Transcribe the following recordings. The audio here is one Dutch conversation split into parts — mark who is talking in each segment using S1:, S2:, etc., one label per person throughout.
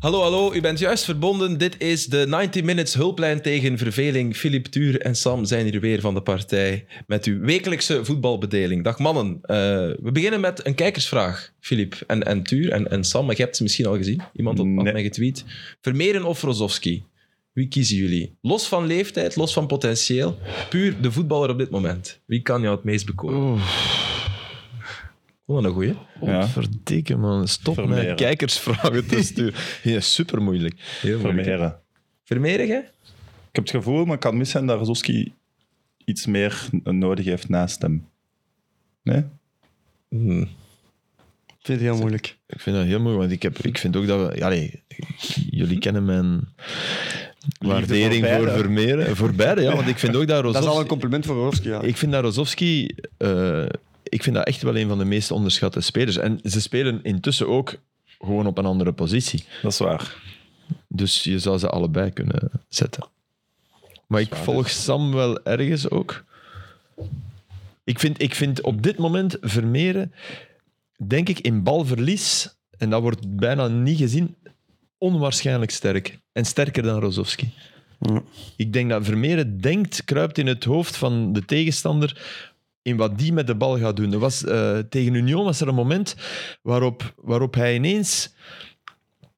S1: Hallo, hallo, u bent juist verbonden. Dit is de 90 Minutes hulplijn tegen verveling. Filip Tuur en Sam zijn hier weer van de partij met uw wekelijkse voetbalbedeling. Dag mannen, Eh, we beginnen met een kijkersvraag, Filip en, en Tuur en, en Sam. Maar je hebt ze misschien al gezien. Iemand had, had
S2: Nee.
S1: mij getweet. Vermeeren of Rozovski? Wie kiezen jullie? Los van leeftijd, los van potentieel, puur de voetballer op dit moment. Wie kan jou het meest bekomen? Vond dat een goeie?
S2: Ja.
S3: Verdikke man, stop
S2: Vermeeren.
S3: met kijkersvragen te sturen. Ja, super moeilijk.
S1: Heel
S2: Vermeeren.
S1: Vermeeren, hè?
S2: Ik heb het gevoel, maar het kan mis zijn dat Rozoski iets meer nodig heeft naast hem. Nee?
S1: Hmm.
S4: Ik vind het heel moeilijk.
S3: Ik vind dat heel moeilijk, want ik, heb, ik vind ook dat we... Allee, jullie kennen mijn waardering
S2: voor
S3: voor,
S2: beide.
S3: Vermeeren. Voor beide, ja. Want ik vind ook dat
S4: Dat is al een
S3: Rozovski...
S4: compliment voor Orski, ja.
S3: Ik vind dat Rozovski... eh, ik vind dat echt wel een van de meest onderschatte spelers. En ze spelen intussen ook gewoon op een andere positie.
S2: Dat is waar.
S3: Dus je zou ze allebei kunnen zetten. Maar ik volg Sam wel ergens ook. Ik vind, ik vind op dit moment Vermeeren, denk ik, in balverlies, en dat wordt bijna niet gezien, onwaarschijnlijk sterk. En sterker dan Rozovski.
S4: Ja.
S3: Ik denk dat Vermeeren denkt, kruipt in het hoofd van de tegenstander in wat die met de bal gaat doen. Er was, eh, tegen Union was er een moment waarop, waarop hij ineens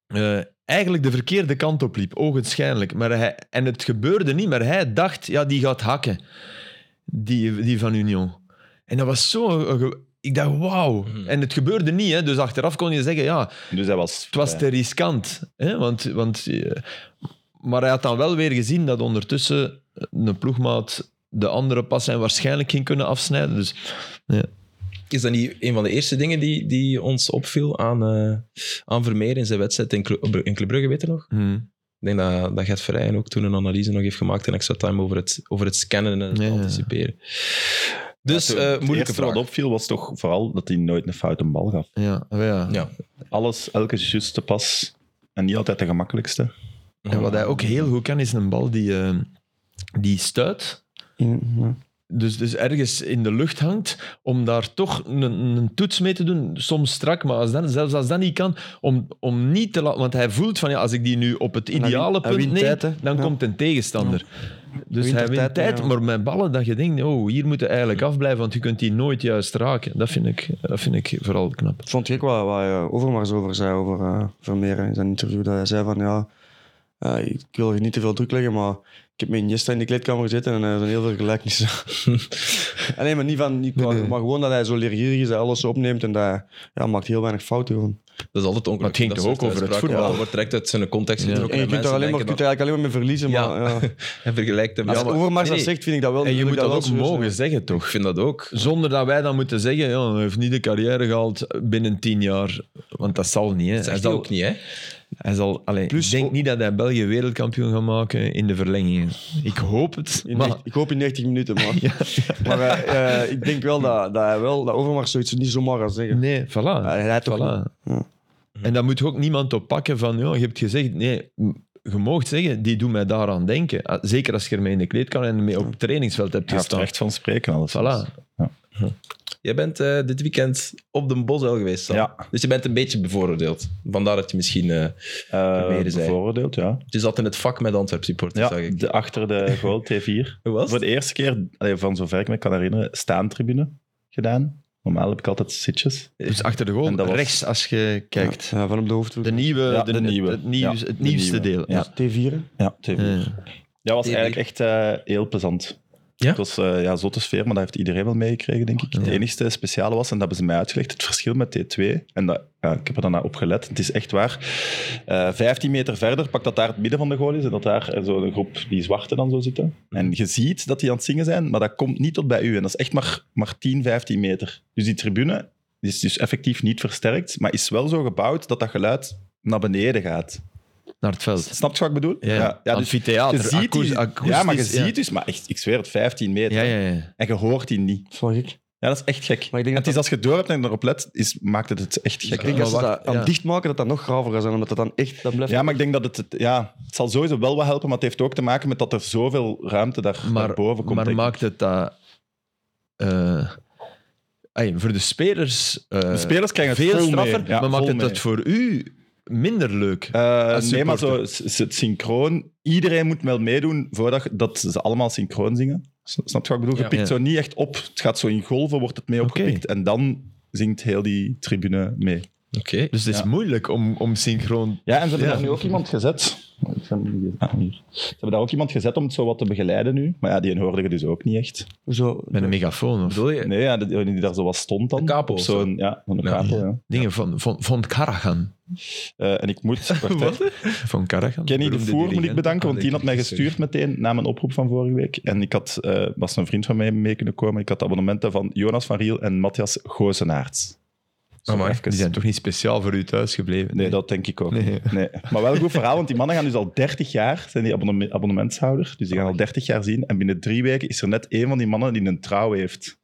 S3: eh, eigenlijk de verkeerde kant op liep, ogenschijnlijk. Maar hij, en het gebeurde niet, maar hij dacht, ja, die gaat hakken. Die, die van Union. En dat was zo... een ge- Ik dacht, wauw. En het gebeurde niet, hè. dus achteraf kon je zeggen, ja,
S2: Dus hij was...
S3: het was te riskant. Hè? Want, want, eh, maar hij had dan wel weer gezien dat ondertussen een ploegmaat de andere pas zijn waarschijnlijk ging kunnen afsnijden. Dus
S1: Is dat niet een van de eerste dingen die, die ons opviel aan, eh aan Vermeer in zijn wedstrijd in, Clu- op- in Club Brugge, weet je nog?
S3: hmm,
S1: Ik denk dat, dat Gert Verheyen ook toen een analyse nog heeft gemaakt in Extra Time over het, over het scannen en het
S3: Ja.
S1: anticiperen. Dus
S2: Ja,
S1: eh
S2: toen- het
S1: moeilijke
S2: eerste
S1: vraag.
S2: wat opviel was toch vooral dat hij nooit een foute bal gaf.
S3: ja, wel ja.
S1: Ja.
S2: Alles, elke juiste pas. En niet altijd de gemakkelijkste.
S3: En wat hij ook heel goed kan, is een bal die, eh, die stuit.
S4: In- ja.
S3: dus, dus ergens in de lucht hangt, om daar toch een, een toets mee te doen, soms strak, maar als dan, zelfs als dat niet kan, om, om niet te laten... Want hij voelt van, ja, als ik die nu op het
S4: hij
S3: ideale
S4: wint- hij
S3: punt
S4: wint
S3: neem,
S4: tijd, hè.
S3: dan
S4: Ja.
S3: komt een tegenstander. Dus
S4: wint
S3: hij
S4: er
S3: wint tijd,
S4: tijd, ja.
S3: maar met ballen dat je denkt, oh, hier moet hij eigenlijk afblijven, want je kunt die nooit juist raken. Dat vind ik, dat vind ik vooral knap.
S4: Ik vond ik wat, wat eh, Overmars over zei, over eh, Vermeeren in zijn interview. Dat hij zei van, ja, eh, ik wil hier niet te veel druk leggen, maar ik heb met Iniesta in de kleedkamer gezeten en eh, er zijn heel veel gelijkenissen. Alleen maar niet van, niet- maar, maar gewoon dat hij zo leergierig is, dat hij alles zo opneemt en dat hij ja, maakt heel weinig fouten gewoon.
S1: Dat is altijd ongelukkig.
S3: Maar het ging
S1: dat
S3: toch
S1: soort
S3: ook over het
S1: uitspraken.
S3: voetbal?
S1: Ja, wordt direct uit zijn context
S3: Ja.
S1: getrokken.
S4: En je kunt daar
S1: mensen
S4: alleen maar, je kunt
S1: denken
S4: er eigenlijk alleen maar mee verliezen,
S1: Ja.
S4: maar ja.
S1: dat- en vergelijkt hem.
S4: Als
S1: Ja, maar-
S4: Overmars
S1: nee,
S4: dat
S1: nee,
S4: zegt, vind ik dat dus, wel...
S3: En je
S4: moet
S3: moet
S4: ik
S3: dat
S4: wel
S3: ook
S4: serieus
S3: mogen
S4: nemen.
S3: zeggen,
S1: Ik
S3: toch?
S1: vind dat ook.
S3: Zonder dat wij dan moeten zeggen, ja, hij heeft niet de carrière gehaald binnen tien jaar. Want dat zal niet, hè.
S1: Dat
S3: Hij
S1: zegt hij
S3: zal-
S1: ook niet, hè?
S3: Hij zal, allee,
S4: Plus-
S3: ik denk niet dat hij België wereldkampioen gaat maken in de verlengingen. Ik hoop het.
S4: In
S3: Maar,
S4: 90 ik hoop in 90 minuten, maar, maar eh, eh, ik denk wel dat, dat hij wel, dat Overmars zoiets niet zomaar gaat zeggen.
S3: nee, voilà.
S4: hij rijdt Ah, toch
S3: voilà.
S4: niet. Ja.
S3: En daar moet je ook niemand op pakken van, ja, je hebt gezegd, nee, m- je moogt zeggen, die doet mij daaraan denken. Ah, Zeker als je ermee in de kleedkamer en mee op het trainingsveld hebt
S2: Hij heeft
S3: gestaan.
S2: recht van spreken. Alles
S3: Voilà.
S1: Jij bent eh, dit weekend op de Bosel geweest, Sam.
S2: Ja.
S1: Dus je bent een beetje bevooroordeeld. Vandaar dat je misschien... eh, Vermeeren zei.
S2: Vooroordeeld, ja.
S1: je zat in het vak met Antwerp supporters,
S2: Ja,
S1: zag ik.
S2: de, achter de goal T4.
S1: Hoe was
S2: Voor
S1: het?
S2: de eerste keer, allee, van zover ik me kan herinneren, staantribune gedaan. Normaal heb ik altijd zitjes.
S3: Dus achter de
S2: En
S3: goal,
S2: dat was-
S3: rechts als je kijkt.
S4: Ja, eh, van op de hoofdhoek.
S3: De nieuwe,
S2: Ja,
S3: de,
S2: de nieuwe.
S3: Het, nieuws,
S2: Ja,
S3: het
S2: de
S3: nieuwste
S2: nieuwe.
S3: deel. Ja.
S4: T4.
S2: Ja, T4.
S3: Ja. Eh,
S2: Ja, was
S1: Die-
S2: eigenlijk echt eh, heel plezant.
S1: Ja?
S2: Het was eh ja, zotte sfeer, maar dat heeft iedereen wel meegekregen, denk ik. Het enige speciale was, en dat hebben ze mij uitgelegd, het verschil met T2. En dat, ja, ik heb er daarna op gelet, het is echt waar. Eh 15 meter verder, pak dat daar het midden van de goal is en dat daar eh, zo'n groep die zwarte dan zo zitten. En je ziet dat die aan het zingen zijn, maar dat komt niet tot bij u. En dat is echt maar, maar 10, 15 meter. Dus die tribune is dus effectief niet versterkt, maar is wel zo gebouwd dat dat geluid naar beneden gaat.
S3: Naar het veld.
S2: Snap je wat ik bedoel?
S3: Ja, ja.
S2: dus
S3: Amphitheater,
S2: je ziet
S3: akoes-
S2: die-
S3: akoestisch,
S2: ja, maar je
S3: ja.
S2: ziet dus, maar echt, ik zweer het, 15 meter.
S3: Ja, ja, ja.
S2: En je hoort die niet.
S4: Dat is wel gek.
S2: Ja, dat is echt gek.
S4: Maar ik denk
S2: het
S4: dat
S2: is als je door hebt en erop let, is, maakt het het echt
S4: Ik
S2: gek.
S4: denk
S3: Maar
S4: als ze
S3: wacht,
S4: dat aan
S3: ja.
S4: dichtmaken, dat dat nog graver gaat zijn, omdat dat dan echt... Dat blijft
S2: Ja, maar ik denk dat het, het- ja, het zal sowieso wel wat helpen, maar het heeft ook te maken met dat er zoveel ruimte daar, naar
S3: Maar,
S2: boven komt.
S3: maar
S2: denk ik.
S3: maakt het dat... eh, ey, voor de spelers... eh,
S2: de spelers krijgen het
S3: veel
S2: vol
S3: straffer,
S2: mee. Ja,
S3: maar
S2: vol
S3: maakt het
S2: mee.
S3: dat voor u minder leuk.
S2: Eh,
S3: Als
S2: nee, maar zo,
S3: supporter.
S2: s- s- het synchroon. Iedereen moet wel meedoen voordat dat ze allemaal synchroon zingen. S- Snap je wat ik bedoel? Je
S1: Ja.
S2: pikt
S3: Ja.
S2: zo niet echt op. Het gaat zo in golven, wordt het mee
S3: Oké.
S2: opgepikt. En dan zingt heel die tribune mee.
S1: Oké.
S3: Dus het is
S2: Ja.
S3: moeilijk om, om synchroon.
S2: Ja, en ze hebben
S3: Ja.
S2: daar nu ook iemand gezet. Ik heb hem niet gezien. Ah, hier. Ze hebben daar ook iemand gezet om het zo wat te begeleiden nu. Maar ja, die hoorde je dus ook niet echt.
S4: Zo,
S3: Met een megafoon of
S1: Bedoel je?
S2: Nee, ja, die, die daar zo wat stond dan.
S1: Een capo
S2: Op
S1: of
S2: Zo'n, ja, zo'n
S1: Ja.
S2: capo, ja.
S3: dingen van, van, van Karagan.
S2: Eh, en ik moet... wacht, hè.
S3: Van Karagan.
S2: Kenny de
S1: Beroemde
S2: Voer moet ik
S1: dirigent.
S2: bedanken, want die had mij
S1: Ah, nee,
S2: gestuurd meteen na mijn oproep van vorige week. En ik had, eh, was een vriend van mij mee kunnen komen. Ik had abonnementen van Jonas van Riel en Matthias Gozenaerts. Zo
S1: Amai,
S2: even.
S3: Ah, Die zijn toch niet speciaal voor u thuis gebleven?
S2: Nee, dat denk ik ook.
S3: Nee.
S2: niet. Nee. Maar wel een goed verhaal, want die mannen gaan dus al 30 jaar, zijn die abonnement, abonnementshouder. Dus die gaan al 30 jaar zien. En binnen drie weken is er net één van die mannen die een trouw heeft.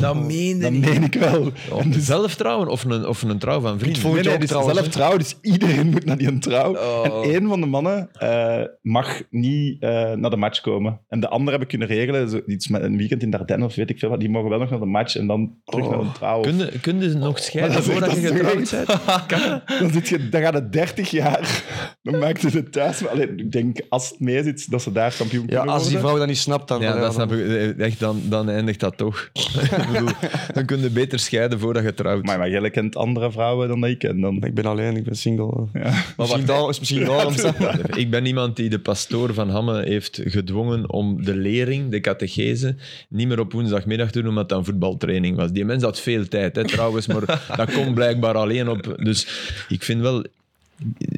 S1: Dat meen je
S2: Dat
S1: niet.
S2: meen ik wel.
S3: Of
S2: En dus-
S3: Oh, zelf trouwen of een, of een trouw van vrienden?
S4: vond-
S2: Nee,
S4: Oh. je
S2: nee,
S4: ook
S2: dus
S4: trouwens,
S2: zelf
S4: hè?
S2: trouw, dus iedereen moet naar die een trouw.
S1: Oh.
S2: En één van de mannen eh, mag niet eh, naar de match komen. En de anderen hebben kunnen regelen, zo, iets met een weekend in Dardenne of weet ik veel wat, die mogen wel nog naar de match en dan terug
S4: Oh.
S2: naar de trouw.
S3: Kun je, kun je nog scheiden
S2: Maar dat is
S3: voordat
S2: echt-
S3: je
S2: dat is
S3: getrouwd
S2: echt-
S3: bent? Kan dat?
S2: Dan, zit je, dan gaat het 30 jaar, dan maakt ze het thuis. Maar, allee, ik denk, als het mee zit, dat ze daar kampioen
S4: ja,
S2: kunnen
S4: als die
S2: worden.
S4: vrouw dat niet snapt, dan...
S3: Ja,
S4: dan-
S3: dat snap
S4: dan-
S3: ik. Eh, Echt, dan, dan eindigt dat toch. ik bedoel, dan kun je beter scheiden voordat je trouwt.
S2: Maar, maar jij kent andere vrouwen dan ik. En dan,
S4: Ik ben alleen, ik ben single.
S2: ja.
S1: Maar
S4: misschien
S1: wacht,
S4: daar, is misschien daarom...
S3: Ik ben iemand die de pastoor van Hamme heeft gedwongen om de lering, de catechese, niet meer op woensdagmiddag te doen, omdat dat een voetbaltraining was. Die mens had veel tijd, hè, trouwens, maar dat komt blijkbaar alleen op. Dus ik vind wel...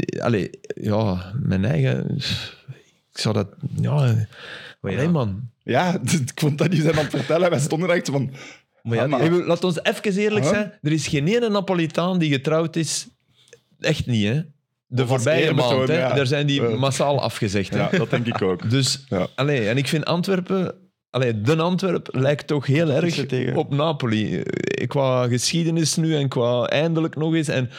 S3: eh, Allee, ja, mijn eigen... Ik zou dat... Ja,
S1: Maar ja.
S3: nee, man.
S2: ja, ik vond dat die zijn aan het vertellen. Wij stonden er echt van...
S1: Maar ja,
S2: Ah, maar-
S3: Ik bedoel, laat ons even eerlijk
S2: Huh?
S3: zijn. Er is geen ene Napolitaan die getrouwd is. Echt niet, hè? De
S2: als
S3: voorbije
S2: eerbetoon,
S3: maand, hè?
S2: ja.
S3: Daar zijn die
S2: Eh.
S3: massaal afgezegd. Hè?
S2: Ja, dat denk ik ook.
S3: Dus,
S2: Ja.
S3: allee, en ik vind Antwerpen... Allee, de Antwerp lijkt toch heel
S4: zit
S3: erg
S4: tegen.
S3: op Napoli. Eh, Qua geschiedenis nu en qua eindelijk nog eens. En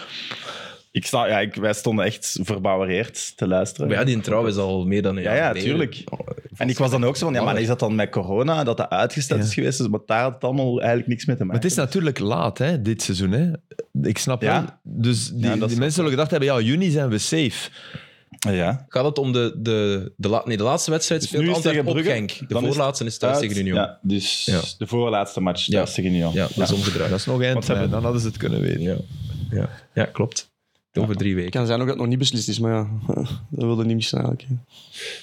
S2: Ik sta, ja, ik, wij stonden echt verbouwereerd te luisteren.
S1: maar ja, die trouw is al meer dan een
S2: Ja,
S1: jaar
S2: ja,
S1: geleden.
S2: tuurlijk. En ik was dan ook zo van, ja, maar is dat dan met corona, dat dat uitgesteld
S3: Ja.
S2: is geweest? Dus, maar daar had het allemaal eigenlijk niks mee te
S3: Maar
S2: maken.
S3: het is natuurlijk laat, hè, dit seizoen. Hè. Ik snap
S2: Ja.
S3: wel. Dus die,
S2: Ja, dat
S3: die
S2: is-
S3: mensen zullen gedacht hebben, ja, juni zijn we safe.
S2: ja.
S1: Gaat het om de, de, de, la- nee, de laatste wedstrijd?
S2: Dus
S1: speelt
S2: nu is
S1: Antwerpen
S2: tegen
S1: op
S2: Brugge,
S1: Genk. De
S2: dan is
S1: voorlaatste is thuis
S2: Uit,
S1: tegen Union. Ja,
S2: Ja, dus
S1: Ja.
S2: de voorlaatste match
S1: Ja.
S2: ja. tegen Union.
S1: dat is omgedraaid.
S3: Dat is nog eind,
S2: ze hebben-
S3: mei, dan hadden ze het kunnen weten.
S1: Ja. Ja. ja, klopt. Over drie
S4: Het
S1: weken.
S4: kan zijn ook dat het nog niet beslist is, maar ja, dat wilde niet missen eigenlijk. hè.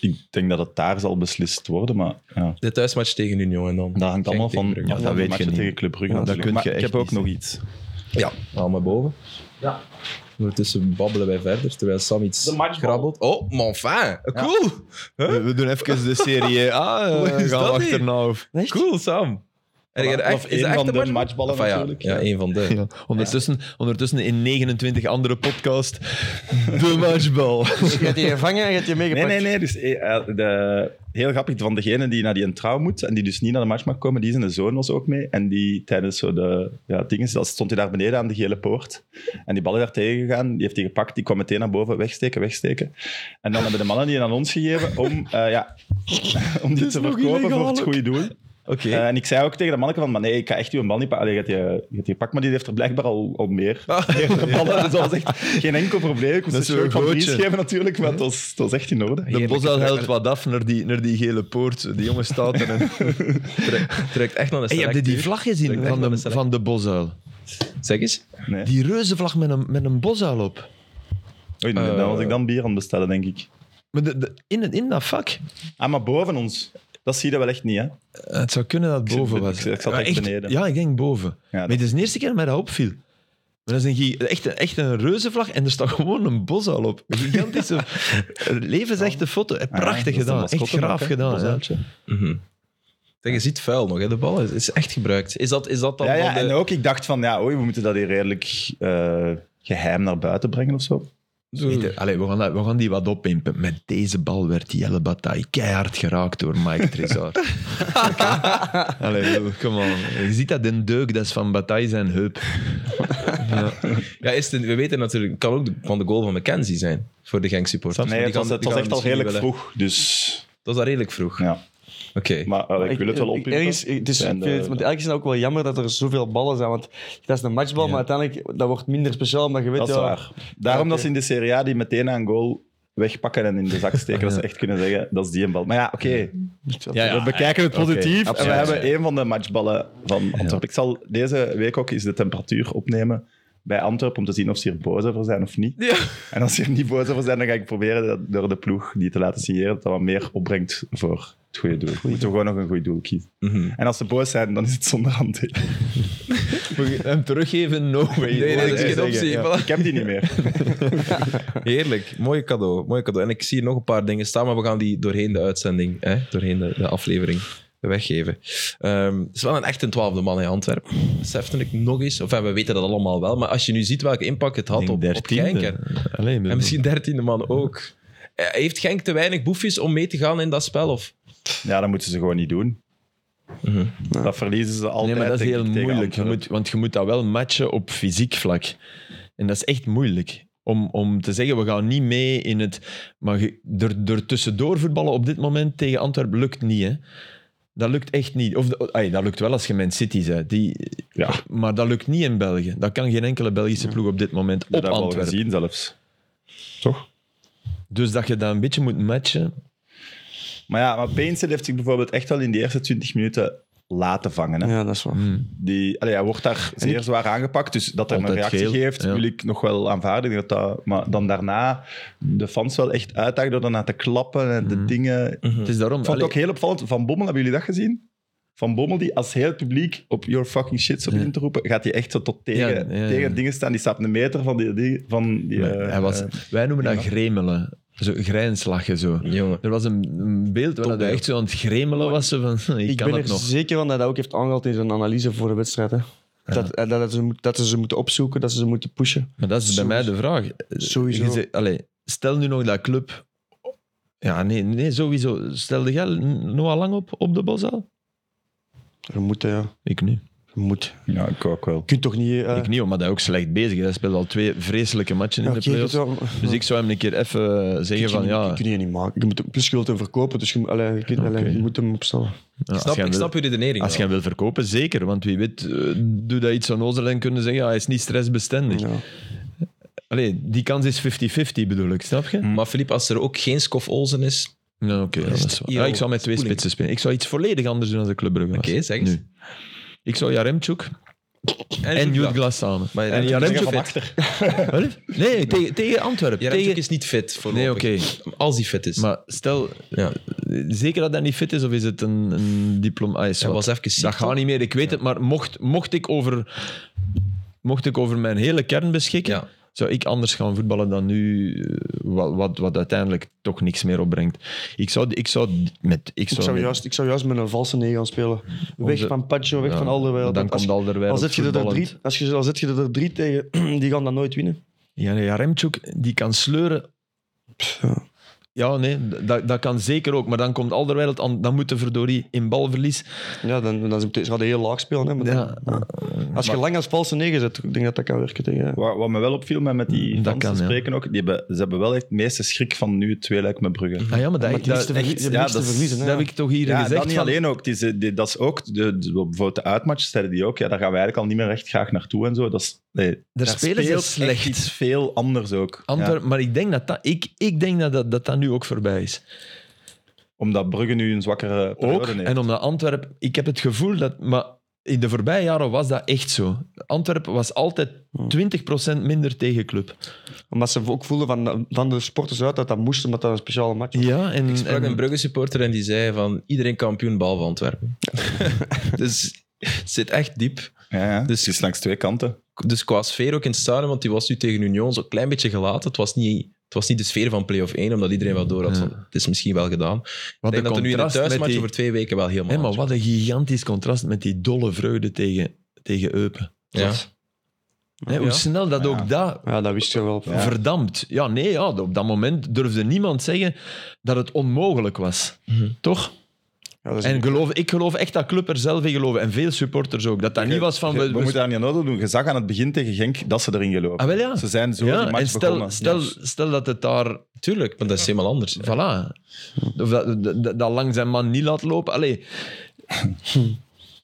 S2: Ik denk dat het daar zal beslist worden, maar ja.
S1: De thuismatch tegen Union en dan.
S2: dat hangt allemaal
S1: tegen
S2: van...
S1: Brugge.
S2: Ja,
S3: dat
S2: van de
S3: weet je
S2: matchen
S3: niet.
S2: tegen Club Brugge
S3: Ja, dat
S2: natuurlijk.
S3: kun je
S2: Maar ik
S3: echt
S2: heb ook
S3: niet
S2: nog iets.
S1: Ja, haal maar boven. Ja. Ondertussen babbelen wij verder, terwijl Sam iets
S2: De matchbal.
S1: grabbelt. Oh, maar enfin. Cool.
S3: We, we doen even de serie A. eh,
S1: Wat is
S3: gaan nou. we
S1: dat
S3: achterna. Of...
S1: Cool, Sam. En
S2: Voilà.
S1: jij echt,
S2: Of
S1: is
S2: één
S1: dat echt
S2: van
S1: een
S2: de
S1: matchbal?
S2: matchballen
S1: Enfin, ja,
S2: natuurlijk,
S1: Ja,
S2: ja.
S1: één van de.
S3: Ja, ondertussen, ondertussen in 29 andere podcast. De matchbal.
S4: Je hebt je gevangen en je hebt je
S2: Nee,
S4: meegepakt.
S2: nee, nee. Dus, eh, eh, de, heel grappig, van degene die naar die een trouw moet en die dus niet naar de match mag komen, die zijn zoon was ook mee. En die tijdens zo de ja, dingen, dat stond hij daar beneden aan de gele poort. En die bal is daar tegengegaan, die heeft hij gepakt, die kwam meteen naar boven, wegsteken, wegsteken. En dan hebben de mannen die aan ons gegeven om, eh, ja, om die
S3: is
S2: te
S3: nog
S2: verkopen
S3: illegaal
S2: voor het
S3: ook.
S2: goede doel.
S3: Oké.
S2: Eh, en ik zei ook tegen de manneke van, maar nee, ik ga echt uw bal niet pakken. Allee, je hebt die- je hebt die gepakt, maar die heeft er blijkbaar al, al meer. meerdere ballen, dus dat was echt geen enkel probleem. Ik moest
S3: Ah. Dat
S2: een
S3: is zo'n
S2: shirt van Dries
S3: gootje.
S2: geven natuurlijk, maar dat was, dat was echt in orde.
S3: De Bosal helpt wat af naar die, naar die gele poort. Die jongen staat er. En...
S1: Trekt- Trekt echt naar de
S3: Hey, heb je
S1: selectie.
S3: die vlag gezien
S1: Direct
S3: van
S1: naar
S3: de,
S1: de select.
S3: van de Bosuil?
S1: Zeg eens.
S2: Nee.
S3: Die reuzenvlag met een, met een Bosuil op.
S2: Oei, nee,
S1: Eh,
S2: dan was ik dan bier aan het bestellen, denk ik.
S3: Maar de, de- in, het- in dat vak.
S2: Ah, maar boven ons. Dat zie je wel echt niet, hè? Ah,
S3: Eh, Het zou kunnen dat het
S2: zit-
S3: boven
S2: ik-
S3: was.
S2: ik zat
S3: Maar
S2: echt beneden.
S3: Ja, ik denk boven. Maar
S2: dat-
S3: het is de eerste keer dat mij dat opviel. Maar dat is een, gi- echt, een, echt een reuzenvlag en er staat gewoon een bosuil op. Een gigantische, levensechte foto. Eh,
S2: Ah, dat
S3: Prachtig
S2: is de
S3: gedaan,
S2: mascotte
S3: echt graaf
S2: ook, hè,
S3: gedaan. Ja.
S2: Bosuiltje.
S1: Mhm. Zeg, je ziet vuil nog, hè? de bal is, is echt gebruikt. Is dat, is dat dan
S2: Ja,
S1: van
S2: ja,
S1: de...
S2: en ook ik dacht van, ja, oei, we moeten dat hier redelijk eh, geheim naar buiten brengen of zo.
S3: Peter, Allee, we, gaan dat- we gaan die wat oppimpen. Met deze bal werd Jelle Bataille keihard geraakt door Mike Trezor. Allee, kom on. Je ziet dat een deuk, dat is van Bataille zijn heup. Ja.
S1: Ja, is het, we weten natuurlijk, het kan ook de- van de goal van McKenzie zijn voor de Genk supporters.
S2: Nee,
S1: Die
S2: het was,
S1: gaan-
S2: het
S1: die
S2: was
S1: gaan
S2: echt al
S1: misschien
S2: redelijk
S1: wel-
S2: vroeg, dus...
S1: Dat was al redelijk vroeg.
S2: Ja.
S1: Oké.
S2: Maar eh, ik wil het wel oppikken.
S4: Ergens, ik- dus,
S2: En,
S4: ik vind het,
S2: eh,
S4: want ergens is het ook wel jammer dat er zoveel ballen zijn. Want dat is een matchbal, maar uiteindelijk dat wordt minder speciaal. omdat je weet,
S2: Dat is
S4: ja,
S2: waar. Daarom
S4: oké.
S2: dat ze in de Serie A die meteen aan goal wegpakken en in de zak steken. Dat ze echt kunnen zeggen, dat is die een bal. Maar ja, oké.
S3: Ja, ja.
S5: We bekijken het positief.
S2: en we hebben een van de matchballen van Antwerpen. Ik zal deze week ook eens de temperatuur opnemen bij Antwerpen om te zien of ze hier boos over zijn of niet.
S1: Ja.
S2: En als ze hier niet boos over zijn, dan ga ik proberen dat door de ploeg die te laten signeren dat dat wat meer opbrengt voor het goede doel. Moeten we gewoon nog een goed doel kiezen.
S1: Mhm.
S2: En als ze boos zijn, dan is het zonder handtekening.
S3: Hem teruggeven, no way.
S1: Nee, nee, dat is geen
S3: Zeggen,
S1: optie.
S3: ja.
S1: Voilà.
S2: Ik heb die niet meer.
S1: Heerlijk, mooi cadeau, mooi cadeau. En ik zie hier nog een paar dingen staan, maar we gaan die doorheen de uitzending, hè, doorheen de, de aflevering weggeven. Ehm, het is wel een echt een twaalfde man in Antwerpen. Besefte ik nog eens. Enfin, we weten dat allemaal wel, maar als je nu ziet welke impact het had
S3: Ik denk
S1: op, op Genk. hè.
S3: dertiende. Allee,
S1: En misschien dertiende man ook. Eh, Heeft Genk te weinig boefjes om mee te gaan in dat spel? Of?
S2: Ja, dat moeten ze gewoon niet doen.
S1: Mhm.
S2: Dat verliezen ze altijd.
S3: Nee, maar dat is
S2: denk
S3: heel
S2: ik, tegen
S3: moeilijk. Je
S2: Antwerpen.
S3: moet, want je moet dat wel matchen op fysiek vlak. En dat is echt moeilijk. Om, om te zeggen, we gaan niet mee in het... Maar je- er, er tussendoor voetballen op dit moment tegen Antwerpen lukt niet, hè. Dat lukt echt niet. Of, ay, dat lukt wel als je Man City bent. Die,
S2: Ja.
S3: Maar dat lukt niet in België. Dat kan geen enkele Belgische ploeg op dit moment
S2: Je
S3: op
S2: hebt dat wel
S3: Antwerpen.
S2: gezien zelfs.
S3: Dus dat je dat een beetje moet matchen.
S2: Maar ja, maar Painted heeft zich bijvoorbeeld echt wel in die eerste 20 minuten laten vangen. Hè?
S4: Ja, dat is waar.
S3: Hmm.
S2: Die, allee, hij wordt daar zeer zwaar aangepakt, dus dat hij hem een
S3: Altijd
S2: reactie
S3: geel,
S2: geeft,
S3: ja.
S2: wil ik nog wel aanvaarden. Dat dat, maar dan daarna de fans wel echt uitdagen door daarna te klappen en de dingen.
S3: Het is daarom...
S2: Ik Mhm. vond het
S3: Mhm. allee,
S2: ook heel opvallend. Van Bommel, hebben jullie dat gezien? Van Bommel, die als heel het publiek op your fucking shit zo begint te roepen, gaat hij echt zo tot tegen,
S3: Ja, ja, ja.
S2: tegen dingen staan. Die staat een meter van die... die, van die
S3: maar
S2: eh,
S3: hij was,
S2: eh,
S3: wij noemen dat
S2: ja.
S3: gremelen. Zo, grijnslachen, zo.
S1: Jongen.
S3: Er was een een beeld waar hij echt zo aan het gremelen was. zo Van, ik,
S4: Ik
S3: kan
S4: ben
S3: het
S4: er
S3: nog.
S4: zeker van dat hij ook heeft aangehaald in zijn analyse voor de wedstrijd. Hè. Dat, eh, dat, ze, moet- dat ze ze moeten opzoeken, dat ze ze moeten pushen.
S3: Maar dat is bij mij de vraag.
S4: Sowieso.
S3: Je zegt, allee, stel nu nog dat club... Ja, nee, nee sowieso. Stelde jij Noah Lang op, op de Bosal?
S4: Je moet, hè, ja.
S3: Ik niet.
S4: Je moet.
S2: Ja, ik ook wel.
S4: Je kunt toch niet... eh,
S3: Ik niet, maar dat is ook slecht bezig. is. Hij speelt al twee vreselijke matchen
S4: ja,
S3: in de
S4: oké, je kunt
S3: playoffs.
S4: wel-
S3: Dus ik zou hem een keer even eh, zeggen
S4: Je
S3: van
S4: kunt-
S3: ja...
S4: je kunt die niet maken. Je moet, hem- plus je wilt hem verkopen, dus je, moet- allee, je kunt- allee,
S3: Oké.
S4: je moet hem opstellen.
S3: ja,
S1: Ik
S3: als
S1: snap,
S3: jij
S1: ik
S3: wil-
S1: snap je redenering.
S3: Als je
S1: wel.
S3: hem wil verkopen, zeker. Want wie weet, eh, doe dat iets onnozel en kunnen zeggen, ja, hij is niet stressbestendig.
S4: Ja.
S3: Allee, die kans is 50-50 bedoel ik, snap je?
S1: Maar Filip, als er ook geen Skof Olsen is,
S3: Ja, oké. ja, dat is waar.
S1: Yo,
S3: Ja, ik zou met twee
S1: spoeling.
S3: spitsen spelen. Ik zou iets volledig anders doen als de Club Brugge was.
S1: Oké, zeg eens.
S3: Nu. Ik zou Jaremchuk en
S1: Jude Glas.
S3: Jude Glas samen.
S1: Maar eh,
S3: en
S1: Jaremchuk
S2: Zeggen
S3: Jaremchuk...
S2: van achter.
S3: Wat? Nee, tegen, tegen Antwerpen.
S1: Jaremchuk
S3: tegen...
S1: is niet fit voorlopig.
S3: Nee, oké.
S1: Als hij fit is.
S3: Maar stel,
S1: Ja.
S3: eh, zeker dat hij niet fit is, of is het een, een diploma? Ah, is
S1: hij
S3: wat.
S1: was even ziek.
S3: Dat gaat
S1: toch?
S3: niet meer, ik weet het. Maar mocht, mocht, ik over, mocht ik over mijn hele kern beschikken,
S1: Ja.
S3: zou ik anders gaan voetballen dan nu, eh, wat, wat, wat uiteindelijk toch niks meer opbrengt. Ik zou, ik zou, met, ik
S4: Ik,
S3: zou,
S4: zou
S3: met-
S4: juist, ik zou juist met een valse negen gaan spelen. Weg
S3: Onze-
S4: van Pacho, weg
S3: ja,
S4: van Alderweireld.
S3: Dan
S4: Want als
S3: komt Alderweireld
S4: Als zet je er
S3: voetballend.
S4: drie, als je, als zet je er drie tegen, die gaan dat nooit winnen.
S3: Ja, nee, Jaremchuk, die kan sleuren. Ja, nee, d- dat, dat kan zeker ook. Maar dan komt Alderweireld, aan- dan moeten verdorie in balverlies.
S4: Ja, dan, dan ze gaan heel laag spelen. Hè, maar
S3: Ja,
S4: dan- als je lang als valse negen zet, ik denk dat dat kan werken tegen...
S2: Wat, wat me wel opviel met, met die
S3: Mm, Dat
S2: fans
S3: kan,
S2: te
S3: ja.
S2: spreken ook, die hebben, ze hebben wel echt het meeste schrik van nu het tweeluik met Brugge.
S3: Ah, ja, maar dat,
S4: Maar die
S3: dat-
S4: is te verlie-
S3: echt,
S4: die hebben
S2: ja,
S4: niks te
S2: dat is-
S4: verliezen.
S3: dat
S4: hè.
S3: heb ik toch hier
S2: Ja,
S3: gezegd.
S2: dat niet
S3: van-
S2: alleen ook. Het is, eh, die- dat is ook, de, de, bijvoorbeeld de uitmatches zeiden die ook, ja, daar gaan we eigenlijk al niet meer echt graag naartoe en zo. Dat is, nee, daar
S3: spelen ze
S2: speelt echt
S3: slecht.
S2: iets veel anders ook.
S3: Antwerp-
S2: Ja.
S3: Maar ik denk dat dat, ik, ik denk dat, dat, dat dat nu ook voorbij is.
S2: Omdat Brugge nu een zwakkere
S3: Ook,
S2: periode heeft.
S3: en omdat Antwerpen... Ik heb het gevoel dat... Maar in de voorbije jaren was dat echt zo. Antwerpen was altijd 20% minder tegenclub.
S4: Omdat ze ook voelden van, van de sporters uit dat dat moest, omdat dat een speciale match was.
S3: Ja, en...
S1: Ik sprak een Brugge-supporter en die zei van iedereen kampioen behalve Antwerpen. dus het zit echt diep.
S2: Ja, ja.
S1: Dus-
S2: Dus het is langs twee kanten.
S1: Dus qua sfeer ook in het stadion, want die was nu tegen Union zo'n klein beetje gelaten. Het was niet, het was niet de sfeer van play-off 1, omdat iedereen wel door had van
S3: Ja.
S1: het is misschien wel gedaan. Ik
S3: wat
S1: denk dat er nu in het thuismatch over twee weken wel helemaal...
S3: maar wat een gigantisch contrast met die dolle vreugde tegen, tegen Eupen.
S1: Ja.
S3: Hè, hoe
S1: Ja.
S3: snel dat
S2: Ja.
S3: ook dat
S4: Ja, dat wist je wel.
S2: Ja.
S3: verdampt. Ja, nee, ja, op dat moment durfde niemand zeggen dat het onmogelijk was.
S1: Mhm.
S3: Toch?
S4: Ja, dat is
S3: En geloof, ik geloof echt dat club er zelf in geloven. En veel supporters ook. Dat dat niet was van...
S2: we,
S3: We, we-
S2: moeten daar niet aan nodig doen. Je zag aan het begin tegen Genk dat ze erin gelopen.
S3: Ah, wel ja.
S2: Ze zijn zo die
S3: ja,
S2: match
S3: en stel,
S2: begonnen.
S3: stel,
S2: Ja.
S3: stel dat het daar...
S1: Tuurlijk, maar dat is helemaal anders. hè.
S3: Voilà. Of dat, dat, dat lang zijn man niet laat lopen. Allee,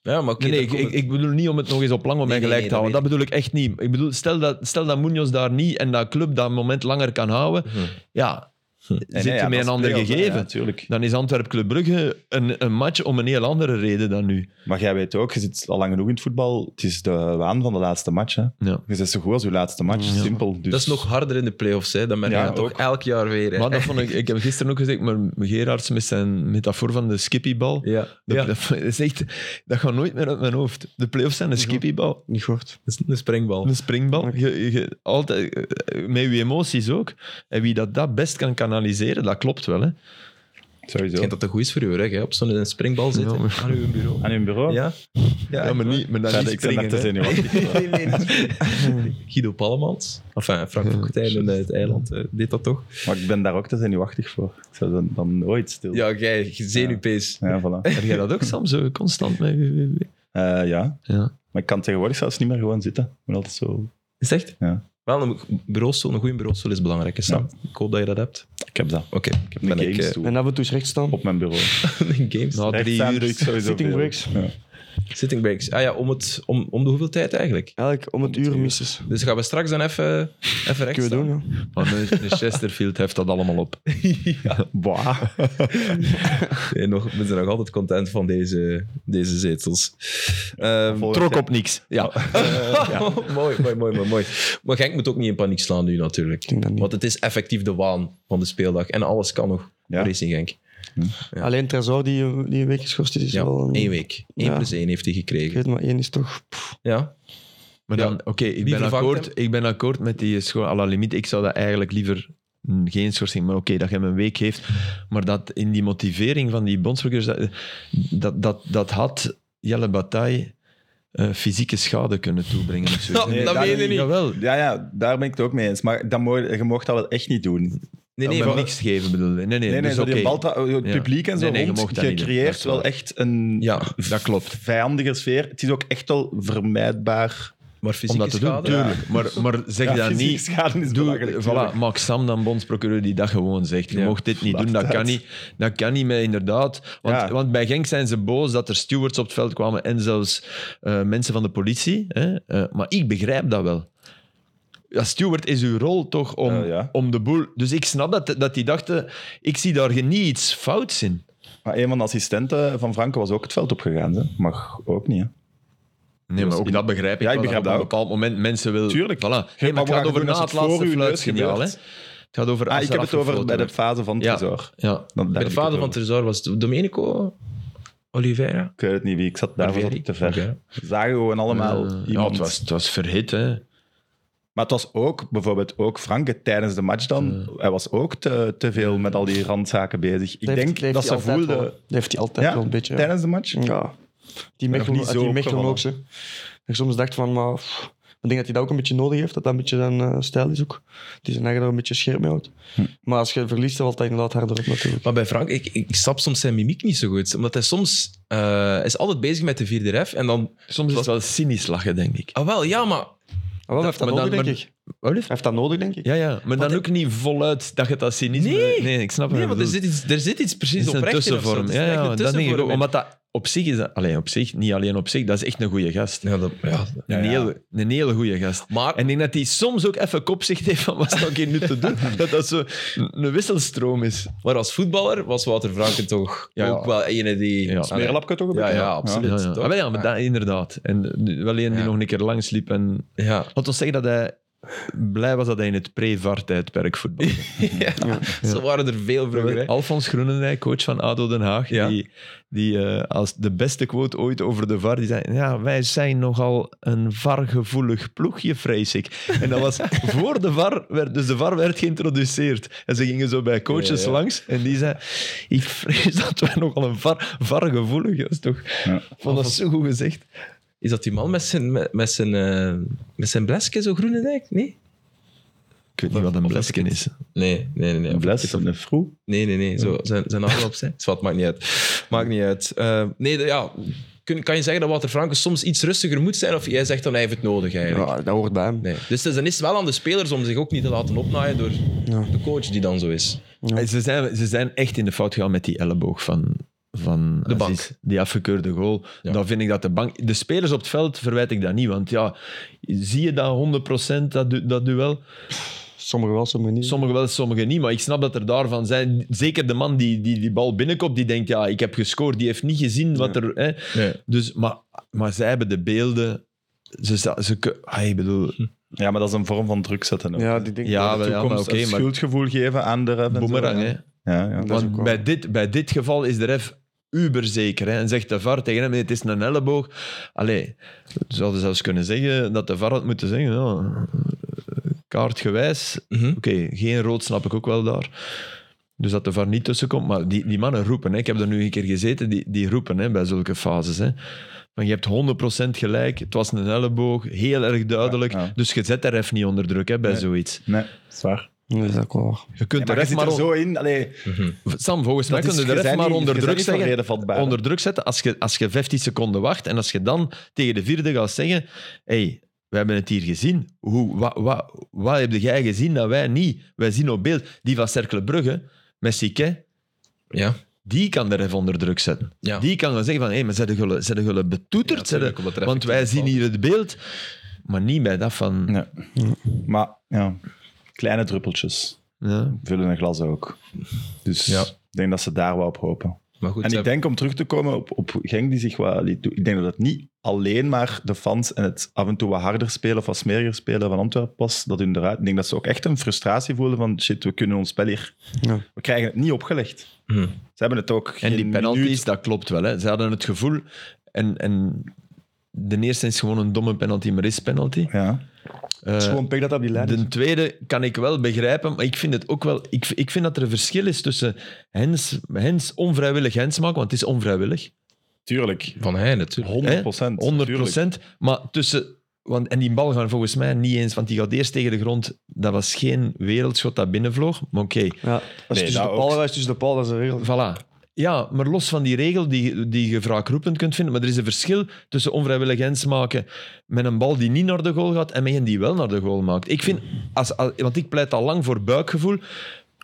S1: Ja, maar oké,
S3: nee,
S1: dan
S3: nee, ik,
S1: komt
S3: ik,
S1: het-
S3: ik bedoel niet om het nog eens op lang op mij
S1: nee,
S3: gelijk
S1: nee,
S3: te houden.
S1: dat
S3: Dat bedoel ik echt niet. Ik bedoel, stel dat, stel dat Munoz daar niet en dat club dat moment langer kan houden, ja,
S2: Nee,
S3: zit
S2: nee,
S3: je
S2: ja,
S3: met
S2: dat
S3: een
S2: is
S3: ander
S2: play-offs, hè.
S3: gegeven.
S2: Ja, natuurlijk.
S3: Dan is Antwerp-Club Brugge een, een match om een heel andere reden dan nu.
S2: Maar jij weet ook, je zit al lang genoeg in het voetbal. Het is de waan van de laatste match. Hè.
S3: Ja.
S2: Je zit zo goed als je laatste match. Simpel. Dus.
S1: Dat is nog harder in de play-offs, hè. dat merk je
S2: Ja,
S1: toch
S2: ook.
S1: elk jaar weer. Hè.
S3: Maar dat vond ik, ik heb gisteren ook gezegd, maar Gerards met zijn metafoor van de skippiebal,
S1: Ja,
S3: dat,
S1: ja.
S3: dat is echt, dat gaat nooit meer uit mijn hoofd. De playoffs zijn een skippiebal.
S4: niet goed.
S1: dat is een springbal.
S3: Een springbal. Je- je- altijd, eh, met je emoties ook. En wie dat, dat best kan kanaliseren, dat klopt wel. Hè.
S1: Ik
S2: Sowieso.
S1: vind dat dat goed is voor je rug, hè. op zo'n springbal zitten
S3: maar-
S1: aan uw bureau.
S2: Aan hun bureau?
S1: Oh. Ja,
S3: Ja, maar niet, maar dan
S2: Ja,
S3: niet
S2: ik ben daar
S3: springen,
S2: te
S3: hè.
S2: zenuwachtig.
S1: Nee, nee, nee. Guido Pallemans, enfin Frank Fokkentijn in het eiland, eh, deed dat toch?
S2: Maar ik ben daar ook te zenuwachtig voor. Ik zou dan, dan nooit stil.
S1: Ja, jij, zenuwpees.
S2: Ja, voilà.
S3: Heb jij dat ook, Sam? Zo constant met WWW?
S2: Eh, ja,
S3: Ja.
S2: maar ik kan tegenwoordig zelfs niet meer gewoon zitten. Ik ben altijd zo...
S1: Is het echt?
S2: Ja.
S1: Wel, een bureaustoel, een goede bureaustoel is belangrijk, hè, Sam. Ik hoop dat je dat hebt.
S2: Ik heb dat.
S1: Oké,
S2: Ik heb
S1: ben
S2: een
S1: ik, eh,
S2: gamestoel
S4: En af en toe is rechtstaan.
S2: op mijn bureau.
S1: in games.
S3: Na drie
S2: Rechtstaan doe
S3: uur.
S2: ik sowieso
S4: Sitting
S2: veel.
S4: breaks.
S2: Ja.
S1: Sitting breaks. Ah ja, om, het, om, om de hoeveel tijd eigenlijk?
S4: Eigenlijk om het uur misses.
S1: Dus gaan we straks dan even, even rechts
S4: Kunnen we
S1: staan. Oh,
S4: doen, ja.
S3: Maar de Chesterfield heeft dat allemaal op.
S2: Bah.
S1: Nee, nog, we zijn nog altijd content van deze, deze zetels. Ehm,
S2: Volgend
S3: Trok
S2: jaar-
S3: op niks. Ja.
S1: mooi, mooi, mooi, mooi, mooi. Eh, Maar Genk moet ook niet in paniek slaan nu natuurlijk.
S4: Ik denk dat niet.
S1: Want het is effectief de waan van de speeldag. En alles kan nog.
S2: Ja.
S1: voor Racing Genk. Ja.
S4: Alleen Trezor die, die een week geschorst is, is
S1: Ja,
S4: wel... Een,
S1: één week. Eén
S4: Ja.
S1: plus één heeft hij
S4: Ik
S1: gekregen.
S4: weet maar, één is toch... pff,
S1: Ja.
S3: Maar dan, oké, ik,
S1: Wie
S3: ben
S1: vervangt
S3: akkoord- ik ben akkoord met die school. À la limiet, ik zou dat eigenlijk liever mm, geen schorsing, maar oké, dat je hem een week heeft. Maar dat in die motivering van die bondsburgers, dat, dat, dat, dat had Jelle Bataille eh, fysieke schade kunnen toebrengen. of zoiets.
S1: Nee,
S2: dat meen je
S1: niet.
S3: Jawel.
S2: Ja, ja, daar ben ik het ook mee eens. Maar dat mooi, je mocht dat wel echt niet doen. Nee,
S1: Nee,
S3: Nee,
S1: nee,
S3: maar
S1: maar-
S3: niks geven bedoel je. Nee, nee,
S2: nee,
S3: dus
S2: zo die
S3: oké.
S2: bal tra- het
S3: Ja.
S2: publiek en zo
S3: Nee, nee, je
S2: rond.
S3: mocht
S2: Je,
S3: dat niet doen. Dat
S2: creëert
S3: is
S2: wel
S3: waar.
S2: echt een
S1: Ja,
S3: Dat klopt.
S2: vijandige sfeer. Het is ook echt wel vermijdbaar.
S1: maar
S3: Om
S1: fysieke
S3: dat te doen,
S1: schade.
S3: tuurlijk. Maar, maar zeg
S2: Ja,
S3: dat
S2: fysiek
S3: niet.
S2: schade is
S3: Doe,
S2: belachelijk,
S3: voilà,
S2: tuurlijk.
S3: maak Sam dan bondsprocureur die dat gewoon zegt. Je
S1: Ja.
S3: mocht dit niet
S2: Laat
S3: doen, dat
S2: het
S3: kan
S2: uit.
S3: niet. Dat kan niet meer, inderdaad. Want,
S2: Ja.
S3: want bij Genk zijn ze boos dat er stewards op het veld kwamen en zelfs eh, mensen van de politie. Hè? Eh, maar ik begrijp dat wel. Ja, steward is uw rol toch om,
S2: Eh, ja.
S3: om de boel... Dus ik snap dat, dat die dachten, ik zie daar geen- niet iets fouts in.
S2: Maar een van de assistenten van Franken was ook het veld opgegaan. Hè. Mag ook niet. Hè.
S3: Nee, maar ook dat begrijp ik wel,
S2: ik begrijp
S3: je op een
S2: dat
S3: bepaald moment mensen wil...
S2: Tuurlijk.
S3: Voilà. Nee, maar
S2: maar
S3: het
S2: wat
S3: gaat
S2: je
S3: over
S2: doen
S3: na
S2: als het
S3: het
S2: voor
S3: laatste
S2: uw neus
S3: fluitsignaal. Hè.
S2: gebeurt.
S3: Het gaat over
S2: Ah,
S3: als
S2: ik
S3: er
S2: heb het over
S3: afgefloten
S2: bij de
S3: werd.
S2: fase van
S3: Ja.
S2: Trezor.
S3: Ja.
S2: Dan- daar
S1: Bij de
S2: heb ik
S1: vader
S2: het
S1: van
S2: over.
S1: Tresor was het Domenico Oliveira.
S2: Ik weet het niet wie, ik zat daar
S1: Oliveira.
S2: was ik te ver.
S1: Oliveira.
S2: Zagen gewoon allemaal
S3: Eh, ja,
S2: iemand.
S3: het was, het was verhit, hè.
S2: Maar het was ook, bijvoorbeeld ook Franke tijdens de match dan,
S3: Eh.
S2: hij was ook te, te veel met al die randzaken bezig. Ik
S4: dat heeft-
S2: denk
S4: heeft
S2: dat
S4: hij
S2: ze
S4: altijd
S2: voelden...
S4: wel. Dat heeft hij altijd
S2: Ja,
S4: wel een beetje. ja.
S2: tijdens de match?
S4: Ja. Die
S2: nog
S4: Mechelen,
S2: niet zo
S4: die Mechelen
S2: opgevallen.
S4: ook, ze. Ik soms dacht van, maar... pff, Ik denk dat hij dat ook een beetje nodig heeft, dat dat een beetje zijn eh, stijl is ook. Die zijn eigen daar een beetje scherp mee houdt.
S3: Hm.
S4: Maar als je verliest, dan valt dat inderdaad harder op natuurlijk. Ah,
S1: Maar bij Frank, ik, ik snap soms zijn mimiek niet zo goed. Omdat hij soms eh, is altijd bezig met de vierde ref. En dan...
S3: Soms is het wel cynisch lachen, denk ik.
S1: Ah wel, ja, maar...
S4: Maar wel, hij heeft dat
S3: maar dan-
S4: nodig, denk
S3: maar-
S4: ik. Hij heeft dat nodig, denk ik.
S3: Ja, ja. Maar dan
S1: hij-
S3: ook niet voluit dat je dat cynisme...
S1: Nee.
S3: ik snap het.
S1: Nee, want er zit iets, er zit iets precies
S3: is een
S1: oprecht in of zo.
S3: tussenvorm.
S1: Het is
S3: Ja,
S1: echt een
S3: ja, dat denk ik
S1: tussenvorm
S3: ook.
S1: in.
S3: Omdat dat op zich is... Dat, alleen op zich, niet alleen op zich. Dat is echt een goede gast.
S1: Ja, dat, ja.
S2: Ja,
S3: Een,
S2: ja.
S3: hele, een hele goede gast.
S1: Maar
S3: En ik denk dat hij soms ook even kopzicht heeft van wat zou ik hier nu te doen? Dat dat zo een wisselstroom is.
S1: Maar als voetballer was Wouter Franken toch
S3: Ja, ja.
S1: ook wel ene die...
S3: Ja.
S2: Smeerlapje toch een
S1: Ja,
S2: beetje?
S1: ja, absoluut.
S3: Ja, ja.
S1: toch?
S3: Ah, wel ja, maar
S1: Ja.
S3: dat- inderdaad. En eh, wel een die
S1: Ja.
S3: nog een keer langs liep. En...
S1: Ja.
S3: Laat ons zeggen dat hij blij was dat hij in het pre-VAR-tijdperk voetbal.
S1: Zo waren er veel vroeger. hè.
S3: Alfons Groenendijk, coach van ADO Den Haag,
S1: Ja.
S3: die, die eh, als de beste quote ooit over de VAR, die zei, ja, wij zijn nogal een VAR-gevoelig ploegje, vrees ik. En dat was voor de VAR, werd, dus de VAR werd geïntroduceerd. En ze gingen zo bij coaches
S1: Ja, ja.
S3: langs en die zei, ik vrees dat wij nogal een VAR, VAR-gevoelig, dat is toch...
S2: Ja.
S3: Vond dat zo goed gezegd.
S1: Is dat die man met zijn, met, met zijn, eh, met zijn blesje, zo Groenendijk? Nee?
S3: Ik weet niet wat een
S1: Of
S3: blesken
S1: even
S3: is.
S1: Nee, nee, nee. nee.
S2: Een bles, een froe.
S1: Nee, nee, nee. Zo, zijn, zijn handen opzij. Het wat, maakt niet uit. Maakt niet uit. Eh, nee, de- ja. Kun, kan je zeggen dat Wouter Franke soms iets rustiger moet zijn? Of jij zegt dan hij heeft het nodig eigenlijk?
S4: Ja, dat hoort bij hem.
S1: Nee. Dus dan is het wel aan de spelers om zich ook niet te laten opnaaien door
S4: Ja.
S1: de coach die dan zo is.
S3: En Ze zijn, ze zijn echt in de fout gegaan met die elleboog van, van
S1: De bank.
S3: Aziz. Die afgekeurde goal.
S1: Ja.
S3: Dan vind ik dat de bank... De spelers op het veld verwijt ik dat niet. Want ja, zie je dat 100% dat, du- dat duel?
S4: Sommigen wel, sommigen niet.
S3: Sommigen wel, sommigen niet. Maar ik snap dat er daarvan zijn. Zeker de man die die, die bal binnenkomt, die denkt, ja, ik heb gescoord. Die heeft niet gezien wat er... Hè. Dus, maar, maar zij hebben de beelden... Ze, sta- ze, ku- ah, ik bedoel,
S2: Ja, maar dat is een vorm van druk zetten. Ook.
S4: ja, die denken
S3: Ja,
S4: dat-
S3: wel,
S2: Toekomst,
S3: ja, maar oké,
S2: een
S3: maar-
S2: schuldgevoel geven aan de ref. en zo,
S3: boemerang, hè.
S2: Ja, ja.
S4: Dat is ook
S3: Want
S4: wel-
S3: bij dit, bij dit geval is de ref uberzeker. Hè? En zegt de VAR tegen hem, nee, het is een elleboog. Allee, ze hadden zelfs kunnen zeggen dat de VAR had moeten zeggen, ja, eh, kaartgewijs.
S1: Mhm.
S3: Oké, geen rood snap ik ook wel daar. Dus dat de VAR niet tussenkomt. Maar die, die mannen roepen. Hè? Ik heb er nu een keer gezeten, die, die roepen hè, bij zulke fases. Hè? Van, je hebt 100% gelijk, het was een elleboog, heel erg duidelijk.
S2: Ja, ja.
S3: Dus je zet de ref niet onder druk hè, bij
S2: Nee.
S3: zoiets.
S2: Nee, dat is waar.
S4: Nee, dat is ook wel waar.
S3: Je kunt
S2: maar
S3: de
S2: je
S3: ref
S2: zit
S3: maar
S2: er
S3: on-
S2: zo in. Allee,
S3: Sam, volgens mij
S2: dat
S3: kun
S2: is-
S3: je de
S2: je
S3: ref
S2: bent
S3: maar
S2: niet-
S3: onder
S2: je bent
S3: druk
S2: niet van
S3: zeggen.
S2: redenvatbaar.
S3: onder druk zetten. Als je, als je 15 seconden wacht en als je dan tegen de vierde gaat zeggen: hey, we hebben het hier gezien. Hoe, wat, wat, wat heb jij gezien dat wij niet? Wij zien op beeld die van Cercle Brugge met Sique,
S1: Ja.
S3: die kan de ref onder druk zetten.
S1: Ja.
S3: Die kan gaan zeggen: van, hé, maar zijn jullie- zijn jullie
S1: Ja,
S3: betoeterd? Zijn
S1: tuurlijk, omdat er
S3: jullie- want wij
S1: effectief
S3: zien hier het beeld, maar niet bij dat van.
S2: Nee. Maar ja, kleine druppeltjes
S3: Ja.
S2: vullen een glas ook. Dus
S1: Ja.
S2: ik denk dat ze daar wel op hopen.
S1: Maar goed,
S2: en
S1: ze
S2: ik denk om terug te komen op, op Genk die zich wat liet doen. Ik denk dat het niet alleen maar de fans en het af en toe wat harder spelen of wat smeriger spelen van Antwerpen was, dat hun eruit. Ik denk dat ze ook echt een frustratie voelden van shit, we kunnen ons spel hier.
S3: Eh,
S4: Ja.
S2: We krijgen het niet opgelegd.
S1: Mhm.
S2: Ze hebben het ook.
S3: En die
S2: geen
S3: penalties,
S2: minuut-
S3: dat klopt wel. Hè. Ze hadden het gevoel. En, en de eerste is gewoon een domme penalty, maar is penalty.
S2: Ja.
S3: Eh,
S2: Het is gewoon pech dat dat op die lijn
S4: dus-
S3: De tweede kan ik wel begrijpen, maar ik vind het ook wel. Ik, ik vind dat er een verschil is tussen hens, hens onvrijwillig hens maken, want het is onvrijwillig,
S2: Tuurlijk.
S1: Van hij natuurlijk.
S2: 100 procent.
S3: 100 Maar tuurlijk. Want, en die bal gaan volgens mij niet eens, want die gaat eerst tegen de grond. Dat was geen wereldschot dat binnenvloog, maar oké.
S4: Ja. Als
S2: Nee,
S4: je tussen
S2: dat
S4: de
S2: ook.
S4: palen wijst, tussen de palen, dat is de regel.
S3: Voilà. Ja, maar los van die regel die, die je wraakroepend kunt vinden, maar er is een verschil tussen onvrijwillig hens maken met een bal die niet naar de goal gaat en met een die wel naar de goal maakt. Ik vind, als, als- want ik pleit al lang voor buikgevoel.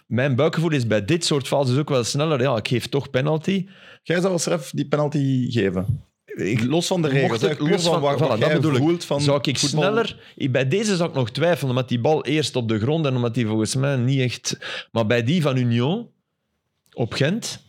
S3: Mijn buikgevoel is bij dit soort fases ook wel sneller. Ja, ik geef toch penalty.
S2: Jij zou als ref die penalty geven. Ik, los van de regels.
S3: Mocht het
S2: hè, puur
S3: los van,
S2: wat-
S3: voilà,
S2: wat
S3: dat
S2: jij
S3: bedoel ik.
S2: voelt van
S3: zou ik
S2: voetbal.
S3: sneller... ik- Bij deze zou ik nog twijfelen, omdat die bal eerst op de grond en omdat die volgens mij niet echt... Maar bij die van Union, op Gent,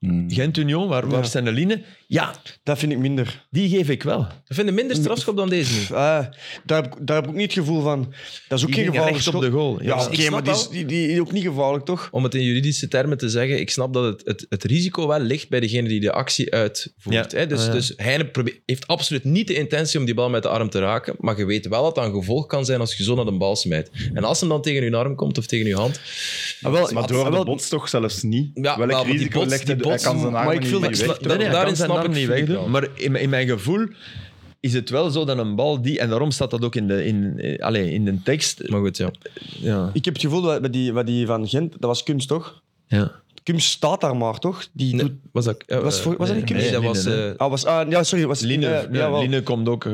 S2: Hmm.
S3: Gent-Union, waar, waar
S4: Ja.
S3: zijn de lijnen? Ja,
S4: Dat vind ik minder.
S3: die geef ik wel.
S1: Ze vinden minder strafschop dan deze nu.
S4: Pff, eh, daar, heb, ik- daar heb ik ook niet het gevoel van. Dat is ook
S3: Die
S4: geen
S3: ging
S4: gevaarlijk
S3: recht op
S4: schot.
S3: de goal.
S4: Ja,
S3: Ja.
S4: oké,
S1: Ik snap
S4: maar die is,
S1: wel.
S4: die, die is ook niet gevaarlijk, toch?
S1: Om het in juridische termen te zeggen, ik snap dat het, het, het risico wel ligt bij degene die de actie uitvoert.
S3: Ja.
S1: Hè? Dus,
S3: Ah, ja.
S1: dus hij probeert- heeft absoluut niet de intentie om die bal met de arm te raken, maar je weet wel dat dat een gevolg kan zijn als je zo naar de bal smijt. En als hem dan tegen je arm komt of tegen je hand,
S2: maar door de bots toch zelfs niet.
S1: Ja,
S2: Welk
S1: wel, maar die
S2: risico
S1: bots-
S2: legt
S1: die
S2: hij?
S1: bots-
S2: hij kan zijn
S4: maar
S2: armen
S4: ik
S2: niet
S4: vind dat-
S2: weg
S1: ik sla-
S2: doen.
S1: nee, nee.
S3: Daarin
S1: daarin snap
S3: snap
S1: ik
S3: niet
S1: Filip
S3: weg.
S1: wel.
S3: doen. Maar in, mijn- in mijn gevoel is het wel zo dat een bal die... En daarom staat dat ook in de, in, eh, allee, in de tekst.
S1: Maar goed, ja.
S3: Ja.
S4: Ik heb het gevoel dat bij die, bij die van Gent, dat was Kums, toch?
S3: ja.
S4: Kums staat daar maar, toch? Die
S1: Nee,
S4: doet...
S1: was dat, eh,
S4: Was voor- was dat niet
S1: nee,
S3: Kums?
S1: dat
S3: Nee,
S1: was...
S3: nee, nee.
S1: eh,
S4: Ah, was, ah, ja, sorry. Was,
S3: Line,
S4: eh,
S3: ja,
S4: jawel.
S3: Line komt, ook, eh,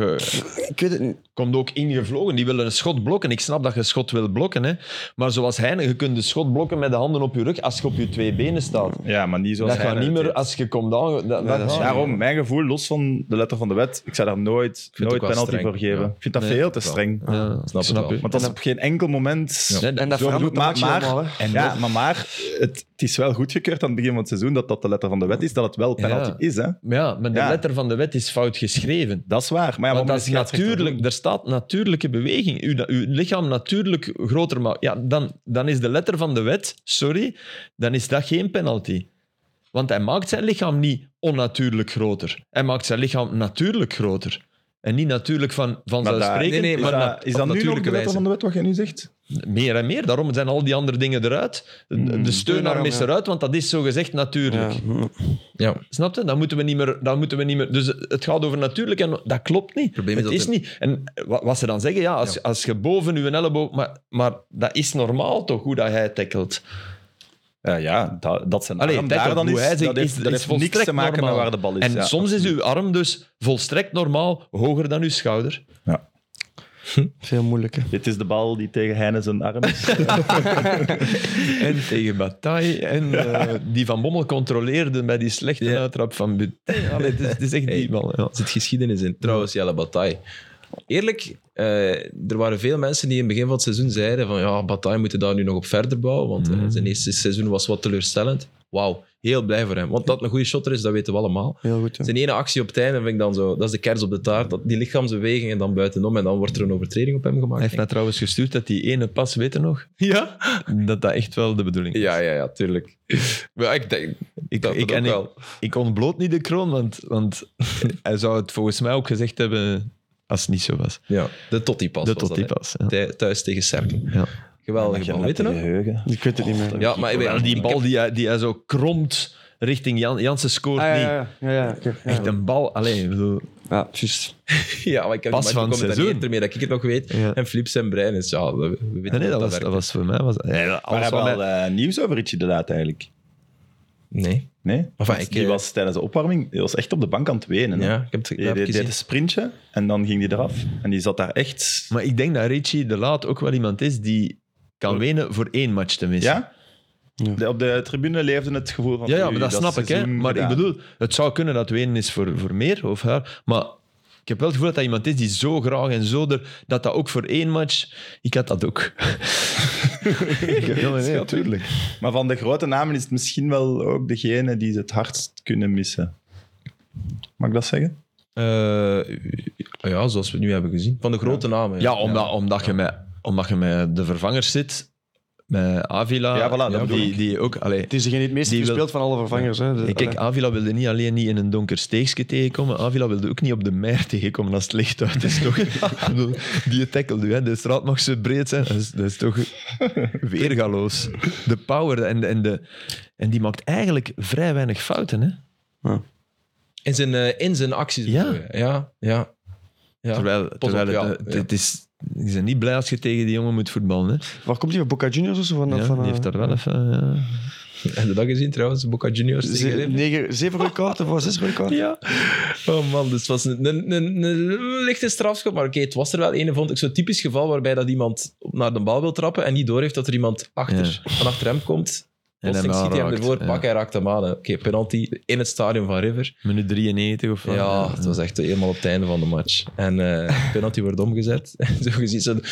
S4: Ik weet het niet.
S3: komt ook ingevlogen. Die willen een schot blokken. Ik snap dat je schot wil blokken. Hè. Maar zoals Heine, je kunt de schot blokken met de handen op je rug als je op je twee benen staat.
S2: Ja, maar niet zoals
S3: Dat gaat
S2: hij
S3: niet
S2: dat
S3: meer
S2: deed.
S3: als je komt aan. Dat, dat
S4: dat is
S3: gaat niet.
S2: Daarom, mijn gevoel, los van de letter van de wet, ik zou daar nooit,
S1: het
S2: nooit
S1: ook wel
S2: penalty
S1: streng,
S2: voor geven.
S1: ja.
S2: Ik vind dat
S3: Nee,
S2: veel te
S1: wel.
S2: streng.
S3: Ja,
S1: Snap het wel.
S3: je.
S2: Want dat is op geen enkel moment...
S1: Ja.
S4: En dat
S2: Zo
S4: verandert
S2: bedoel-
S4: de
S2: maar,
S4: match helemaal,
S2: maar,
S4: hè.
S2: en ja, maar, maar het, het is wel goedgekeurd aan het begin van het seizoen dat dat de letter van de wet is, dat het wel penalty
S3: Ja.
S2: is. Hè?
S3: Maar ja, maar de
S2: Ja.
S3: letter van de wet is fout geschreven.
S2: Dat is waar. Maar ja,
S3: Want
S2: wat
S3: dat is
S2: moet de scheidsrechter
S3: natuurlijk,
S2: doen?
S3: er staat natuurlijke beweging. Uw, uw lichaam natuurlijk groter maakt. Ja, dan, dan is de letter van de wet, sorry, dan is dat geen penalty. Want hij maakt zijn lichaam niet onnatuurlijk groter. Hij maakt zijn lichaam natuurlijk groter. En niet natuurlijk van,
S2: Maar dat-
S3: vanzelfsprekend,
S1: nee, nee,
S2: Is
S1: maar
S2: dat,
S1: nat- op
S2: is dat nu nog de
S1: natuurlijke
S2: letter
S1: wijze.
S2: van de wet wat jij nu zegt?
S3: Meer en meer. Daarom zijn al die andere dingen eruit. De, de steunarm is
S4: ja.
S3: eruit, want dat is zo gezegd natuurlijk.
S4: Ja. hm,
S1: Ja.
S3: Snap je? Dan moeten, we niet meer, dan moeten we niet meer... Dus het gaat over natuurlijk en dat klopt niet.
S1: Probleem is
S3: het
S1: dat
S3: is
S1: er-
S3: niet... En wa- wat ze dan zeggen, ja, als,
S1: Ja.
S3: als je boven je elleboog... Maar, maar dat is normaal toch, hoe dat hij tackelt.
S2: Ja, ja dat, dat zijn
S3: Allee,
S2: arm
S3: tackle,
S2: daar dan
S3: hoe
S2: is,
S3: hij zich-
S2: dat heeft,
S3: is-
S2: dat
S3: is
S2: heeft niks
S3: volstrekt
S2: te maken
S3: normaal.
S2: met waar de bal is.
S3: En
S2: ja.
S3: soms is uw arm dus volstrekt normaal hoger dan uw schouder.
S4: Veel moeilijker.
S2: Dit is de bal die tegen Heine zijn arm is.
S3: En tegen Bataille. En eh, die Van Bommel controleerde bij die slechte
S1: Ja.
S3: uittrap van But. Allee, het, is, het is echt
S1: Hey.
S3: die bal. Ja.
S1: Er zit geschiedenis in. Trouwens, Jelle Bataille. Eerlijk, eh, er waren veel mensen die in het begin van het seizoen zeiden van ja, Bataille moet daar nu nog op verder bouwen, want
S3: Mhm.
S1: eh, zijn eerste seizoen was wat teleurstellend. Wauw, heel blij voor hem. Want dat een goede shotter is, dat weten we allemaal.
S4: Heel goed, ja.
S1: Zijn ene actie op het einde vind ik dan zo, dat is de kers op de taart, dat, die lichaamsbewegingen dan buitenom en dan wordt er een overtreding op hem gemaakt.
S3: Hij heeft mij trouwens gestuurd dat die ene pas, weet je nog?
S1: ja?
S3: Dat dat echt wel de bedoeling is.
S1: ja, ja, ja, tuurlijk. Maar ik denk
S3: ik,
S1: dat
S3: ik,
S1: ook
S3: en ik,
S1: wel.
S3: ik ontbloot niet de kroon, want, want hij zou het volgens mij ook gezegd hebben als het niet zo was.
S1: Ja, de Totti-pas.
S3: de
S1: was dat,
S3: tot die pas. Ja.
S1: hè. Thij- Thuis tegen Cerkel.
S3: Ja.
S1: Geweldige bal, weet je nog?
S2: Geheugen.
S4: Ik weet het niet meer.
S1: Ja, maar Ah, ik weet-
S3: Wel, die bal die hij, die hij zo kromt richting Jan, Jansen scoort
S4: Ah, ja,
S3: niet.
S4: ja, ja, ja, oké, ja.
S3: Echt een bal. Alleen, ik bedoel,
S4: Ja, precies.
S1: Ja, maar ik heb
S3: Pas
S1: die
S3: van het seizoen.
S1: ermee dat ik het nog weet.
S3: Ja.
S1: En Flip zijn brein is, ja, we, we weten
S3: nee, nee,
S1: hoe
S3: dat, was,
S1: werkt.
S3: dat was voor mij. Was, nee, dat-
S2: We
S3: alles
S2: hebben
S3: wat
S2: al
S3: mij-
S2: eh, nieuws over Richie de Laat eigenlijk.
S1: Nee.
S2: Nee? Dus
S1: Enfin, ik,
S2: die
S1: eh,
S2: was tijdens de opwarming die was echt op de bank aan het wenen. hè.
S1: Ja, ik heb het,
S2: Die
S1: dat heb ik
S2: deed deed
S1: gezien.
S2: een sprintje en dan ging die eraf. En die zat daar echt...
S3: Maar ik denk dat Richie de Laat ook wel iemand is die kan wenen voor één match tenminste.
S2: Ja?
S4: Ja.
S2: De- op de tribune leefde het gevoel van...
S3: Ja, ja,
S2: oei,
S3: maar dat, snap ik. Hè.
S2: seizoen
S3: Maar
S2: gedaan.
S3: ik bedoel, het zou kunnen dat wenen is voor, voor meer of haar. Maar ik heb wel het gevoel dat dat iemand is die zo graag en zo er... Dat dat ook voor één match... Ik had dat ook.
S2: nee, tuurlijk. Maar van de grote namen is het misschien wel ook degene die ze het hardst kunnen missen. Mag ik dat zeggen?
S1: Eh, ja, zoals we het nu hebben gezien. Van de grote namen.
S3: Ja, omdat, Omdat, je met, omdat je met de vervangers zit. Met Avila.
S2: Ja, voilà, dat bedoel
S3: die,
S2: ik.
S3: die ook... Allee,
S4: Het is degene die het meest
S3: Die wil-
S4: gespeeld van alle vervangers. Hè. De-
S1: Eh,
S3: Nee, kijk, Avila wilde niet alleen niet in een donker steegje tegenkomen. Avila wilde ook niet op de mer tegenkomen als het licht uit is. Toch? Ik bedoel, Die tackle nu, hè. de straat mag zo breed zijn. Dat is, dat is toch weergaloos. De power en, de- en, de, en die maakt eigenlijk vrij weinig fouten. Hè?
S1: In zijn, eh, in zijn acties.
S3: Ja.
S1: bedoel je. Ja, ja. ja.
S3: Terwijl, terwijl
S1: op,
S3: het,
S1: ja.
S3: het- het is, die zijn niet blij als je tegen die jongen moet voetballen. Hè?
S4: Waar komt die van Boca Juniors of zo? Van,
S3: Ja,
S4: van,
S3: die
S4: eh,
S3: heeft daar wel even. ja.
S1: Heb je dat gezien trouwens? Boca Juniors
S4: ze-
S1: tegen Liverpool?
S4: negen, zeven rode kaarten of zes rode kaarten?
S1: Ja. Oh man, dus het was een, een, een, een lichte strafschop. Maar oké, het was er wel een, vond ik, zo'n typisch geval waarbij dat iemand naar de bal wil trappen en niet doorheeft dat er iemand achter, van achter hem komt.
S3: En
S1: Plotseling
S3: hem
S1: ziet hij hem
S3: aanraakt,
S1: ervoor
S3: ja.
S1: pakken, hij raakt hem aan. hè. Oké, penalty in het stadion van River.
S3: Minuut 93 of wat.
S1: ja, het was echt helemaal op het einde van de match. En eh penalty wordt omgezet. En zo gezien zo'n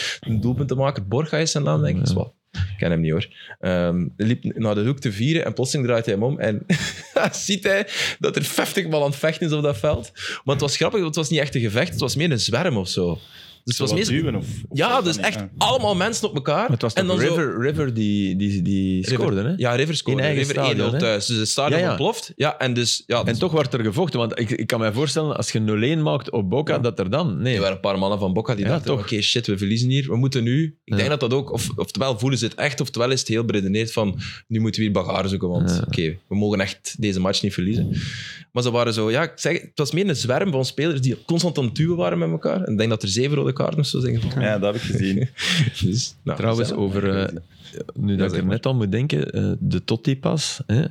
S1: doelpunt te maken. Borga is zijn naam, denk ik. Is wat. Ik ken hem niet hoor. Ehm, hij liep naar de hoek te vieren en plotseling draait hij hem om. En ziet hij dat er 50 man aan het vechten is op dat veld. Maar het was grappig, want het was niet echt een gevecht. Het was meer een zwerm of zo. Dus het was
S2: Wat
S1: meer...
S2: duwen of... of
S1: Ja,
S2: zo
S1: dus
S2: van,
S1: echt
S2: ja.
S1: allemaal mensen op elkaar.
S3: Maar het was
S1: en
S3: toch
S1: dan zo-
S3: River, River die, die, die
S1: River-
S3: scoorde, hè?
S1: Ja, River scoorde.
S3: In eigen
S1: River
S3: stadion,
S1: 1-0
S3: hè?
S1: thuis. Dus het stadion
S3: Ja, ja.
S1: ontploft. Ja, en dus... Ja,
S3: En toch wordt er gevochten, want ik, ik kan mij voorstellen, als je 0-1 maakt op Boca, dat er dan... Nee,
S1: Er waren een paar mannen van Boca die
S3: Ja,
S1: dachten,
S3: toch.
S1: oké, shit, we verliezen hier. We moeten nu... Ik
S3: Ja.
S1: denk dat dat ook... Of, oftewel voelen ze het echt, oftewel is het heel beredeneerd van... Nu moeten we hier bagaar zoeken, want
S3: Ja.
S1: oké, we mogen echt deze match niet verliezen. Maar ze waren zo... Ja, ik zeg, het was meer een zwerm van spelers die constant aan het duwen waren met elkaar. En ik denk dat er zeven rode kaarten of zo zijn gevallen.
S2: Ja, dat heb ik gezien.
S1: Dus, nou,
S3: trouwens,
S1: gezellig.
S3: over... eh, nu
S1: zeg
S3: dat ik er
S1: maar.
S3: net aan moet denken, eh, de Totti-pas. hè.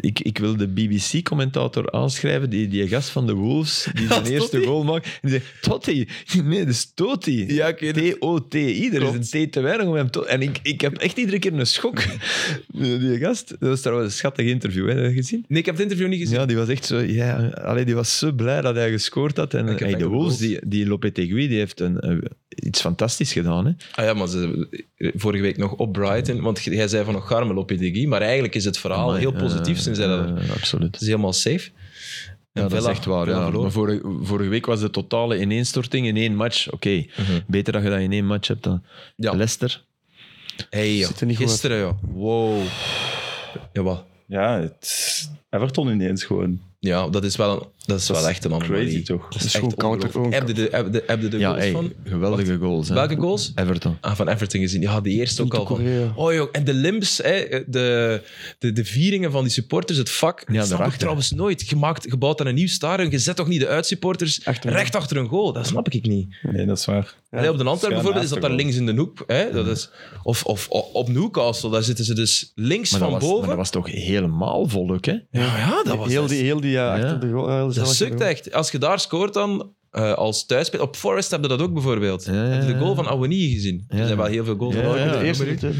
S3: Ik, ik wil de BBC-commentator aanschrijven, die, die gast van de Wolves, die zijn
S1: is
S3: eerste
S1: Totti.
S3: goal maakt. En die zegt, Totti? Nee, dat is Totti.
S1: Ja, ik weet het.
S3: T-O-T-I, er is een T te weinig om hem te... En ik, ik heb echt iedere keer een schok. Die gast, dat was trouwens een schattig interview, hè, heb je dat gezien?
S1: Nee, ik heb het interview niet gezien.
S3: Ja, die was echt zo... Ja, allee, die was zo blij dat hij gescoord had. En
S1: heb
S3: hey,
S1: echt
S3: de
S1: een
S3: Wolves,
S1: goal.
S3: die, die Lopetegui, die heeft een, eh, iets fantastisch gedaan. Hè?
S1: Ah ja, maar ze, vorige week nog op Brighton, want jij zei van nog Garmel op maar eigenlijk is het verhaal
S3: Amai,
S1: heel positief
S3: eh,
S1: sinds hij dat...
S3: eh, absoluut.
S1: Het is helemaal safe.
S3: Ja, dat is echt waar. Ja. Maar vorige, vorige week was de totale ineenstorting in één match. Oké,
S1: Mhm.
S3: beter dat je dat in één match hebt dan
S1: Ja.
S3: Leicester.
S1: Hey, joh.
S4: Zit er niet goed
S1: Gisteren, joh. Wow. Jawel.
S2: Ja, het... Everton ineens gewoon.
S1: Ja, dat is wel, een, dat is wel echt een anomalie.
S2: Crazy toch?
S1: Dat
S4: is
S1: is
S4: gewoon
S1: echt
S4: counter-
S1: ongelooflijk. Heb je de, heb de, heb je de
S3: Ja,
S1: goals
S3: hey, eh,
S1: van?
S3: geweldige goals. hè.
S1: Welke goals?
S3: Everton.
S1: Ah, van Everton gezien. Ja, die eerste ook al. Van.
S4: Korea.
S1: Oh joh, en de limbs, hè, de, de, de vieringen van die supporters, het vak. Ja, dat snap ik
S3: daarachter.
S1: trouwens nooit. Gemaakt, gebouwd aan een nieuw stadion. Je zet toch niet de uitsupporters
S4: Achter-
S1: recht achter een goal? Dat snap ik niet.
S2: Nee, dat is waar.
S1: Allee, op de Antwerpen bijvoorbeeld is dat daar
S2: naast de
S1: links in de hoek. Hè? Dat is, of, of, o- op Newcastle, daar zitten ze dus links
S3: Maar dat,
S1: van
S3: was, maar
S1: boven.
S3: dat was toch helemaal vol ook, hè?
S1: ja, ja, dat was
S4: heel
S1: dat-
S4: die, heel die ja,
S3: Ja.
S4: achter de goal. eh,
S1: Dat sukt echt. Als je daar scoort dan, eh, als thuisspeler... Op Forest hebben dat ook bijvoorbeeld.
S3: Ja, ja,
S1: Heb je de goal
S3: ja.
S1: van Awoniyi gezien?
S3: Ja.
S1: Er zijn wel heel veel goals
S3: Ja,
S1: van
S3: ja,
S1: Awoniyi.
S4: de eerste
S1: Eh,
S4: niet, hè.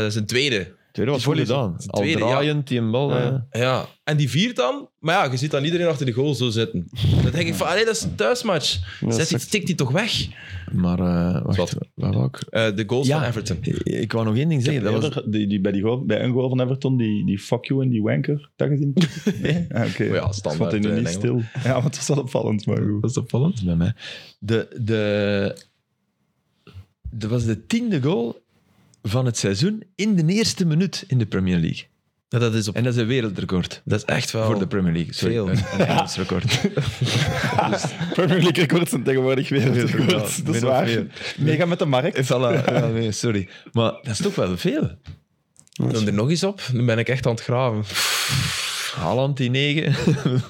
S1: dat is een tweede.
S3: Tweede was
S1: Die
S3: goed
S1: volley-
S3: gedaan.
S1: de
S3: Al
S1: tweede, ja.
S3: draaiend, die een bal.
S4: Ja, ja.
S3: eh.
S1: Ja. En die viert dan. Maar ja, je ziet dan iedereen achter de goal zo zitten. Dan denk ik van, allee, dat is een thuismatch.
S4: Ja,
S1: Zet die,
S4: sukt.
S1: stikt die toch weg.
S3: Maar eh wacht,
S1: Zwat.
S3: wat wou ik?
S1: Eh, de goals
S3: Ja.
S1: van Everton.
S3: Ik wou nog één ding zeggen. Dat was,
S2: Eerder, die, die, bij, die goal, bij een goal van Everton, die, die fuck you en die wanker, dat gezien? Nee? Ah, Oké.
S1: Maar ja,
S2: Ik
S1: standaard.
S2: vond hij nu
S1: eh,
S2: niet
S1: in
S2: stil. Ja, want het was wel opvallend, maar goed.
S3: dat is opvallend bij mij. De, de, dat was de tiende goal van het seizoen in de eerste minuut in de Premier League.
S1: Ja, dat, is op,
S3: En dat is een wereldrecord
S1: dat is echt wel...
S3: voor de Premier League. Sorry,
S1: veel.
S3: Een, een Engels record.
S2: Premier League records zijn tegenwoordig wereldrecords.
S3: Ja,
S2: dat is
S3: min of
S2: waar.
S3: meer.
S2: Mega met de markt.
S3: Voilà. Ja, nee, sorry. Maar dat is toch wel veel.
S1: Noem er nog eens op. Nu ben ik echt aan het graven.
S3: Haaland die negen.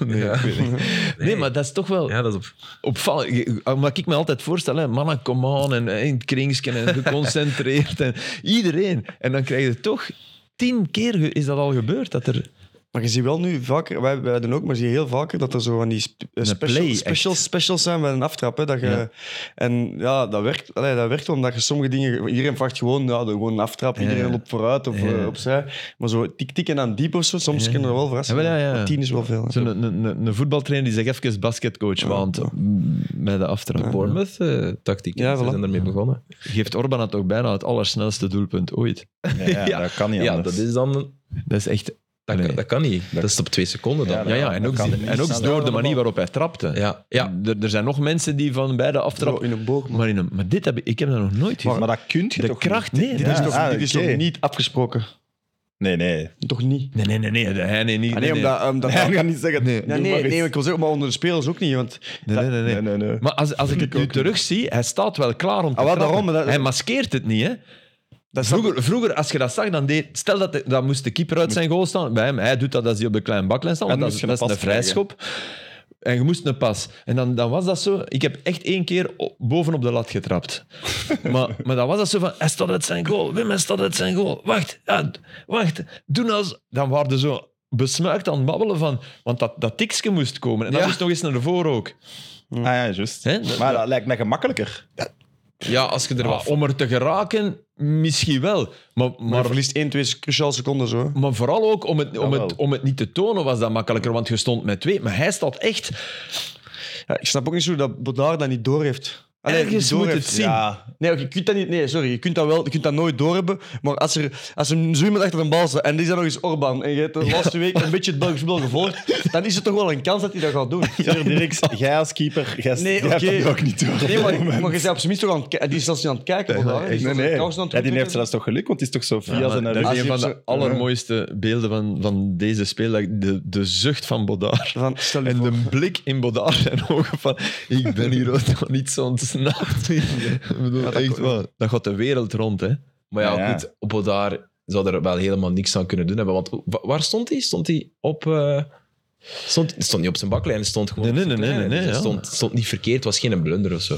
S3: nee,
S1: Ja.
S3: ik weet het niet. nee, maar dat is toch wel...
S1: Ja, dat is op...
S3: opvallend. Je- Wat ik me altijd voorstel, hè, mannen, come on, en eh, in het kringsken en geconcentreerd. en iedereen. En dan krijg je toch... Tien keer ge- is dat al gebeurd, dat er...
S4: Maar je ziet wel nu vaker, wij, wij doen ook, maar zie je heel vaker dat er zo van die sp- eh,
S3: Een
S4: special,
S3: play, echt.
S4: special, specials zijn bij een aftrap. Hè, dat je,
S3: Ja.
S4: En ja, dat werkt, allee, dat werkt omdat je sommige dingen, iedereen vraagt gewoon, ja, doe gewoon een aftrap,
S3: Ja.
S4: iedereen loopt vooruit of
S3: Ja.
S4: eh, opzij. Maar zo tik-tik en aan diep of zo, soms
S3: Ja.
S4: kunnen er wel verrassen.
S3: Ja, wel, ja, ja.
S4: Maar Tien is wel veel. hè.
S3: Zo'n een, een, een voetbaltrainer die zegt even basketcoach, want bij de aftrap.
S1: Bournemouth-tactiek.
S4: Ja,
S1: eh, Ze
S4: voilà.
S1: zijn ermee begonnen.
S3: Geeft Orban het toch bijna het allersnelste doelpunt ooit.
S2: Ja, dat kan niet
S1: Ja,
S2: anders.
S1: dat is dan.
S3: Dat is echt...
S1: Dat,
S3: Allee.
S1: kan, dat kan niet. Dat is op twee seconden dan.
S3: Ja, ja, en
S2: dat
S3: ook,
S2: kan niet
S3: en ook
S2: sneller
S3: door de
S2: dan
S3: manier
S2: de
S3: waarop hij trapte.
S1: Ja, ja.
S3: Er, er zijn nog mensen die van bij de
S4: Zo
S3: aftrap...
S4: in een boog. Maar
S3: Maar, in een- maar dit heb ik, ik heb dat nog nooit gezien.
S2: Maar, dat kun je
S3: de
S2: toch
S3: kracht,
S2: niet?
S3: nee.
S4: dit
S2: Ja,
S4: is, toch,
S2: ah,
S4: dit is
S2: oké.
S4: toch niet afgesproken?
S2: Nee, nee.
S4: Toch niet?
S3: Nee, nee, nee. nee, nee, nee, nee,
S4: Ah, nee, omdat... omdat-
S2: Hij gaat niet zeggen...
S3: Nee.
S2: doe
S4: Ja,
S2: maar
S4: nee,
S2: eens.
S4: nee, maar ik wil zeggen, maar onder de spelers ook niet. Want
S3: nee, nee, nee,
S2: nee,
S3: nee.
S2: nee, nee.
S3: Maar als, als ik het nu terugzie, hij staat wel klaar om te
S4: Ah, wel,
S3: trappen.
S4: daarom, dat-
S3: Hij maskeert het niet, hè.
S4: dat is
S3: Vroeger, vroeger, als je dat zag, dan deed... Stel dat, de- dan moest de keeper uit zijn goal staan. Bij hem, hij doet dat als hij op de kleine baklijn staat,
S2: En
S3: want dat, is-
S2: moest je
S3: dat is
S2: een
S3: een
S2: pas krijgen.
S3: vrijschop. En je moest een pas. En dan, dan was dat zo... Ik heb echt één keer o- bovenop de lat getrapt. maar, maar dan was dat zo van... Hij staat uit zijn goal. Wim, hij staat uit zijn goal. Wacht, ja, d- wacht. Doen als... Dan waren ze zo besmuikt aan het babbelen van... Want dat, dat tikje moest komen. En dat
S1: Ja.
S3: moest nog eens naar voren ook.
S2: Ah ja, juist.
S3: Hè? Dat-
S2: Maar dat lijkt mij gemakkelijker.
S1: ja, als je er
S3: Ja,
S1: wat
S3: om er te geraken, misschien wel. Maar,
S4: Maar je
S3: maar,
S4: verliest 1, 2 cruciale seconden zo. hè.
S3: maar vooral ook om het, om,
S2: Jawel.
S3: het, om het niet te tonen was dat makkelijker, want je stond met twee. Maar hij staat echt...
S4: Ja, ik snap ook niet zo dat Bodaar dat niet doorheeft. Allee,
S3: Ergens
S4: niet
S3: moet
S4: doorheeft.
S3: het zien.
S2: Ja,
S4: Nee, je kunt dat niet. Nee, sorry. Je kunt dat wel. Je kunt dat nooit doorhebben. Maar als er, als er zo iemand achter een bal staat en die is dan nog eens Orban en je hebt de laatste week een beetje het Belgisch voetbal gevolgd, dan is er toch wel een kans dat hij dat gaat doen.
S2: Sir Dirks, jij als keeper, jij
S4: Nee,
S2: jij hebt
S4: oké.
S2: dat ook niet door.
S4: Nee, maar, maar je bent op zijn minst toch aan het kijken. Die is zelfs niet aan het kijken. Nee,
S2: Echt, nee, nee. Ja, die heeft
S4: zelfs.
S2: zelfs toch geluk, want het is toch zo via
S3: Ja, maar
S2: zijn
S3: dat
S2: rug.
S3: is een van
S2: Als je
S3: de
S2: op zo-
S3: allermooiste beelden van, van deze speler. De, de zucht van Bodaar.
S4: Van, stel je
S3: En
S4: voor.
S3: de blik in Bodaar zijn ogen van... Ik ben hier ook nog niet zo ontsnapt. Ik bedoel, echt waar. Dat gaat de wereld rond, hè.
S1: Maar ja,
S2: Ja, ja.
S1: goed, Bodaar zou er wel helemaal niks aan kunnen doen hebben. Want wa- waar stond hij? Stond hij op... eh, Stond, stond niet op zijn baklijn, hij stond gewoon
S3: Nee, nee,
S1: op zijn
S3: nee, nee,
S1: kleine.
S3: nee,
S1: Dus hij
S3: ja.
S1: stond, stond niet verkeerd, was geen blunder of zo.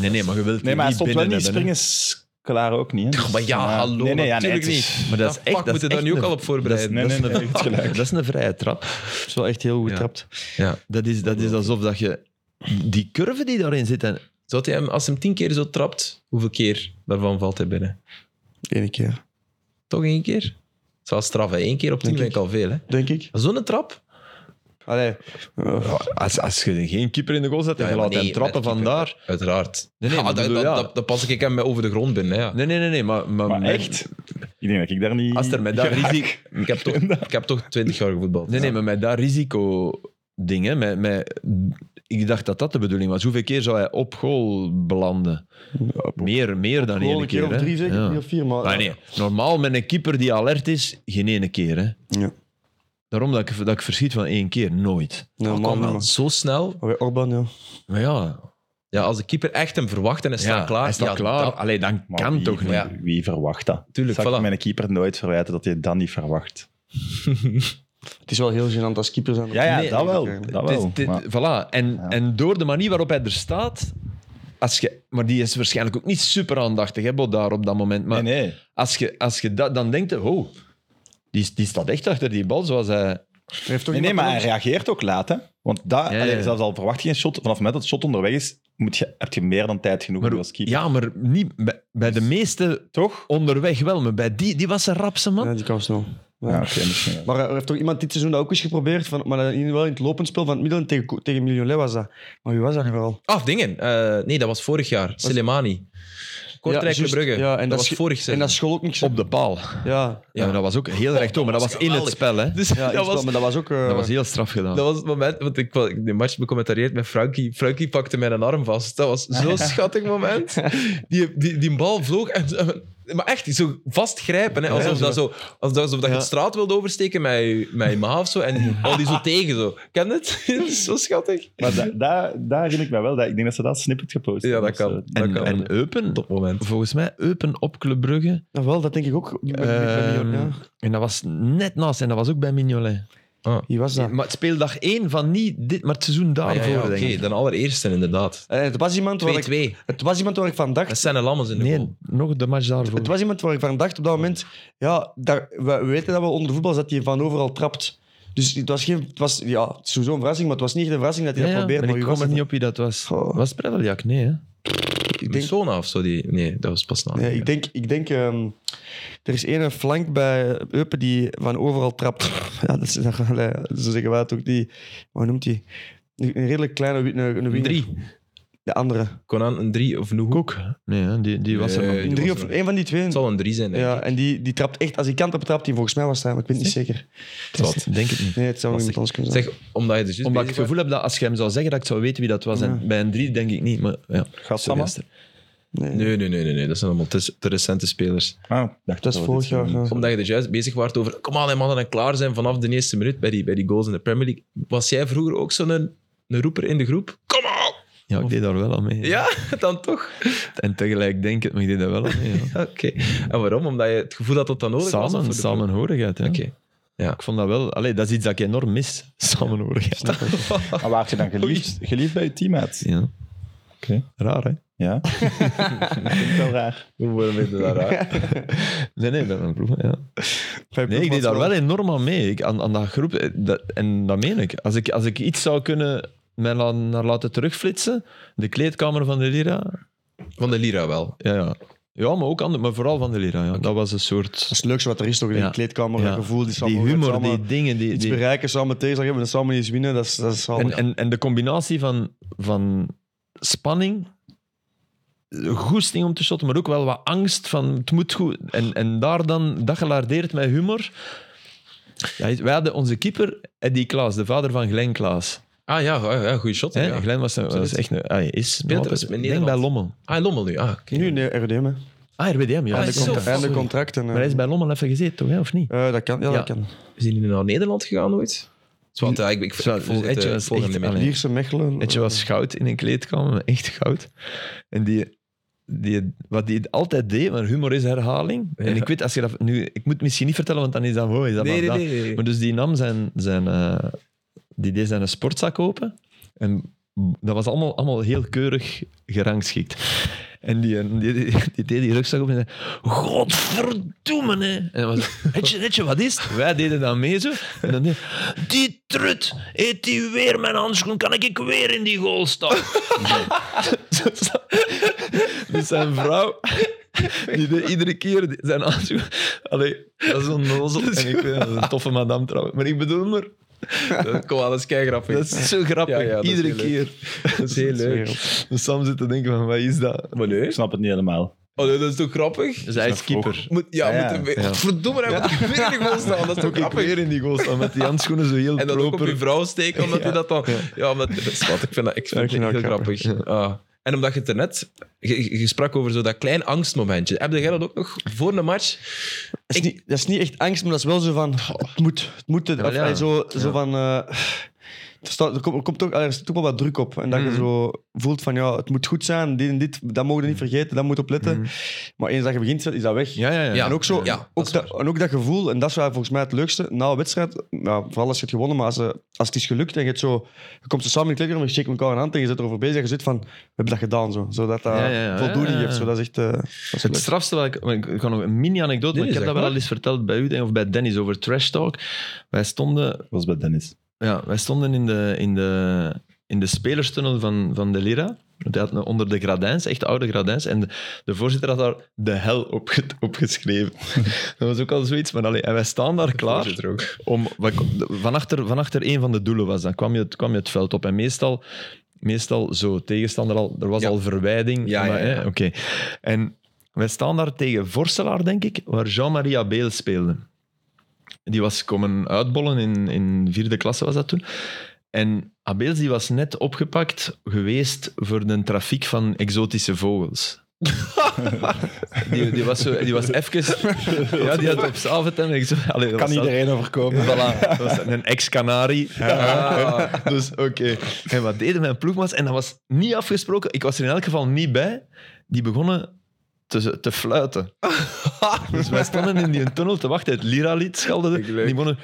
S3: Nee, nee, maar je wilt
S2: Nee, maar hij
S3: niet
S2: stond wel
S3: binnen
S2: niet
S3: hebben, hè.
S2: springers klaar ook niet. hè. Dus,
S1: maar ja, hallo, natuurlijk
S2: het is-
S3: Maar dat is
S1: Ja,
S3: echt...
S1: fuck,
S3: dat
S1: moeten
S3: is
S1: daar
S3: echt
S1: nu ook
S3: een-
S1: al op voorbereiden.
S2: Nee,
S3: dat
S2: nee,
S3: is een-
S2: nee, heeft gelijk.
S3: Dat is een vrije trap.
S4: Dat is wel echt heel goed
S1: Ja.
S4: getrapt.
S1: Ja.
S3: Dat is, dat is alsof dat je die curve die daarin zit. En,
S1: Zou hij hem, als hij hem tien keer zo trapt, hoeveel keer daarvan valt hij binnen?
S4: Eén keer.
S1: Toch één keer? Het zal straf, hè. Eén keer op tien
S4: Denk
S1: vind ik al veel, hè.
S4: Denk ik.
S1: Zo'n trap?
S4: Allee. eh,
S3: als, als je geen keeper in de goal zet en
S1: Ja,
S3: je
S1: ja,
S3: laat
S1: maar
S3: hem
S1: nee,
S3: trappen
S1: met keeper.
S3: vandaar.
S1: Uiteraard.
S3: Nee, nee,
S1: Ja,
S3: maar
S1: dat,
S3: bedoel,
S1: dat-
S3: ja.
S1: dat- dat pas ik hem over de grond binnen. Ja.
S3: Nee, nee, nee, nee maar, maar,
S2: Maar
S3: mijn-
S2: echt? Ik denk dat ik daar niet...
S3: Als er met dat risico.
S1: Ik, heb toch, ik heb toch 20 jaar gevoetbald.
S3: Nee, nee, maar met dat risico ding, hè, met, met, ik dacht dat dat de bedoeling was. Hoeveel keer zou hij op goal belanden? meer, meer dan
S4: Gewoon
S3: één
S4: een
S3: keer.
S4: keer of
S3: hè.
S4: drie zeker.
S3: Ja.
S4: Drie of vier. Maar
S3: Maar nee, normaal met een keeper die alert is, geen ene keer. Hè.
S4: Ja.
S3: Daarom dat ik, dat ik verschiet van één keer, nooit.
S1: Dat
S4: Normaal
S1: kan wel
S4: nummer.
S1: zo snel.
S4: Maar bij Orban, ja.
S3: Maar ja,
S1: Ja, als de keeper echt hem verwacht en hij staat
S3: ja,
S1: klaar.
S3: hij staat
S1: ja,
S3: klaar.
S1: dat-
S3: Allee, dan
S2: Maar
S3: kan
S2: wie,
S3: toch niet.
S1: Ja.
S2: Wie verwacht dat?
S1: Tuurlijk,
S2: Zal ik
S1: voilà.
S2: mijn keeper nooit verwijten dat hij dat niet verwacht.
S4: Het is wel heel gênant als keeper zijn.
S2: Ja, ja
S3: Nee,
S2: dat wel.
S4: eigenlijk.
S2: Dat
S3: Dit-
S2: wel.
S3: dit-
S2: maar-
S3: voilà. En,
S2: Ja.
S3: en door de manier waarop hij er staat. Als je, maar die is waarschijnlijk ook niet super aandachtig, hè, daar op dat moment. Maar
S2: nee, nee.
S3: als je, als je dat, dan denkt, je, oh, die, die staat echt achter die bal, zoals hij...
S4: Er heeft toch
S2: Nee, nee,
S4: iemand
S2: maar hij
S4: anders-
S2: reageert ook laat, hè. Want dat,
S3: Ja, ja,
S2: allee,
S3: ja.
S2: zelfs al verwacht je geen shot, vanaf het moment dat het shot onderweg is, moet je, heb je meer dan tijd genoeg
S3: Maar,
S2: om als keeper.
S3: ja, maar niet, bij, bij de meeste
S2: Toch?
S3: onderweg wel, maar bij die, die was een rapse man.
S4: Ja, die kan snel. Ja.
S2: Ja, oké, misschien. wel.
S4: Maar eh, er heeft toch iemand dit seizoen dat ook eens geprobeerd, van, maar dan in, wel in het lopend spel van het midden tegen, tegen Miljolet was dat. Maar wie was dat nu vooral?
S1: Ah, dingen. Eh, nee, dat was vorig jaar. Soleimani. Kortrijk
S4: juist.
S1: Brugge.
S4: Ja,
S1: dat,
S4: en dat
S1: was
S4: sche-
S1: vorig
S4: En
S1: seizoen.
S4: dat school ook niks.
S3: Op de paal.
S4: Ja,
S3: Ja, dat was ook heel rechtdoor, maar dat was in het spel. Hè.
S1: Dus
S4: ja
S1: dat, was,
S4: maar dat was ook... eh,
S3: Dat was heel straf gedaan.
S1: dat was het moment, want ik was de match becommentarieerd met Frankie. Frankie pakte mijn arm vast. Dat was zo'n schattig moment. Die, die, die bal vloog. En, en- maar echt, zo vastgrijpen. Hè, alsof, dat zo, alsof, alsof dat je de straat wilde oversteken met je, met je ma of zo. En die al die zo tegen. Zo. Ken je het? Dat is zo schattig.
S2: Maar da- da- daar herinner ik me wel. Dat, ik denk dat ze dat snippet gepost
S1: Ja,
S2: hebben
S1: dat
S2: of zo.
S1: kan. Dat
S3: en,
S1: kan.
S3: en Eupen,
S1: topmoment.
S3: volgens mij Eupen op Club Brugge.
S4: ja, wel, dat denk ik ook. Ik ben- ik
S1: Eh,
S4: ben
S3: Ehm,
S4: Mignolet, ja.
S3: En dat was net naast, en dat was ook bij Mignolet.
S4: Wie was dat?
S3: Maar het speeldag 1 van niet dit, maar het seizoen
S1: Ah,
S3: daarvoor,
S1: ja, ja, Oké,
S3: denk ik.
S1: dan allereerste inderdaad.
S4: Eh, het, was iemand waar ik,
S1: 2-2.
S4: het was iemand waar ik van
S1: Dat
S4: dacht...
S1: zijn de lammers in de goal.
S3: Nee, nog de match daarvoor.
S4: Het was iemand waar ik van dacht op dat moment... Ja, daar, we, we weten dat wel onder voetbal is dat hij van overal trapt. Dus het was geen... Het was, ja, het is sowieso een verrassing, maar het was niet echt een verrassing dat hij
S3: Ja,
S4: dat
S3: ja,
S4: probeerde.
S3: maar ik
S4: wie
S3: kom
S4: was
S3: er
S4: dat?
S3: niet op wie dat was.
S4: Goh.
S3: Was het Predeljak? Nee, hè?
S4: Ik denk
S1: Persona of zo? Die... Nee, dat was pas na.
S4: Nee, ik denk, ik denk ehm, er is één flank bij Eupen die van overal trapt. Ja, dat is, dat, allee, zo zeggen wij het ook. Die, hoe noemt die? Een een redelijk kleine wi- een, een winger.
S1: Drie.
S4: De andere.
S1: Conan een 3 of Nuhu.
S3: Koek? Nee, hè, die, die was er
S1: Nee,
S3: nog.
S1: die
S4: Een drie
S1: was
S4: of
S1: er.
S4: één van die twee.
S1: Het zal een 3 zijn, denk
S4: Ja,
S1: ik.
S4: en die, die trapt echt, als die kant op trapt, die volgens mij was hij, maar ik weet het niet zeker.
S1: Zwat.
S3: Denk het niet.
S4: Nee, het zou nog
S1: Was
S4: iemand anders kunnen zijn.
S1: Zeg, omdat je dus juist
S3: Omdat ik
S1: bezig
S3: het gevoel heb dat als je hem zou zeggen, dat ik zou weten wie dat was. En bij een 3 denk ik niet, maar ja.
S2: Gassama?
S3: Sorry,
S1: was- Nee, nee, nee, nee, nee, dat zijn allemaal te, te recente spelers.
S2: Ah, ik dacht
S4: dat
S2: we
S4: is
S2: dit
S4: vorig
S2: zo
S4: jaar. eh,
S2: doen.
S4: ja.
S1: Omdat je dus juist bezig was over, kom aan, hè, mannen, en klaar zijn vanaf de eerste minuut bij die, bij die goals in de Premier League. Was jij vroeger ook zo'n een, roeper in de groep? Kom aan!
S3: Ja, ik deed daar wel aan mee.
S1: Ja, dan toch?
S3: En tegelijk denk ik het, maar ik deed daar wel aan mee. ja.
S1: Oké. En waarom? Omdat je het gevoel had dat dat nodig was? of voor
S3: Samen,
S1: de-
S3: samenhorigheid. hè.
S1: Oké.
S3: Ik vond dat wel... Allee, dat is iets dat ik enorm mis. Samenhorigheid.
S4: eh,
S2: Maar Ah, waar je dan geliefd, geliefd bij je teammates?
S3: Ja.
S2: Oké.
S3: Raar, hè?
S2: Ja. dat is wel raar.
S1: We worden weer daar raar.
S3: Nee, nee, bij mijn ploeg, ja.
S4: Vijf
S3: Nee, ik deed
S4: ploegmaats
S3: daar
S4: wel.
S3: wel enorm aan mee. Ik, aan, aan dat groep. eh, Dat, en dat meen ik. Als ik, als ik iets zou kunnen mij la- naar laten terugflitsen, de kleedkamer van de Lira.
S1: Van de Lira wel.
S3: Ja, ja. ja maar ook ander, maar vooral van de Lira. Ja. Dat was een soort.
S4: Dat is het leukste wat er is, toch? In
S3: Ja.
S4: de kleedkamer,
S3: Ja.
S4: dat gevoel, die,
S3: Die humor,
S4: samen,
S3: die dingen. Die,
S4: iets
S3: die-
S4: bereiken, samen tegenslag hebben, en samen iets winnen, dat is, dat is
S3: en,
S4: samen.
S3: en, en de combinatie van, van spanning. Goesting om te shotten, maar ook wel wat angst van het moet goed. En, en daar dan, dat gelardeerd met humor. Ja, wij hadden onze keeper, Eddie Klaas, de vader van Glenn Klaas.
S1: Ah ja, ja, ja goede shot.
S3: Hè,
S1: Ja.
S3: Glenn was, eh, was
S1: Absoluut.
S3: echt een... ah, Hij is nog
S1: er
S3: altijd-
S1: eens met
S3: ik denk bij
S1: Nederland.
S3: Lommel.
S1: Ah, Lommel nu. Ah, oké.
S4: nu in de RDM, hè.
S3: Ah, RWDM, ja.
S1: Ah,
S3: dat
S1: zo.
S3: komt er.
S1: Ja.
S4: Einde contract. En, eh,
S3: Maar hij is bij Lommel even gezeten, toch? Hè? Of niet?
S4: eh, dat kan, ja,
S3: Ja.
S4: dat kan.
S1: Is hij nu naar Nederland gegaan ooit? Zwart, ja, ik, ik, ik,
S3: Zwart,
S1: volg het,
S3: Etje
S1: eh, ik
S3: was
S1: volg hem
S3: echt-
S1: niet meer.
S3: allee.
S4: Lierse, Mechelen.
S3: Weet je, was goud in een kleedkamer, maar echt goud. En die, die, wat die altijd deed, maar humor is herhaling.
S1: Ja.
S3: En ik weet, als je dat nu... Ik moet het misschien niet vertellen, want dan is dat... Oh, is dat
S1: Nee,
S3: maar
S1: nee,
S3: dat.
S1: nee, nee, nee.
S3: Maar dus die nam zijn... zijn eh, die deed zijn sportzak open. En dat was allemaal, allemaal heel keurig gerangschikt. En die, die, die, die deed die rugzak op en zei... Godverdomme, hè. En hij was zo, "Hetje, hetje, wat is het? Wij deden dat mee, zo. En dan die... Die trut, eet die weer mijn handschoen, kan ik weer in die goal staan? Zo- zo- dus zijn vrouw... Die deed iedere keer die- zijn handschoen... Allee, Dus- dat is een nozel. En ik weet, dat is een toffe madame trouwens. Maar ik bedoel maar...
S1: Kom aan, dat is kei grappig.
S3: Dat is zo grappig,
S1: Ja, ja, dat is
S3: iedere
S1: heel leuk.
S3: keer.
S1: Dat is heel leuk.
S3: Dus Sam zit te denken van, wat is dat?
S1: Maar nee.
S2: Ik snap het niet helemaal.
S1: Oh, nee, dat is toch grappig?
S3: Dus hij is keeper.
S1: Moet, ja,
S2: Ja,
S1: moet
S2: ja.
S1: hem, Godverdomme, hij moet weer in de goal staan. Dat is toch
S3: Ook ik
S1: grappig?
S3: weer in die goal staan met die handschoenen zo heel
S1: En dan ook op
S3: proper.
S1: je vrouw steken, omdat hij dat dan... Ja, omdat, dat is wat, ik vind dat, ik vind het
S4: ik vind
S1: heel
S4: dat ook
S1: grappig. Ah. En omdat je het er net... Je, je sprak over zo dat klein angstmomentje. Heb jij dat ook nog voor een match?
S4: is, niet, dat is niet echt angst, maar dat is wel zo van... Het moet. Het moet het,
S3: Jawel,
S4: of,
S3: ja.
S4: eh, zo, zo van... eh, er, staat, er, komt, er, komt toch, er zit toch wel wat druk op. En dat je
S3: Mhm.
S4: zo voelt van, ja, het moet goed zijn. Dit en dit, dat mogen we niet vergeten. Dat moet opletten. Maar eens dat je begint, is dat weg.
S3: Mhm. Ja, ja, ja.
S1: Ja.
S4: En ook, zo,
S1: Ja, dat
S4: ook
S1: is
S4: dat, en ook dat gevoel, en dat is wel volgens mij het leukste na een wedstrijd. Ja, vooral als je het gewonnen, maar als, eh, als het is gelukt en je, het zo, je komt zo samen in de kleedkamer, je shake elkaar een hand en je zit erover bezig en je zit van, we hebben dat gedaan, zo, zodat dat
S3: Ja, ja, ja,
S4: voldoening
S3: ja, ja.
S4: heeft. Zo, dat is echt... eh, dat is
S3: Het
S4: leuk.
S3: strafste, wat ik, maar ik ik ga nog een mini-anekdote,
S1: Nee,
S3: maar ik heb
S1: zeg
S3: dat wel
S1: maar.
S3: al eens verteld bij u of bij Dennis over trash talk. Wij stonden
S2: was bij Dennis.
S3: Ja, wij stonden in de, in de, in de spelerstunnel van, van de Lira. Die had een- onder de gradijns, echt oude gradijns. En de, de voorzitter had daar de hel op, ge- op geschreven. dat was ook al zoiets. Maar allee, en wij staan daar klaar.
S1: ook.
S3: Om, wat ik- vanachter, vanachter een van de doelen was. Dan kwam je, het- kwam je het veld op. En meestal, meestal zo, tegenstander al, er was
S1: Ja.
S3: al verwijding.
S1: Ja,
S3: maar,
S1: ja, ja.
S3: hè, Oké. En wij staan daar tegen Vorselaar, denk ik, waar Jean-Maria Beel speelde. Die was komen uitbollen in, in vierde klasse, was dat toen. En Abels die was net opgepakt geweest voor de trafiek van exotische vogels. die, die, was zo, die was even... Ja, die had op zaalvertem... Allee, dat was dat-
S2: overkomen.
S3: Voilà, dat was een ex-Canarie. Dus oké. En wat deden mijn ploegmaats? En dat was niet afgesproken. Ik was er in elk geval niet bij. Die begonnen te, te fluiten. dus wij stonden in die tunnel te wachten. Het Lira-lied schelde.
S1: Ik
S3: Die
S1: leuk.
S3: begonnen...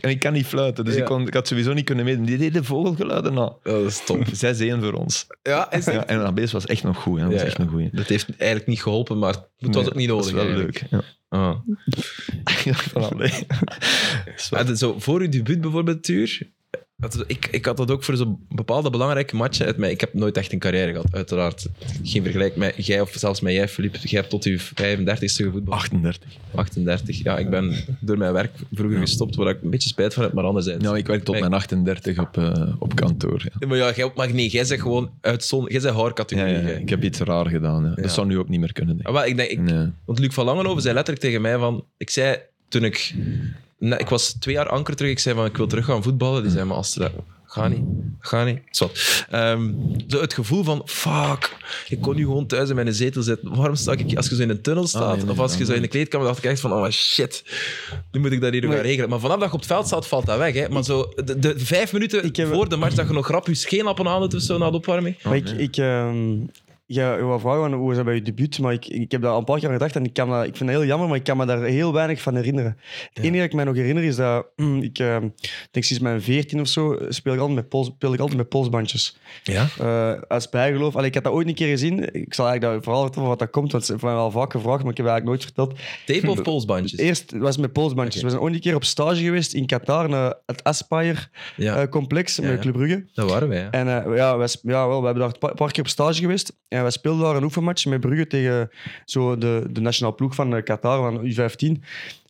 S3: En ik kan niet fluiten. Dus
S1: Ja.
S3: ik, kon, ik had sowieso niet kunnen meedoen. Die deden vogelgeluiden. Nou,
S1: Dat is top.
S3: 6-1 voor ons.
S1: Ja, is
S3: Ja, en Abees was echt nog goed. Hè. Dat was
S1: Ja,
S3: echt
S1: ja.
S3: een goeie.
S1: Dat heeft eigenlijk niet geholpen, maar het was
S3: Nee,
S1: ook niet nodig.
S3: Dat is wel
S1: eigenlijk.
S3: leuk. Ja.
S1: Ah.
S3: Ja, voilà, nee. Dat is wel-
S1: Had het zo, voor uw debuut bijvoorbeeld, Tuur, had het- ik, ik had dat ook voor zo'n bepaalde belangrijke matchen. uit mij- Ik heb nooit echt een carrière gehad, uiteraard. Geen vergelijk met jij of zelfs met jij, Filip. Jij hebt tot uw 35ste gevoetbald.
S3: 38.
S1: 38. Ja, ik ben door mijn werk vroeger gestopt, waar ik een beetje spijt van heb, maar anderzijds.
S3: Nou, ik werk tot mijn 38 op, eh, op kantoor. Ja.
S1: Nee, maar ja, jij, maar nee, jij zegt gewoon uitzon, jij zegt haar
S3: Ja,
S1: categorie.
S3: ja,
S1: jij.
S3: ik heb iets raar gedaan. ja.
S1: Ja.
S3: Dat zou nu ook niet meer kunnen. Denk
S1: Ah,
S3: ik.
S1: wel, ik denk, ik,
S3: Nee.
S1: Want Luc van Langenhoven zei letterlijk tegen mij van... Ik zei toen ik... net- ik was twee jaar anker terug. Ik zei van, ik wil terug gaan voetballen. Die zei, maar als dat... Ga niet. Ga niet. Zot. Ehm, zo het gevoel van, fuck. Ik kon nu gewoon thuis in mijn zetel zitten. Waarom sta ik... Als je zo in een tunnel staat,
S3: Ah, nee,
S1: of als je
S3: nee,
S1: zo in de kleedkamer, dacht ik echt van, oh shit. Nu moet ik dat hier nog gaan regelen. Maar vanaf dat je op het veld staat, valt dat weg. Hè. Maar zo de, de vijf minuten
S4: Ik heb-
S1: voor de match, dat je nog grap je scheenappen aan doet of zo, na de opwarming.
S4: Maar ik, ik ehm, ja, je wou vragen van hoe is dat bij je debuut, maar ik, ik heb daar al een paar keer aan gedacht en ik, kan dat, ik vind dat heel jammer, maar ik kan me daar heel weinig van herinneren. Het enige dat ik mij nog herinner is dat ik, ehm, ik denk sinds mijn 14 of zo, eh, speel ik altijd met, pols, speel ik altijd met polsbandjes.
S1: Ja.
S4: Eh, als bijgeloof. Allee, ik heb dat ooit een keer gezien. Ik zal eigenlijk dat vooral vertellen wat dat komt, want ze hebben mij wel vaak gevraagd, maar ik heb dat eigenlijk nooit verteld. Hm,
S1: Tape of polsbandjes?
S4: Eerst was het met polsbandjes.
S1: Oké.
S4: We zijn ooit een keer op stage geweest in Qatar, naar het Aspire-complex
S1: Ja, Ja,
S4: met
S1: ja.
S4: Club Brugge.
S1: dat waren wij. hè.
S4: En eh, ja, wij, sp- ja wel, we hebben daar een pa- paar keer op stage geweest. En wij speelden daar een oefenmatch met Brugge tegen zo de, de nationale ploeg van eh, Qatar, van U15.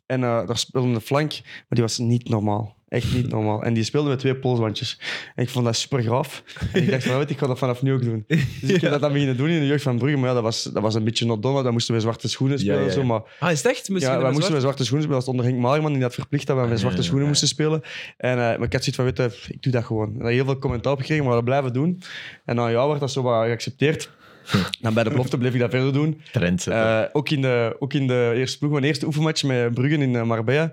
S4: En eh, daar speelde een flank, maar die was niet normaal. Echt niet normaal. En die speelde met twee polsbandjes. En ik vond dat super gaaf. En ik dacht van, weet je, ik ga dat vanaf nu ook doen. Dus ik heb dat dan beginnen doen in de jeugd van Brugge. Maar ja, dat was, dat was een beetje not done, want dan moesten we zwarte schoenen spelen.
S3: ja,
S4: en Zo,
S3: ja.
S4: maar
S1: Ah, is het echt? Moest je
S4: ja,
S1: met
S4: wij
S1: zwart?
S4: moesten met zwarte schoenen spelen. Dat was onder Henk Maarman. Die had verplicht dat we met zwarte
S3: ja,
S4: schoenen
S3: ja.
S4: moesten spelen. En, eh, maar ik had zoiets van, weet je, ik doe dat gewoon. En daar heel veel commentaar op gekregen, maar we blijven doen. En na een jaar werd dat zo wat geaccepteerd. Dan bij de belofte bleef ik dat verder doen.
S3: Trend zetten.
S4: Eh, ook, in de, ook in de eerste ploeg, mijn eerste oefenmatch met Brugge in eh, Marbella.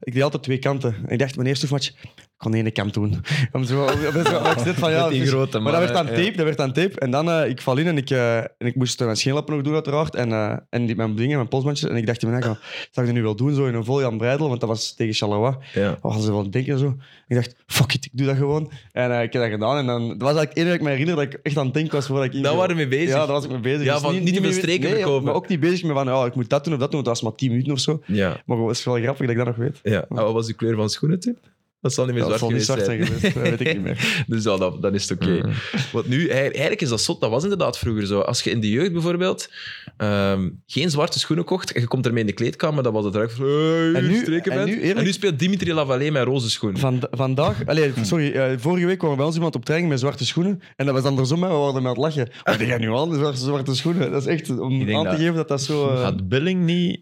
S4: Ik deed altijd twee kanten. En ik dacht, mijn eerste oefenmatch, ik kon één kant doen. Om zo, om zo- ik zit van, ja,
S3: Met die
S4: dus-
S3: grote
S4: maar dat werd
S3: mannen,
S4: aan tape, dat werd aan tape. En dan, eh, ik val in en ik, eh, en ik moest eh, mijn scheenlappen nog doen uiteraard. En, eh, en die, mijn dingen, mijn polsbandjes. En ik dacht, in mijn eigen, zou ik dat nu wel doen, zo in een vol Jan Breidel? Want dat was tegen Charleroi.
S1: Ja.
S4: Wat gaan ze wel denken en zo? Ik dacht, fuck it, ik doe dat gewoon. En eh, ik heb dat gedaan. En dan, dat was eigenlijk het enige dat ik me herinner dat ik echt aan het denken was voordat ik
S1: Daar
S4: inviel.
S1: waren we mee bezig.
S4: Ja, daar was ik mee bezig. Dus
S1: Ja, van niet te veel
S4: meer-
S1: streken
S4: nee,
S1: verkopen.
S4: maar ook niet bezig met van, ja, ik moet dat doen of dat doen, want dat was maar 10 minuten of zo.
S1: Ja.
S4: Maar gewoon, het is wel grappig dat ik dat nog weet.
S1: Ja, en wat was de kleur van de schoenen toen? Dat zal niet meer
S4: Ja, dat
S1: zwart
S4: zal
S1: geweest
S4: niet zwart zijn
S1: zijn.
S4: geweest, Mm. dat weet ik niet meer.
S1: Dus dan, dan, dan is het oké. Want nu, eigenlijk- eigenlijk is dat zot. Dat was inderdaad vroeger zo. Als je in de jeugd bijvoorbeeld ehm, geen zwarte schoenen kocht en je komt ermee in de kleedkamer, dan was het direct van... Hey,
S4: En nu-
S1: streken
S4: en
S1: bent.
S4: nu eerlijk-
S1: en nu speelt Dimitri Lavallée met roze schoenen.
S4: Van, vandaag, allee, sorry, eh, vorige week kwam er wel eens iemand op training met zwarte schoenen. En dat was andersom, hè, we waren met het lachen. Wat denk jij nu aan, zwarte, zwarte schoenen? Dat is echt, om
S3: denk
S4: aan te
S3: dat-
S4: geven dat dat zo... eh,
S3: Had Billing niet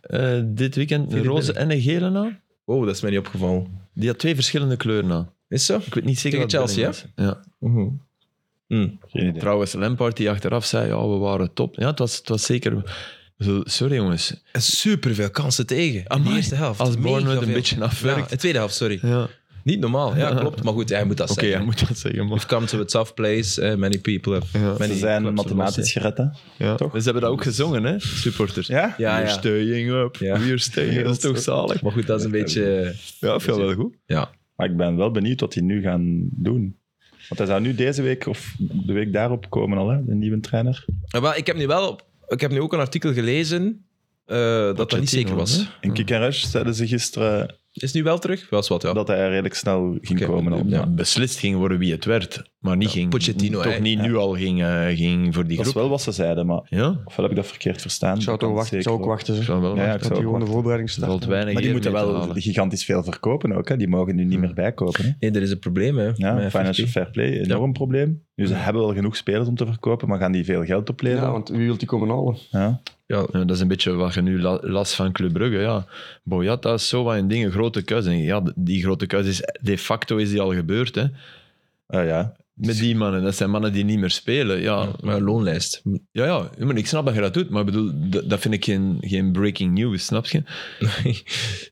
S3: eh, dit weekend een
S4: Philip
S3: roze en een gele aan?
S1: Wow, dat is mij niet opgevallen.
S3: Die had twee verschillende kleuren aan.
S1: Is zo?
S3: Ik weet niet zeker
S1: Tegen
S3: wat
S1: Chelsea,
S3: Billing was. ja.
S1: Mhm. Hm.
S2: Geen idee.
S3: Trouwens, Lampard die achteraf zei, ja, we waren top. Ja, het was, het was zeker... Zo, Sorry jongens.
S1: Super veel kansen tegen. In de
S3: Amai,
S1: eerste helft.
S3: Als
S1: Mega
S3: Bournemouth een
S1: veel.
S3: beetje
S1: Ja,
S3: afwerkt.
S1: de tweede helft, sorry.
S3: Ja. Oké,
S1: Niet normaal. Ja, klopt. Maar goed, hij moet dat
S3: hij
S1: zeggen.
S3: moet dat zeggen. Maar.
S1: We've come to a tough place. eh, many people have...
S3: Ja.
S1: many
S2: Ze zijn
S1: clubs have
S2: mathematisch
S1: lost,
S2: gered, hè.
S3: Ja.
S2: Toch?
S3: Maar Ze hebben dat ook gezongen, hè, supporters.
S2: Ja?
S1: eh. Ja,
S3: We're
S1: ja.
S3: staying up,
S1: Ja.
S3: we're staying up. Dat is toch zalig?
S1: Maar goed, dat is een beetje... eh,
S3: Ja, veel wel goed.
S1: Ja.
S2: Maar ik ben wel benieuwd wat die nu gaan doen. Want hij zou nu deze week of de week daarop komen al, hè, de nieuwe trainer.
S1: Ja, Maar ik heb nu wel... Ik heb nu ook een artikel gelezen eh, dat dat niet
S3: Pochettino,
S1: zeker was.
S3: hè?
S2: In Kick and Rush zeiden ze gisteren
S1: Is nu wel terug? Wel eens wat, ja.
S2: dat hij redelijk snel ging
S1: Oké,
S2: komen. Al.
S1: ja.
S3: Beslist ging worden wie het werd, maar niet ging...
S1: Pochettino,
S3: Toch
S1: hè.
S3: niet nu al ging, eh, ging voor die
S2: Dat is
S3: groep.
S2: wel wat ze zeiden, maar
S3: Ja,
S2: ofwel heb ik dat verkeerd verstaan.
S4: Ik zou
S2: Dat
S4: toch
S2: kan
S4: wachten, ik
S2: zeker
S4: zou ook wachten.
S3: ik
S4: Ze
S3: zou wel
S2: Ja, ja,
S3: wachten.
S2: ik
S4: dat
S2: zou
S4: die
S2: ook wachten.
S4: gewoon de voorbereiding
S3: Er valt
S4: starten.
S3: weinig
S2: Maar die
S3: eer
S2: moeten
S3: mee te
S2: wel
S3: halen.
S2: gigantisch veel verkopen ook. Hè. Die mogen nu niet meer bijkopen. Hè.
S1: Nee, er is een probleem, hè.
S2: Ja,
S1: met
S2: financial
S1: 50.
S2: fair play, enorm probleem. Nu, ze hebben wel genoeg spelers om te verkopen, maar gaan die veel geld opleveren?
S4: Ja, want wie wil die komen halen?
S2: Ja.
S1: Ja,
S3: Ja, dat is een beetje wat je nu la- last van Club Brugge. Ja. Boyata, Sowa en dingen, grote kuis. En ja, die grote kuis is de facto is die al gebeurd. Hè.
S2: Ah, ja.
S3: Met die mannen. Dat zijn mannen die niet meer spelen. Ja,
S1: maar loonlijst.
S3: ja, ja. ja, maar ik snap dat je dat doet. Maar ik bedoel, dat, dat vind ik geen, geen breaking news, snap je?
S1: Nee,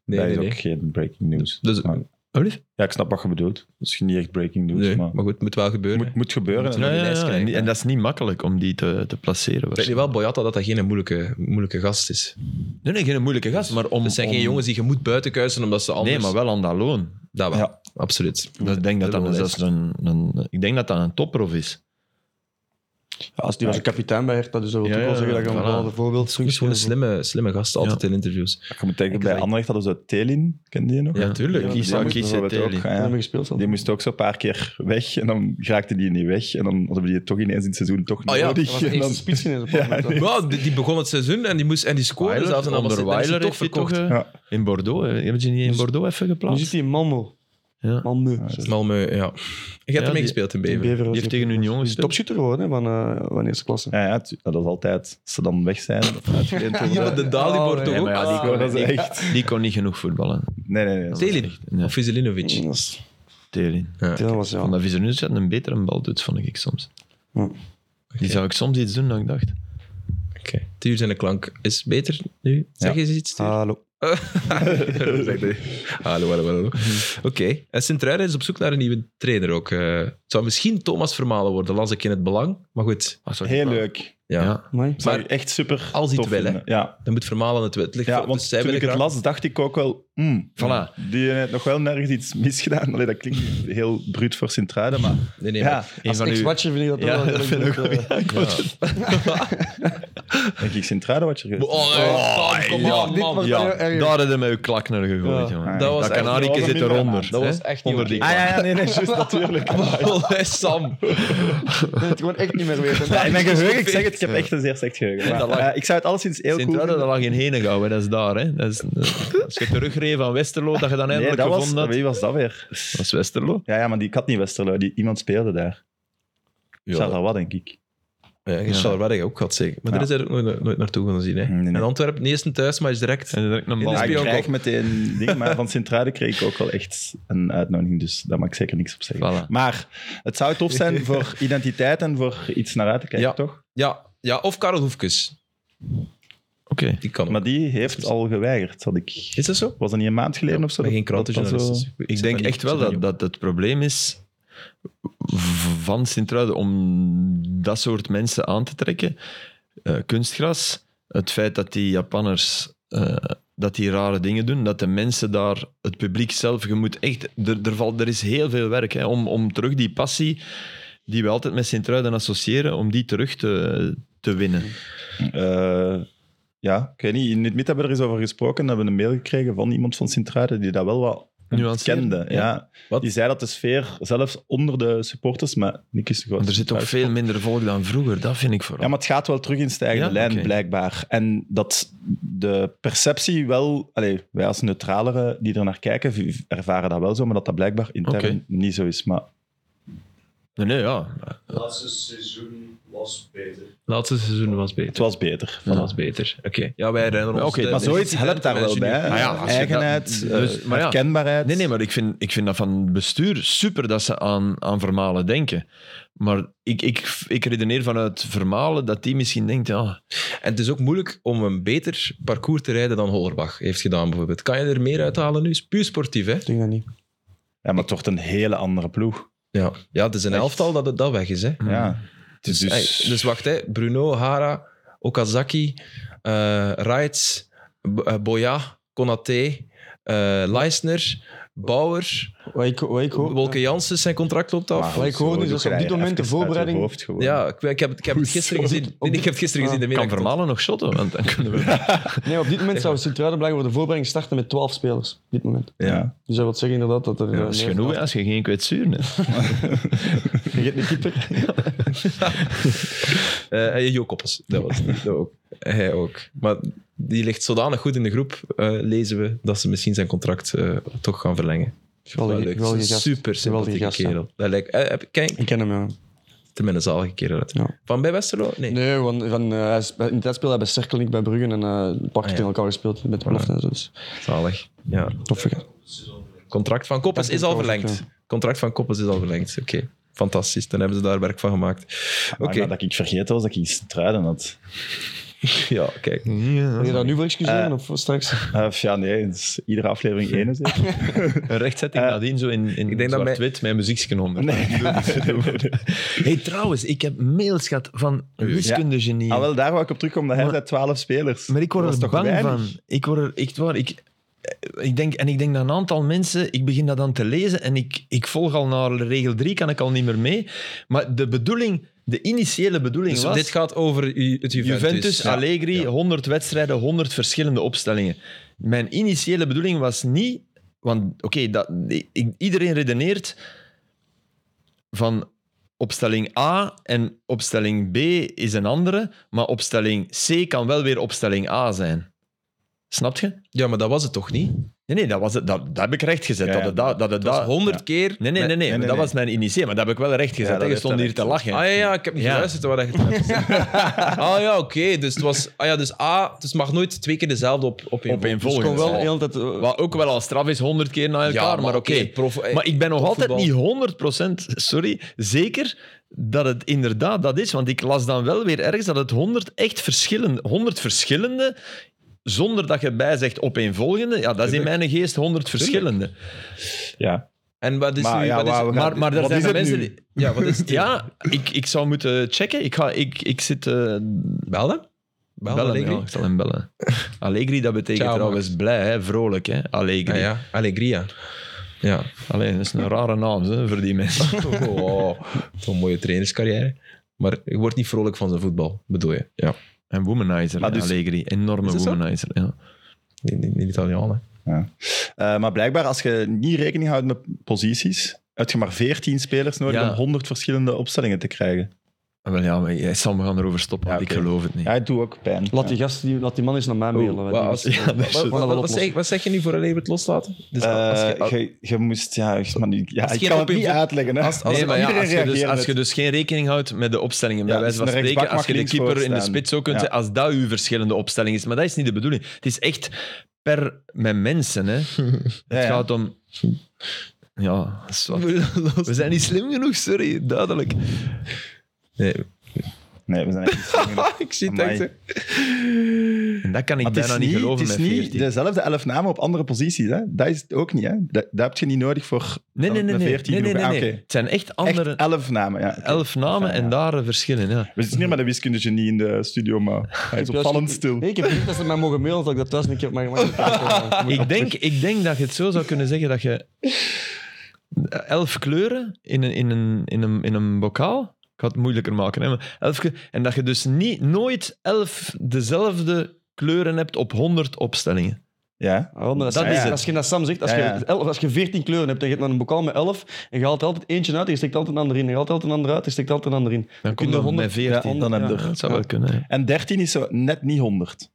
S1: nee,
S2: dat
S1: nee.
S2: is ook geen breaking news.
S1: Dus-
S2: Maar-
S3: Oh, lief?
S2: ja, ik snap wat je bedoelt. Dat is niet echt breaking news,
S1: Nee,
S2: maar
S1: Maar goed, het moet wel gebeuren.
S2: moet, moet gebeuren.
S1: Moet
S2: En
S1: wel.
S3: Ja, ja,
S1: lijst
S3: ja.
S1: krijgen,
S3: En, die- en dat is niet makkelijk om die te, te placeren.
S1: Ik weet nu
S3: waarschijnlijk.
S1: wel, Boyata, dat dat geen moeilijke, moeilijke gast is.
S3: Nee, nee, geen moeilijke gast. Maar om,
S1: Het zijn geen
S3: om-
S1: jongens die je moet buitenkuisen omdat ze anders...
S3: Nee, maar wel aan dat loon.
S1: Dat wel,
S2: Ja.
S1: absoluut.
S3: Dat, ik denk dat dat,
S1: Dubbel
S3: dat is een, een, ik denk dat dat een topprof is.
S4: Ja, als die was een kapitein bij Hertha, dus dat wil
S3: Ja,
S4: ik ook wel
S3: ja,
S4: zeggen dat je
S3: voilà.
S4: een bepaalde
S1: Het is
S4: voorbeeldfunctie
S1: gewoon een
S4: hebt.
S1: slimme, slimme gast, altijd in interviews.
S2: Ik moet denken, bij
S1: Exact.
S2: Anderlecht hadden ze Telin, ken die nog?
S3: Ja, tuurlijk.
S2: Ja,
S3: Kies-
S2: die moet
S3: kies-
S2: bijvoorbeeld
S3: Telin.
S2: ook, ja.
S4: Die hebben gespeeld.
S2: Die moest ook zo'n paar keer weg en dan raakte die niet weg. En dan hadden we die toch ineens in het seizoen toch
S1: Oh ja,
S2: nodig.
S4: Dat was de
S2: en dan,
S4: eerste spits in
S2: Ja,
S4: zijn moment.
S2: nee.
S4: hè.
S1: Wow, die, die begon het seizoen en die, moest, en die scoorde
S3: Weiler,
S1: zelfs. En dan was het,
S3: onder
S1: dan is hij
S3: Weiler
S1: toch
S3: heeft hij toch
S1: verkocht.
S3: eh,
S2: Ja.
S3: in Bordeaux. hè? Hebben ze die niet in Bordeaux even
S4: Nu
S3: geplaatst?
S4: zit hij in Malmö.
S3: Ja.
S4: Malmö.
S1: Malmö, ja. Je hebt ermee
S3: die-
S1: gespeeld in
S4: In
S1: Bever.
S4: Beveren.
S3: Die heeft tegen hun jongens
S4: Is topshooter geworden hè, van, eh, van eerste klasse.
S2: ja, ja, tu- dat is altijd, als ze dan weg zijn. Of uitgeleend worden.
S1: Ah, Ja, maar de Dali
S4: Oh,
S1: wordt toch
S4: nee,
S1: ook...
S3: maar ja, die
S2: Oh, dat is echt...
S3: Die kon niet genoeg voetballen.
S2: Nee, nee, nee.
S1: Ah, Telin
S3: Nee.
S1: of Vizilinovic.
S3: Mm.
S4: Dat is-
S3: Telin.
S4: dat was
S3: Van
S4: ja.
S3: dat Vizernus had een betere baldoet, vond ik soms.
S4: Hm.
S3: Die zou ik soms iets doen dan ik dacht.
S1: Oké. Tuur zijn de klank is beter nu. Zeg
S2: Ja.
S1: eens iets, Tuur.
S3: Ah.
S4: Hallo.
S1: hallo, hallo, hallo. Oké. En Sint-Truiden is op zoek naar een nieuwe trainer ook. Eh, het zou misschien Thomas Vermalen worden, las ik in het belang. Maar goed,
S2: Heel leuk.
S1: ja.
S3: Ah, Ja.
S4: Amai.
S2: Maar
S1: Maar
S2: echt super
S1: als hij het
S2: tof
S1: wil, hè.
S2: vinden. Ja,
S1: dan moet Vermalen het... Het ligt
S2: ja
S1: voor-
S2: want
S1: dus zij
S2: toen ik
S1: willen
S2: het
S1: graag-
S2: las, dacht ik ook wel... mm,
S3: Voilà.
S2: Die heeft nog wel nergens iets misgedaan. Allee, dat klinkt heel bruut voor Sint-Truiden, maar...
S1: Nee, nee,
S2: ja,
S1: maar-
S3: Een
S4: Als
S3: van uw...
S4: ex-watcher vind ik dat
S3: Ja,
S4: wel
S3: dat
S4: heel
S3: vind
S4: leuk,
S3: ik ook,
S4: eh.
S2: denk ik Sint-Truiden wat je geweest.
S1: Oh, nee, kom, kom
S4: ja,
S1: op,
S4: dit
S1: man.
S4: was-
S3: Ja,
S4: Erg, erg.
S3: daar hadden ze met uw klak naar gegooid.
S4: Ja.
S3: jongen.
S2: Ah,
S1: Dat was
S3: Dat
S1: echt-
S3: kanarieke
S2: dat was
S3: zit eronder.
S2: minder
S1: Dat
S3: hè?
S1: was echt
S3: Onder die
S1: niet
S2: Ah ja, ja, nee, nee, juist, natuurlijk.
S1: Oh, Sam.
S4: Ik weet het gewoon echt niet meer weten.
S2: Ja, in mijn geheugen, ik zeg het, ik heb echt een zeer slecht geheugen. Maar,
S3: Dat lag-
S2: eh, ik zou het alleszins heel cool
S3: Sint-Truiden, dat
S2: vinden.
S3: lag in Henegouw, hè. dat is daar. Hè. Dat is, eh, als je terugreed van Westerlo, dat je dan
S2: Nee,
S3: eindelijk
S2: dat was,
S3: gevonden had.
S2: wie was dat weer?
S3: Dat was Westerlo.
S2: Ja, ja maar die kat niet Westerlo, die, iemand speelde daar. Ja.
S1: Ja,
S2: wat denk ik.
S1: ja,
S3: Ja.
S1: waar ik ook had zeker. Maar
S2: Ja.
S1: daar is hij ook nooit, nooit naartoe gaan zien. Hè.
S2: Nee, nee.
S1: En Antwerpen, niet eens een thuismatch direct.
S3: En direct een
S1: In de
S3: bal.
S2: Ja, ik
S1: Spionkoop.
S2: krijg meteen dingen, maar van Sint-Truiden kreeg ik ook wel echt een uitnodiging, dus daar mag ik zeker niks op zeggen.
S3: Voilà.
S2: Maar het zou tof zijn voor identiteit en voor iets naar uit te kijken,
S1: Ja.
S2: toch?
S1: Ja, ja, of Karel Hoefkes.
S3: Oké.
S1: Die kan ook.
S2: Maar die heeft al geweigerd, had ik...
S1: Is dat zo?
S2: Was dat niet een maand geleden of zo?
S1: Ik ben geen
S2: Dat- dat
S1: krantenjournalist.
S2: zo-
S1: dus ik-
S3: Ik
S1: zit
S3: denk
S1: daar
S3: echt
S1: niet- ik
S3: wel
S1: zit daar
S3: dat,
S1: niet
S3: dat het probleem is v- van Sint-Truiden om dat soort mensen aan te trekken. Eh, kunstgras, het feit dat die Japanners eh, dat die rare dingen doen, dat de mensen daar, het publiek zelf, je moet echt, er, er, valt, er is heel veel werk hè, om, om terug die passie die we altijd met Sint-Truiden associëren, om die terug te, te winnen.
S2: Eh, ja, ik weet niet. In het mid hebben we er eens over gesproken. Hebben we een mail gekregen van iemand van Sint-Truiden die dat wel wat
S3: Nuanceer,
S2: kende. Ja.
S3: ja.
S1: Wat?
S2: Die zei dat de sfeer, zelfs onder de supporters, maar Nick is de
S3: Want
S2: grootste.
S3: er zit toch veel minder volk dan vroeger, dat vind ik vooral.
S2: Ja, maar het gaat wel terug in stijgende
S3: Ja?
S2: lijn,
S3: Oké.
S2: blijkbaar. En dat de perceptie wel... Allee, wij als neutralere die er naar kijken, v- ervaren dat wel zo, maar dat dat blijkbaar intern
S3: Oké.
S2: niet zo is. Maar
S3: Nee, nee, ja.
S5: Het laatste seizoen was beter.
S1: Laatste seizoen was
S2: Het
S1: beter.
S2: was beter.
S1: Dat was beter. Oké. Ja, wij herinneren ons.
S3: Oké,
S1: de-
S2: Maar zoiets
S1: de-
S2: helpt daar wel bij. hè.
S3: Ah ja, als je
S2: Eigenheid,
S3: dat- dus-
S2: eh,
S3: maar ja.
S2: herkenbaarheid.
S3: Nee, nee, maar ik vind, ik vind dat van het bestuur super dat ze aan, aan vermalen denken. Maar ik, ik, ik redeneer vanuit vermalen dat die misschien denkt, ja,
S1: En het is ook moeilijk om een beter parcours te rijden dan Hollerbach heeft gedaan, bijvoorbeeld. Kan je er meer uithalen nu? Is puur sportief, hè?
S4: Ik denk dat niet.
S2: Ja, maar het wordt een hele andere ploeg.
S1: Ja, ja het is een
S2: Echt.
S1: elftal dat het dat weg is, hè?
S2: Ja. Het is
S1: Dus, ey, dus wacht, hè. Bruno, Hara, Okazaki, eh Reitz, B- eh, Boya, Konaté, eh Leisner, Bauer,
S4: Wat ik, wat ik hoop...
S1: Wolke Janssens, zijn contract loopt af.
S4: Maar ik hoorde dus dat ze op dit moment de voorbereiding-
S1: ja, ik, ik heb, het- ik heb het gisteren gezien. Nee, nee, ik heb het gisteren
S4: Ah,
S1: gezien. in De
S3: kan
S1: middag.
S3: vermalen nog shotten, want dan kunnen we...
S4: Nee, op dit moment zou Sint-Truidenblank voor de voorbereiding starten met 12 spelers. Op dit moment.
S2: Ja.
S4: Dus dat wil zeggen inderdaad dat er... eh,
S3: dat is
S4: meer
S3: genoeg hè,
S4: verwacht-
S3: als je geen kwetsuur hebt.
S4: Je hebt een keeper.
S1: Eh, en Jo Koppes, dat was het. Dat ook. Hij ook. Maar die ligt zodanig goed in de groep, eh, lezen we, dat ze misschien zijn contract eh, toch gaan verlengen.
S4: Geweldige-
S1: Wel leuk.
S4: geweldige gast.
S1: Super sympathieke
S4: Geweldige gast, ja.
S1: kerel. Dat lijkt, eh, heb- kijk,
S4: Ik ken hem, ja.
S1: tenminste een zalige kerel. uit.
S4: Ja.
S1: Van bij Westerlo? Nee.
S4: Nee, want van, eh, hij is- in dat speel hij bij Cerkelink bij Brugge en eh een
S1: Ah,
S4: paar keer
S1: ja.
S4: tegen elkaar gespeeld met de belofte. en zo. Dus,
S1: Zalig. Ja.
S4: toffe gast.
S1: Contract van Koppes
S4: Dat
S1: is al
S4: komt wel
S1: verlengd. Contract van Koppes is al verlengd. Oké. Fantastisch. Dan hebben ze daar werk van gemaakt. Oké.
S2: Oké. Dat ik vergeten was dat ik iets truiden had.
S1: Ja, kijk.
S4: Wil je daar nu voor excuseren
S2: Eh,
S4: of voor straks?
S2: Eh, ja, nee, het is iedere aflevering één is dit.
S3: Een rechtzetting
S2: Eh,
S3: nadien zo in, in
S1: ik denk dat
S3: zwart-wit, mijn muziekje onder.
S2: Nee.
S3: hey, trouwens, ik heb mails gehad van wiskundegenie.
S2: Ah, wel, daar wou ik op terugkomen, dat hij zei 12 spelers.
S3: Maar ik word
S2: Dus Dat
S3: er
S2: is toch
S3: bang
S2: weinig?
S3: van. Ik word er echt waar. Ik, ik denk, en ik denk dat een aantal mensen, ik begin dat dan te lezen en ik, ik volg al naar regel 3, kan ik al niet meer mee. Maar de bedoeling, de initiële bedoeling
S1: Dus
S3: was.
S1: dit gaat over u- het Juventus.
S3: Juventus,
S1: Ja.
S3: Allegri,
S1: Ja.
S3: 100 wedstrijden, 100 verschillende opstellingen. Mijn initiële bedoeling was niet... Want oké, dat i- iedereen redeneert van opstelling A en opstelling B is een andere, maar opstelling C kan wel weer opstelling A zijn. Snap je?
S1: Ja, maar dat was het toch niet?
S3: Nee, nee, dat, was het, dat, dat heb ik recht gezet.
S2: Ja,
S3: dat het, dat, dat, het
S1: Dat was
S3: dat-
S1: honderd
S2: Ah, ja.
S1: keer.
S3: Nee, nee, nee, nee,
S2: nee,
S3: dat
S2: nee.
S3: was mijn initiële, maar dat heb ik wel recht gezet.
S2: dat
S3: hè. je
S2: heeft
S3: stond
S2: hij
S3: hier te
S2: recht.
S3: lachen.
S1: Ah ja, ja, ik heb niet
S3: Ja.
S1: geluisterd naar wat je het hebt gezegd. Ah ja, oké. Dus, het was, ah, ja, dus A, dus het mag nooit twee keer dezelfde op, op één
S3: Op één
S1: volg.
S4: Dus
S3: volgende.
S4: kon wel de hele tijd... eh,
S3: Wat ook wel al straf is, honderd keer naar elkaar, maar, oké.
S1: prof- eh,
S3: Maar ik ben nog altijd
S1: topvoetbal.
S3: niet 100%, sorry, zeker dat het inderdaad dat is. Want ik las dan wel weer ergens dat het 100 echt verschillende, 100 verschillende, zonder dat je bij zegt opeenvolgende, ja, dat is in
S1: Tuurlijk.
S3: mijn geest 100 verschillende.
S2: Ja.
S1: En wat is
S2: Maar
S1: nu...
S2: ja,
S1: wat is-
S2: wauw, we gaan-
S3: Maar, maar er
S2: Wat
S3: zijn
S2: is
S3: er
S2: het
S3: mensen
S2: nu?
S3: die.
S1: ja, wat is het?
S3: Ja, ik, ik zou moeten checken. Ik, ga, ik, ik zit. eh
S1: Bel hem? Bel
S3: bellen,
S1: Allegri?
S3: ja, ik zal hem bellen. Allegri, dat betekent
S1: Ciao,
S3: trouwens blij, hè? vrolijk. Hè? Allegri.
S1: Ah, ja, Allegria. Ja.
S3: Alleen, dat is een rare naam hè, voor die mensen.
S1: Oh, Zo'n mooie trainerscarrière. Maar je wordt niet vrolijk van zijn voetbal, bedoel je? Ja.
S3: Een womanizer,
S2: Maar dus-
S3: Allegri. Enorme
S1: Is dat zo?
S3: womanizer. Ja.
S1: Niet, niet, niet Italianen.
S2: Eh, maar blijkbaar, als je niet rekening houdt met posities, heb je maar 14 spelers nodig
S3: Ja.
S2: om 100 verschillende opstellingen te krijgen.
S3: Ah, Wel ja, maar jij- Sam, we gaan erover stoppen,
S2: Ja,
S3: want
S2: oké.
S3: ik geloof het niet.
S2: Ja, het doet ook pijn.
S4: Laat die, gast, die, laat die man eens naar mij mailen. want die-
S1: Wat- als-
S3: ja, dat is
S1: wat-
S3: het.
S1: wat- Wat zeg- wat zeg je nu voor alleen het loslaten? Dus
S2: Eh,
S1: als je-
S2: je, je moest, ja, ik- maar nu- ja
S1: Als
S2: ik
S1: geen
S2: kan het
S1: opeen-
S2: niet uitleggen. Hè.
S1: als- als-
S3: nee, maar ja,
S2: iedereen
S3: als, je dus,
S2: reageert
S3: als je dus geen rekening houdt met de opstellingen, bij
S2: Ja,
S3: wijze
S2: dus
S3: van
S2: een
S3: spreken,
S2: rechtsback
S3: als je de
S2: mag links
S3: keeper in de
S2: voorstaan.
S3: spits ook kunt
S2: Ja.
S3: zeggen, als dat uw verschillende opstelling is. Maar dat is niet de bedoeling. Het is echt per met mensen. Hè. Het
S2: Ja, ja.
S3: gaat om... Ja, dat is wat. we zijn niet slim genoeg, sorry, duidelijk.
S1: Nee,
S2: Nee, we zijn echt niet slim genoeg.
S1: ik zie het
S2: Amai.
S1: echt, hè.
S3: En dat kan ik
S2: Maar Ah, het
S3: bijna
S2: is
S3: niet
S2: niet,
S3: geloven
S2: het is
S3: met
S2: niet
S3: 14.
S2: dezelfde elf namen op andere posities. Hè? Dat is het ook niet. Hè? Dat, dat heb je niet nodig voor
S3: Nee, nee, nee.
S2: met
S3: nee,
S2: 14
S3: nee, nee,
S2: noemen.
S3: nee,
S2: Ah,
S3: nee.
S2: oké.
S3: Het zijn echt
S2: Echt
S3: andere...
S2: elf namen. Ja, oké.
S3: Elf namen
S2: Ja,
S3: en
S2: ja.
S3: daar eh, verschillen, ja.
S2: We zitten hier met een wiskundegenie in de studio, maar hij is
S4: Ik heb
S2: opvallend
S4: juist-
S2: stil.
S4: Nee, ik heb niet dat ze mij mogen mailen, dat ik dat thuis niet heb maar gemaakt.
S3: Ik denk, ik denk dat je het zo zou kunnen zeggen dat je elf kleuren in een, in een, in een, in een bokaal. Ik ga het moeilijker maken. Hè, maar elf kleu- en dat je dus niet, nooit elf dezelfde kleuren hebt op 100 opstellingen.
S2: Ja.
S4: Oh, maar dat,
S2: Dat
S4: is
S2: is het.
S4: Als je dat Sam zegt, als,
S2: Ja,
S4: Je,
S2: ja.
S4: elf- als je 14 kleuren hebt en je hebt dan een bokaal met 11, en je haalt altijd eentje uit, en je steekt altijd een ander in, en je haalt altijd een ander uit, en je steekt altijd een ander in.
S3: Dan
S4: kun
S3: kom
S4: je
S3: je
S4: 100
S3: met 14.
S2: Ja, dan heb je
S3: Ja,
S2: er-
S3: dat zou
S4: ja.
S3: wel kunnen. hè.
S2: En 13 is zo net niet 100.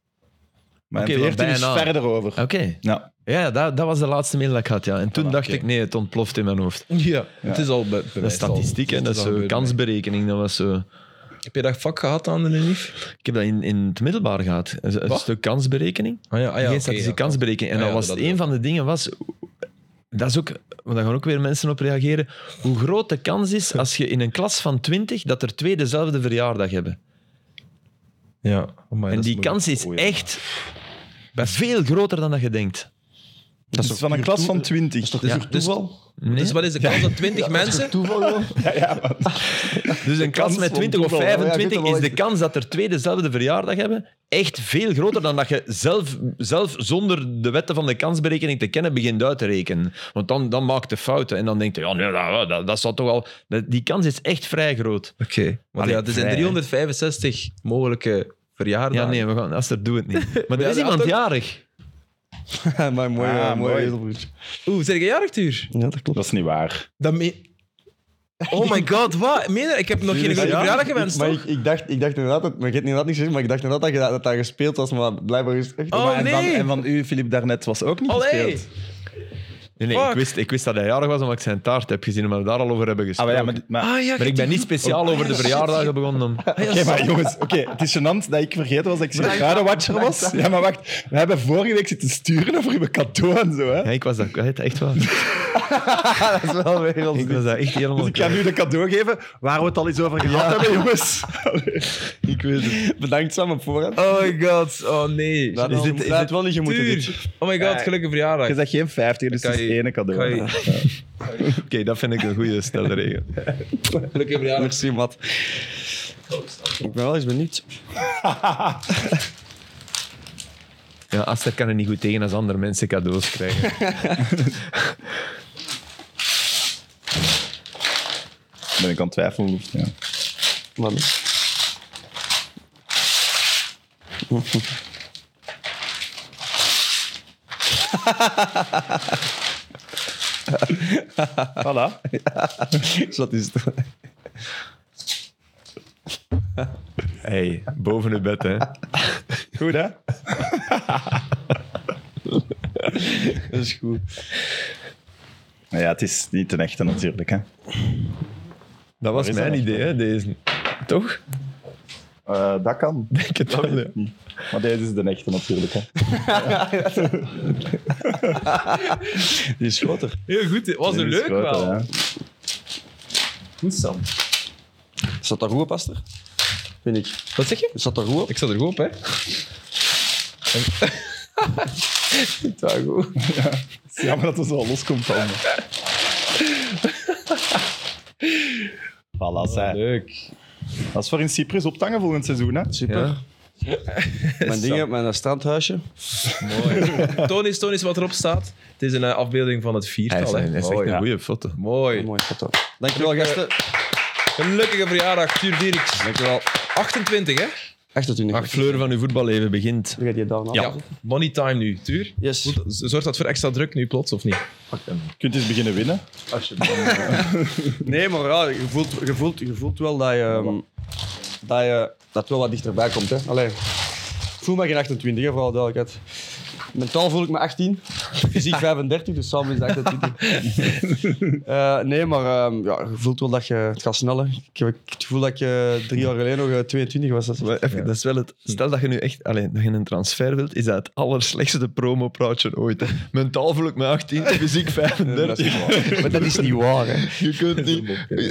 S2: Maar
S3: Oké,
S2: in
S3: maar
S2: 14 is
S3: bijna.
S2: verder over.
S3: Oké.
S2: Ja.
S3: Ja, dat, dat was de laatste mail dat ik had. Ja. En toen
S2: Voilà,
S3: dacht
S2: oké.
S3: ik, nee, het ontploft in mijn hoofd.
S1: Ja, het is al be-
S3: Dat
S1: bewijs
S3: is statistiek,
S1: al.
S3: hè. dat is
S1: al
S3: zo
S1: gebeurd.
S3: kansberekening. Dat was zo...
S1: Heb je dat vak gehad aan de NIF?
S3: Ik heb dat in, in het middelbaar gehad. Een, een
S1: Wat?
S3: stuk kansberekening.
S1: Ah ja, ah, ja
S3: Geen
S1: oké,
S3: statistische
S1: ja.
S3: kansberekening. En
S1: Ah,
S3: dat
S1: ja,
S3: was
S1: dat
S3: een
S1: wel.
S3: van de dingen was... Dat is ook... Want daar gaan ook weer mensen op reageren. Hoe groot de kans is als je in een klas van 20 dat er twee dezelfde verjaardag hebben.
S1: Ja, amai,
S3: en
S1: dat
S3: die
S1: moeilijk.
S3: kans is
S2: Oh, ja.
S3: echt veel groter dan dat je denkt.
S2: Dat is van een klas van 20.
S4: is toch
S1: Ja,
S4: puur
S1: dus-
S4: toeval?
S3: Nee?
S1: Dus
S3: Dus,
S1: wat is de kans dat 20 mensen...
S4: Toeval, joh.
S2: Ja, ja, maar-
S3: Dus een klas
S2: kans
S3: met
S2: van
S3: 20 of
S2: toeval, hè? Ja, ik weet
S3: 25
S2: dat wel
S3: is de
S2: iets.
S3: kans dat er twee dezelfde verjaardag hebben echt veel groter dan dat je zelf, zelf zonder de wetten van de kansberekening te kennen begint uit te rekenen. Want dan, dan maakt de fouten en dan denkt je, ja, nee, dat, dat, dat zal toch al... dat- die kans is echt vrij groot.
S1: Oké, want
S3: Allee,
S1: ja, er zijn
S3: vrij, hè.
S1: 365 mogelijke verjaardagen.
S3: Ja, nee, we gaan, Aster, doe het niet. Maar er
S1: Ja, dat
S3: is iemand
S1: had ook-
S3: jarig.
S4: maar mooi,
S2: Ah,
S4: eh, mooi.
S2: mooi.
S4: edelbroertje.
S1: Oeh, zijn jij jarig, Tuur?
S4: Ja, dat klopt.
S2: Dat is niet waar.
S1: Dat meen- Oh my god, wat? Meen je? Ik heb nog geen
S4: Ja,
S1: goede
S4: ja.
S1: verjaardag gewenst,
S4: Maar
S1: toch?
S4: ik, ik, dacht, ik dacht inderdaad, dat, maar ik heb inderdaad niet gezien, maar ik dacht inderdaad dat je dat, dat, dat gespeeld was, maar blijkbaar is het echt...
S1: Oh,
S2: Maar en, van,
S1: nee.
S2: en van u, Filip, daarnet was ook niet
S1: Allee!
S2: gespeeld.
S3: Nee, nee, ik
S1: Fuck.
S3: wist, ik wist dat hij jarig was omdat ik zijn taart heb gezien, maar we daar al over hebben
S2: Ah, maar
S3: gesproken.
S2: ja, maar,
S3: maar,
S2: Oh. maar,
S1: Ah ja, Oh,
S3: ik ben niet speciaal over de verjaardagen begonnen om...
S2: Oké, maar jongens, oké, het is gênant dat ik vergeten was dat ik Sierra Watcher was. Ja, maar wacht, we hebben vorige week zitten sturen over uw cadeau en zo. Hè?
S3: Ja, ik was dat kwijt, echt waar.
S4: dat is wel weer ons
S3: Ik was dat echt helemaal
S2: Dus ik ga nu de cadeau geven waar we het al eens over gehad hebben, jongens. Allee.
S3: ik weet het.
S4: Bedankt Sam op voorhand.
S1: Oh my god, oh nee.
S4: Dat
S1: Is
S4: had-
S1: dit- is
S4: dat had
S1: dit-
S4: wel niet gemoeten,
S1: Tuur.
S4: dit.
S1: Oh my god, gelukkige verjaardag.
S2: Je zegt geen 50, dus
S1: Kan
S2: het is
S1: je-
S2: ene cadeau.
S1: Kan je-
S3: Oké, dat vind ik een goede stelle regel.
S1: Gelukkige verjaardag.
S4: Merci, Matt. Ik ben wel eens benieuwd.
S3: Ja, Aster kan er niet goed tegen als andere mensen cadeaus krijgen.
S2: Ben ik aan het twijfelen of ja.
S4: Man.
S2: Voilà.
S4: Zat is het.
S3: hey, boven het bed, hè.
S2: Goed, hè?
S4: Dat is goed.
S2: Nou ja, het is niet een echte natuurlijk, hè.
S3: Dat was
S2: is
S3: mijn
S2: dat nog?
S3: idee, hè, deze. Toch?
S2: Eh, dat kan.
S3: Ik het wel, ja.
S2: Maar deze is de echte natuurlijk, hè.
S4: Die is groter.
S1: Heel goed, dit was
S2: Deze
S1: een
S2: is
S1: leuk
S2: groter,
S1: wel.
S2: hè.
S1: Goed, Sam.
S4: Zat dat goed op, Aster? Vind ik.
S1: Wat zeg je?
S4: Zat dat goed op?
S1: Ik zat er goed op, hè? Het was goed.
S2: Het is Jammer dat het zo loskomt van me. Voilà, zij.
S1: Leuk.
S2: Dat is voor in Cyprus op tangen volgend seizoen, hè.
S4: Super. Mijn dingen, mijn eh, strandhuisje.
S1: Mooi. Toon is, toon is wat erop staat. Het is een eh, afbeelding van het
S3: Hij is,
S1: viertal.
S3: hij is
S1: hè?
S3: echt
S1: Mooi.
S3: een
S2: ja.
S3: goede foto.
S1: Mooi.
S4: Mooi, foto. Dankjewel,
S1: Gelukkig,
S4: gasten.
S1: Gelukkige verjaardag, Tuur Dirks.
S4: Dankjewel.
S1: 28, hè?
S4: 28.
S3: De fleur van uw voetballeven begint.
S4: Wie gaat die daar nou?
S1: Ja. Money time nu, Tuur.
S4: Yes.
S1: Z- Zorgt dat voor extra druk nu plots, of niet?
S2: Je kunt eens beginnen winnen.
S4: Nee, maar ja, je, voelt, je, voelt, je voelt wel dat je, ehm, dat je dat wel wat dichterbij komt. Hè? Allee, ik voel me geen 28, hè, voor alle duidelijkheid. Mentaal voel ik me 18, fysiek 35, dus samen is het 28. Eh, nee, maar ehm, ja, je voelt wel dat je het gaat sneller. Ik heb het gevoel dat je drie jaar geleden nog eh, 22 was. Dat is-
S3: Maar even, dat is wel het, stel dat je nu echt alleen, dat je een transfer wilt, is dat het allerslechtste promopraatje ooit. hè. Mentaal voel ik me 18, fysiek 35.
S4: maar Eh, dat is niet waar. Hè.
S3: Je kunt niet.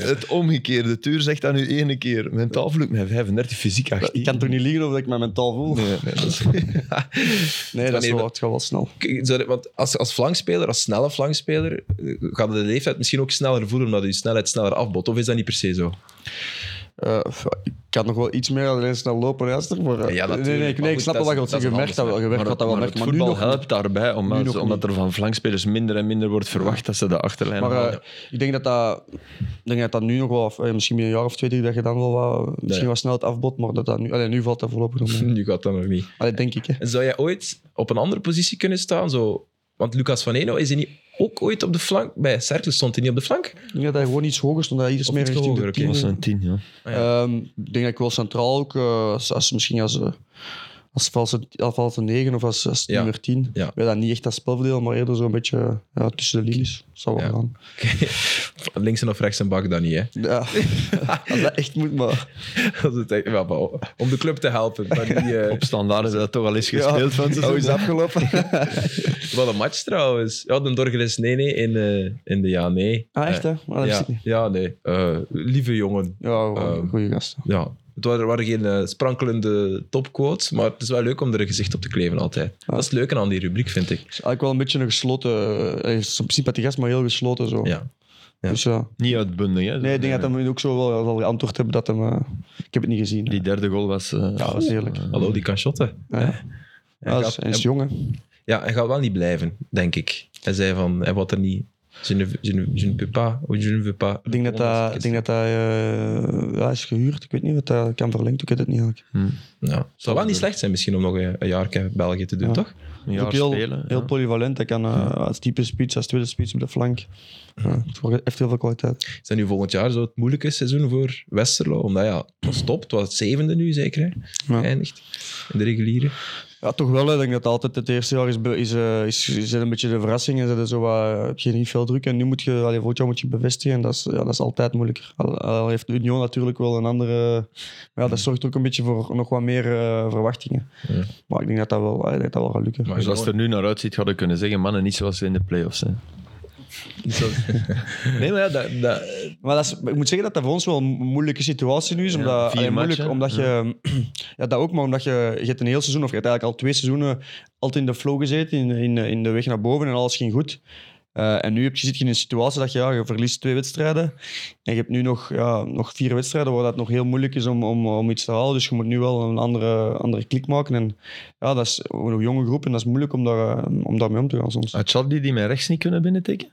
S3: Het omgekeerde. Tuur zegt dat nu ene keer. Mentaal voel ik me 35, fysiek 18.
S4: Ik kan toch niet liegen over dat ik me mentaal voel?
S3: Nee, nee, dat is...
S4: Nee, dat is
S1: Wanneer-
S4: wel, het gaat wel snel.
S1: K- zou dit- Want als, als flankspeler, als snelle flankspeler, eh, gaat de leeftijd misschien ook sneller voelen omdat je snelheid sneller afbot. Of is dat niet per se zo?
S4: Eh, f- ik kan nog wel iets meer dan alleen snel lopen, Esther. Maar, eh,
S1: Ja, natuurlijk,
S4: nee, nee, ik,
S1: maar
S4: nee, ik
S1: goed,
S4: snap
S1: dat
S4: wel wat je
S1: is-
S4: wilt
S1: dat is een
S4: zeggen. Je merkt dat wel. Je merkt dat wel.
S3: maar
S4: merkt,
S3: het
S4: maar nu
S3: voetbal
S4: nog niet.
S3: helpt daarbij,
S4: Nu
S3: omdat,
S4: nog
S3: omdat er van flankspelers minder en minder wordt verwacht dat ze de achterlijn
S4: Maar eh,
S3: halen.
S4: ik denk dat dat, ik denk dat dat nu nog wel, of, eh, misschien binnen een jaar of twee, drie, dat je dan wel wat, misschien
S1: ja.
S4: wel snel het afbod, maar dat dat nu, allee, nu valt dat voorlopig nog mee.
S1: Nu gaat dat nog niet.
S4: Allee, denk ik. Hè.
S1: En zou jij ooit op een andere positie kunnen staan? Zo, want Lucas van Eno, is hij niet ook ooit op de flank? Bij Cercle stond hij niet op de flank?
S4: Ik denk dat hij gewoon iets hoger stond, dat hij iets
S1: Of
S4: meer
S1: iets te
S4: richting
S1: hoger,
S4: de
S1: oké.
S3: Dat
S4: tien.
S3: was een tien, ja.
S1: Ah, ja.
S4: Ehm, ik denk dat ik wel centraal ook, eh, als, als misschien als, eh, als valse, als valse 9 of als, als
S1: Ja.
S4: nummer 10.
S1: Ja.
S4: Wij dat niet echt als spelverdeel, maar eerder zo'n beetje ja, tussen de linies. Dat zou wel
S1: Ja.
S4: gaan.
S1: Links en of rechts en bak dan niet, hè.
S4: Ja, als dat echt moet, maar...
S1: Dat is het echt- wel, maar om de club te helpen. Maar die, eh,
S3: Op standaard is dat toch al eens
S4: Ja,
S3: gespeeld van
S4: dat is
S3: ze.
S4: afgelopen.
S1: wat een match trouwens. Ja, de Dorgeles, nee, nee, in, eh, in de ja, nee.
S4: Ah, echt, hè? Maar dat wist
S1: ja,
S4: ik niet.
S1: ja, nee. Eh, lieve jongen.
S4: Ja,
S1: Ehm.
S4: goede gast.
S1: Ja. Het waren, waren geen eh, sprankelende topquotes, maar het is wel leuk om er een gezicht op te kleven altijd.
S4: Ah.
S1: Dat is het leuke aan die rubriek, vind ik.
S4: Het is eigenlijk wel een beetje een gesloten... eh, Hij is een sympathiek gast, maar heel gesloten zo.
S1: Ja. Ja.
S4: Dus ja.
S3: Niet uitbundig, hè?
S4: Nee, ik denk dat hij ook zo wel al geantwoord hebben dat hem... eh, ik heb het niet gezien.
S3: Die derde goal was... eh,
S4: ja, dat is eerlijk.
S1: Hallo, die kan shotten.
S4: Ja, ja.
S1: Hij
S4: dat
S1: gaat-
S4: is, hij is jong, hè.
S1: Ja, hij gaat wel niet blijven, denk ik. Hij zei van, hij wat er niet... Je ne, je ne, je ne peux pas, ou je ne veux pas.
S4: Ik denk dat hij, ik denk dat hij eh, ja, is gehuurd. Ik weet niet of dat kan verlengd. Ik weet het niet eigenlijk.
S1: Ja. Het zou wel niet slecht zijn misschien om nog een, een jaar België te doen,
S4: Ja.
S1: toch?
S3: een
S4: Hij is
S3: jaar
S4: ook heel,
S3: spelen.
S4: heel
S3: ja.
S4: polyvalent. Hij kan eh, als type spits, als tweede spits op de flank. Ja, het heeft heel veel kwaliteit.
S1: Is dat nu volgend jaar zo het moeilijke seizoen voor Westerlo? Omdat ja, het was top. Het was het zevende nu zeker, hè?
S4: Ja.
S1: Eindigt in de reguliere.
S4: Ja, toch wel. hè. Ik denk dat altijd het eerste jaar is, be- is, eh, is, is een beetje de verrassing. En ze zo wat, heb je niet veel druk. En nu moet je, allee, volgend jaar moet je bevestigen. En dat is, ja, dat is altijd moeilijker. Al, al heeft Union natuurlijk wel een andere... Maar ja, dat zorgt ook een beetje voor nog wat meer eh, verwachtingen.
S1: Ja.
S4: Maar ik denk dat dat wel, allee, dat dat wel gaat lukken.
S1: Maar
S3: Dus als het er nu naar uitziet, hadden we kunnen zeggen, mannen, niet zoals in de play-offs. Hè.
S1: Nee, maar ja, dat, dat,
S4: Maar dat is, ik moet zeggen dat dat voor ons wel een moeilijke situatie nu is. Omdat,
S3: vier
S4: allee, moeilijk,
S3: matchen,
S4: omdat je... Ja, dat ook, maar omdat je... Je hebt een heel seizoen, of je hebt eigenlijk al twee seizoenen altijd in de flow gezeten, in, in, in de weg naar boven en alles ging goed. Eh, en nu heb je, zit je in een situatie dat je, ja, je verliest twee wedstrijden. En je hebt nu nog, ja, nog vier wedstrijden waar dat nog heel moeilijk is om, om, om iets te halen. Dus je moet nu wel een andere, andere klik maken. En ja, dat is een jonge groep en dat is moeilijk om, daar, eh, om daarmee om te gaan soms.
S3: Had Chadli die met rechts niet kunnen binnentikken?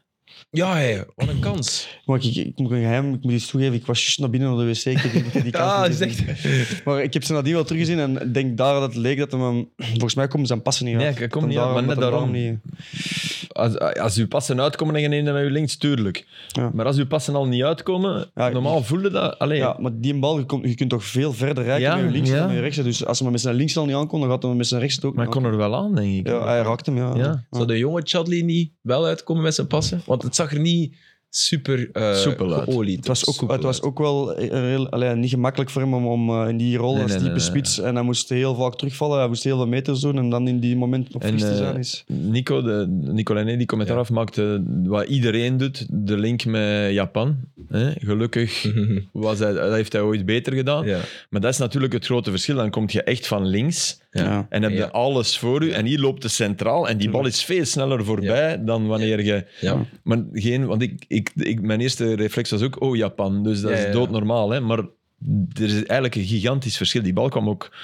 S1: ja hé, wat een kans.
S4: Maar ik, ik moet een geheim, ik moet iets toegeven. Ik was juist naar binnen naar de wc. Ik heb die, die kans
S3: Ah,
S1: Ja,
S4: niet
S1: is
S4: gezien.
S1: echt...
S4: Maar ik heb ze nadien wel teruggezien en ik denk daar dat het leek dat hem... hem- Volgens mij komen zijn passen niet
S3: Nee,
S4: uit.
S3: hij komt
S4: Dat
S3: niet
S4: hem
S3: uit, maar net
S4: dat hem
S3: daarom.
S4: niet-
S3: Als, als uw passen uitkomen en je neemt hem met uw links, tuurlijk.
S4: Ja.
S3: Maar als uw passen al niet uitkomen,
S4: Ja, ik-
S3: normaal voelde dat... Allee,
S4: Ja, maar die bal, je, komt- je kunt toch veel verder rijden
S3: Ja,
S4: met je links
S3: ja.
S4: dan met je rechts. Dus als ze maar met zijn links al niet aankomt, dan gaat hij met zijn rechts het ook
S3: Maar hij
S4: niet
S3: kon er wel aan, denk ik.
S4: aankomen. Ja, hij raakt hem, ja.
S3: Ja.
S1: Zou de jonge Chadli niet wel uitkomen met zijn passen? Want het zag er niet super eh
S3: Soepel uit.
S1: geolied.
S4: Het was, ook,
S1: Soepel
S4: het was
S1: uit.
S4: ook wel een heel, allee, niet gemakkelijk voor hem om, om eh, in die rol
S3: Nee,
S4: als
S3: nee,
S4: type
S3: nee, nee.
S4: spits. En hij moest heel vaak terugvallen, hij moest heel veel meters doen. En dan in die moment nog
S3: En,
S4: fris te
S3: eh,
S4: zijn is...
S3: Nico, de, Nicolainé, die commentaar
S1: Ja.
S3: afmaakte wat iedereen doet, de link met Japan. Hè? Gelukkig was hij, dat heeft hij ooit beter gedaan.
S1: ja.
S3: Maar dat is natuurlijk het grote verschil. Dan kom je echt van links
S4: Ja.
S3: en heb je
S1: Ja.
S3: alles voor u. En hier loopt de centraal en die bal is veel sneller voorbij dan wanneer je...
S1: Ja.
S3: Maar geen, want ik, ik, ik, mijn eerste reflex was ook, oh Japan, dus dat
S1: Ja, ja,
S3: is
S1: ja.
S3: doodnormaal. Hè? Maar er is eigenlijk een gigantisch verschil. Die bal kwam ook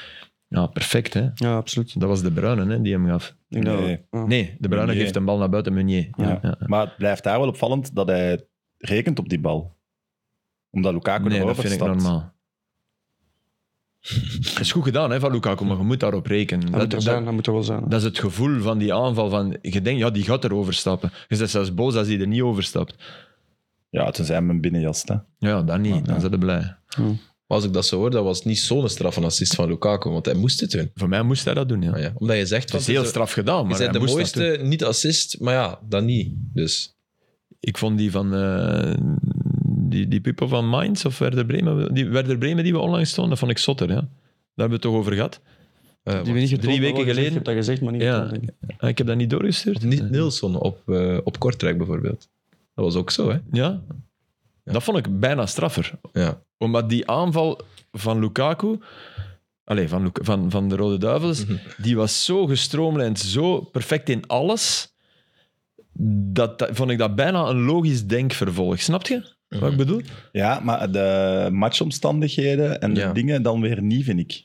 S3: ja, perfect. Hè?
S4: ja, absoluut.
S3: Dat was de Bruine hè, die hem gaf.
S4: Ik denk
S2: Nee.
S4: dat, eh, ja.
S3: Nee, de Bruine
S2: Meunier.
S3: geeft een bal naar buiten, Meunier. Ja.
S2: Ja.
S3: Ja.
S2: Maar het blijft daar wel opvallend dat hij rekent op die bal. Omdat Lukaku
S3: Nee, dat
S2: erover
S3: vind ik
S2: stapt.
S3: normaal. Het is goed gedaan hè, van Lukaku, maar je moet daarop rekenen.
S4: Hij moet er
S3: Dat-
S4: zijn,
S3: dat-
S4: hij moet er wel zijn. hè.
S3: Dat is het gevoel van die aanval. Van, je denkt, ja, die gaat er overstappen. Je bent zelfs boos als die er niet overstapt.
S2: Ja, tenzij hem een binnenjast. Hè.
S3: Ja, dan niet. Dan zijn ze blij.
S1: Maar als ik dat zo hoor, dat was niet zo'n strafenassist van Lukaku, want hij moest het doen.
S3: Voor mij moest hij dat doen, ja.
S1: Maar ja, omdat je zegt...
S3: Het is
S1: want
S3: heel
S1: het-
S3: straf gedaan,
S1: Je
S3: maar hij
S1: bent de
S3: moest dat doen.
S1: mooiste niet-assist, maar ja, dan niet. Dus
S3: Ik vond die van... eh, die, die pupil van Mainz of Werder Bremen... Die Werder Bremen die we onlangs stonden, dat vond ik zotter, ja. Daar hebben we het toch over gehad.
S1: eh,
S4: Die we niet getoond,
S3: drie
S4: maar
S3: weken
S4: wel gezegd.
S3: geleden-
S4: Ik heb dat gezegd, maar niet
S3: Ja.
S4: getoond, denk ik.
S3: Ah, Ik heb dat niet doorgestuurd.
S1: Of niet Nilsson op, eh, op Kortrijk bijvoorbeeld. Dat was ook zo, hè?
S3: Ja. Dat vond ik bijna straffer.
S1: Ja.
S3: Omdat die aanval van Lukaku, allez, van, Luk- van, van de Rode Duivels, die was zo gestroomlijnd, zo perfect in alles, dat, dat- vond ik dat bijna een logisch denkvervolg. Snap je wat ik bedoel?
S2: Ja, maar de matchomstandigheden en de
S1: Ja.
S2: dingen dan weer niet, vind ik.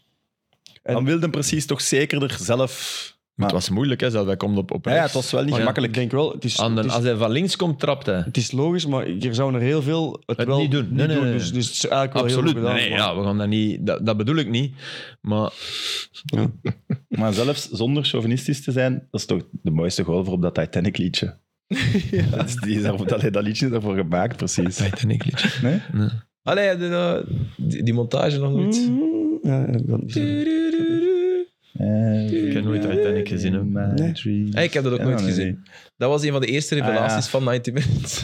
S4: En-
S2: Dan wilde hem precies toch zekerder zelf...
S3: Maar het was moeilijk, hè? zelfs Hij komt op, op
S2: Ja, ja,
S3: rechts.
S2: het was wel niet
S4: Maar
S2: gemakkelijk.
S4: Ik denk wel, het is,
S3: Aan de-
S4: het is,
S3: als hij van links komt, trapt hij.
S4: het is logisch, maar er zouden er heel veel het,
S3: Het
S4: wel
S3: niet doen. Nee, nee, nee,
S4: Dus,
S3: nee.
S4: dus het is eigenlijk wel
S3: Absoluut.
S4: heel goed gedaan.
S3: nee,
S4: maar-
S3: ja, we gaan dat, niet, dat, dat bedoel ik niet. Maar
S2: Maar zelfs zonder chauvinistisch te zijn, dat is toch de mooiste goal voor op dat Titanic-liedje. Dat, is, die is daarvoor- dat, dat liedje is daarvoor gemaakt, precies.
S3: Titanic liedje.
S2: Nee?
S1: Allee, eh, heb je nou die, die montage nog nooit?
S4: Ja, ja, ik wil het niet zeggen.
S2: Eh,
S3: nooit Titanic gezien. Hè.
S4: Nee.
S1: Hey, ik heb dat ook nooit gezien. Dat was een van de eerste
S4: Ah,
S1: revelaties
S2: ja.
S1: van 90 Minutes.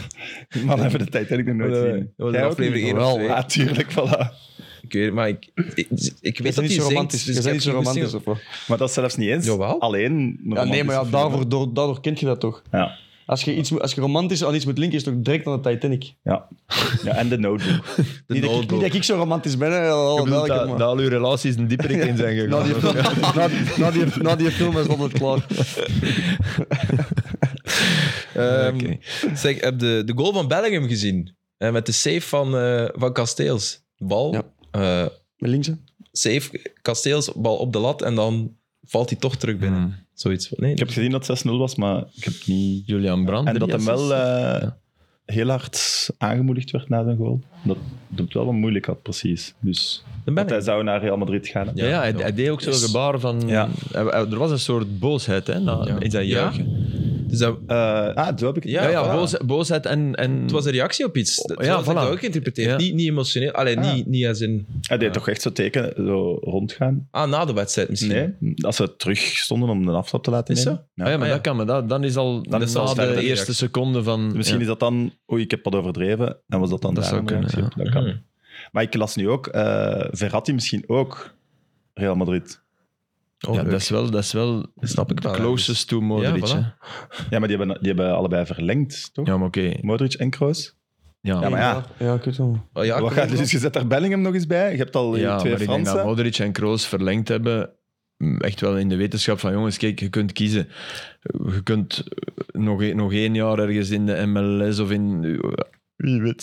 S2: Man, hebben de Titanic nog nooit
S1: Oh, Dat
S2: gezien.
S1: was
S2: Jij
S1: een
S2: ook
S1: aflevering
S2: niet?
S1: één of
S2: Wel,
S1: twee.
S2: Ja, tuurlijk, voilà.
S1: Ik weet het, maar ik, ik, ik weet
S4: is
S1: dat
S4: niet
S1: hij
S4: zo
S1: zingt.
S4: romantisch.
S1: Dus
S4: Je
S1: ik
S4: bent
S1: heb
S4: niet zo
S1: geen goesting.
S4: romantisch of wat?
S2: Maar dat is zelfs niet eens.
S1: Jawel.
S2: Alleen.
S4: Ja, nee, maar ja,
S2: romantische
S4: daarvoor, door, daardoor kent je dat toch?
S2: filmen. Ja.
S4: Als je, iets, moet- als je romantisch aan iets moet linken, is het toch direct aan de Titanic.
S2: Ja. ja, en de notebook.
S1: De
S4: Niet dat, ik, niet
S1: Notebook.
S4: dat ik zo romantisch ben, hè,
S3: Ik
S4: al
S3: bedoel
S4: welke,
S3: dat,
S4: maar-
S3: dat al uw relaties een dieper in zijn
S4: Na
S3: gegaan.
S4: Nou, die, film, na, na die, na die film is het klaar.
S1: Ehm,
S3: Oké.
S1: Zeg, heb de, de goal van Bellingham gezien? Eh, met de save van, eh, van Kasteels. Bal,
S4: Ja.
S1: eh,
S4: Met links, hè?
S1: save, Kasteels, bal op de lat en dan valt hij toch terug binnen.
S3: Mm.
S1: Zoiets. Nee,
S2: Ik heb gezien dat het 6-0 was, maar ik heb niet.
S3: Julian Brandt.
S2: En dat
S3: drie
S2: hem wel
S3: assists.
S2: eh, heel hard aangemoedigd werd na zijn goal. Dat doet wel wat moeilijk had, precies. Dus
S1: dan ben
S2: dat hij
S1: ik.
S2: zou naar Real Madrid gaan. hè.
S3: Ja, ja, hij, hij deed ook zo'n
S2: Yes.
S3: gebaar van...
S2: Ja.
S3: hij- hij- er was een soort boosheid hè, na,
S1: Ja.
S3: in zijn
S1: Ja?
S3: juichen.
S1: Dus dat,
S2: Eh, ah, zo heb ik het.
S1: Ja,
S3: Ja, ja,
S1: voilà.
S3: boos, boosheid en... en
S1: het was een reactie op iets. Dat,
S3: Ja,
S1: ja,
S3: voilà.
S1: dat ook geïnterpreteerd.
S3: Ja.
S1: Niet, niet emotioneel. Allee,
S2: Ah.
S1: niet, niet als in...
S2: Hij deed
S1: Ja.
S2: toch echt zo tekenen, zo rondgaan.
S1: Ah, na de wedstrijd misschien.
S2: Nee, als ze terug stonden om de aftrap te laten
S1: Is
S2: nemen.
S1: zo?
S2: Ja.
S3: Ah ja, maar
S1: Ah, ja.
S3: dat kan me. Dat, dan is al dan
S1: is
S3: na
S1: al
S3: de
S1: verder
S3: eerste
S1: reactie.
S3: seconde van...
S2: Misschien
S3: ja.
S2: is dat dan, oei, ik heb dat overdreven. En was dat dan
S3: Dat
S2: daar
S3: zou
S2: een
S3: kunnen,
S2: reactie op?
S3: ja.
S2: Dat kan.
S1: Mhm.
S2: Maar ik las nu ook, eh, Verratti misschien ook Real Madrid.
S1: Oh,
S3: ja,
S1: leuk.
S3: dat is wel, dat is wel
S1: Dat snap ik wel.
S3: closest to Modric.
S1: Ja,
S3: hè.
S1: voilà.
S3: Ja,
S2: Ja, maar die hebben, die hebben allebei verlengd, toch?
S3: maar oké.
S2: Modric en Kroos.
S3: Ja,
S2: Ja, maar ja.
S4: Ja, ik weet het wel.
S1: Oh, ja,
S2: Wat
S1: kom
S2: gaat,
S1: op.
S2: dus je zet daar Bellingham nog eens bij. Je hebt al die
S3: Ja,
S2: twee
S3: maar ik denk dat
S2: Fransen.
S3: Modric en Kroos verlengd hebben. mm, Echt wel in de wetenschap van jongens, kijk, je kunt kiezen. Je kunt eh, nog, e- nog één jaar ergens in de MLS of in eh, wie weet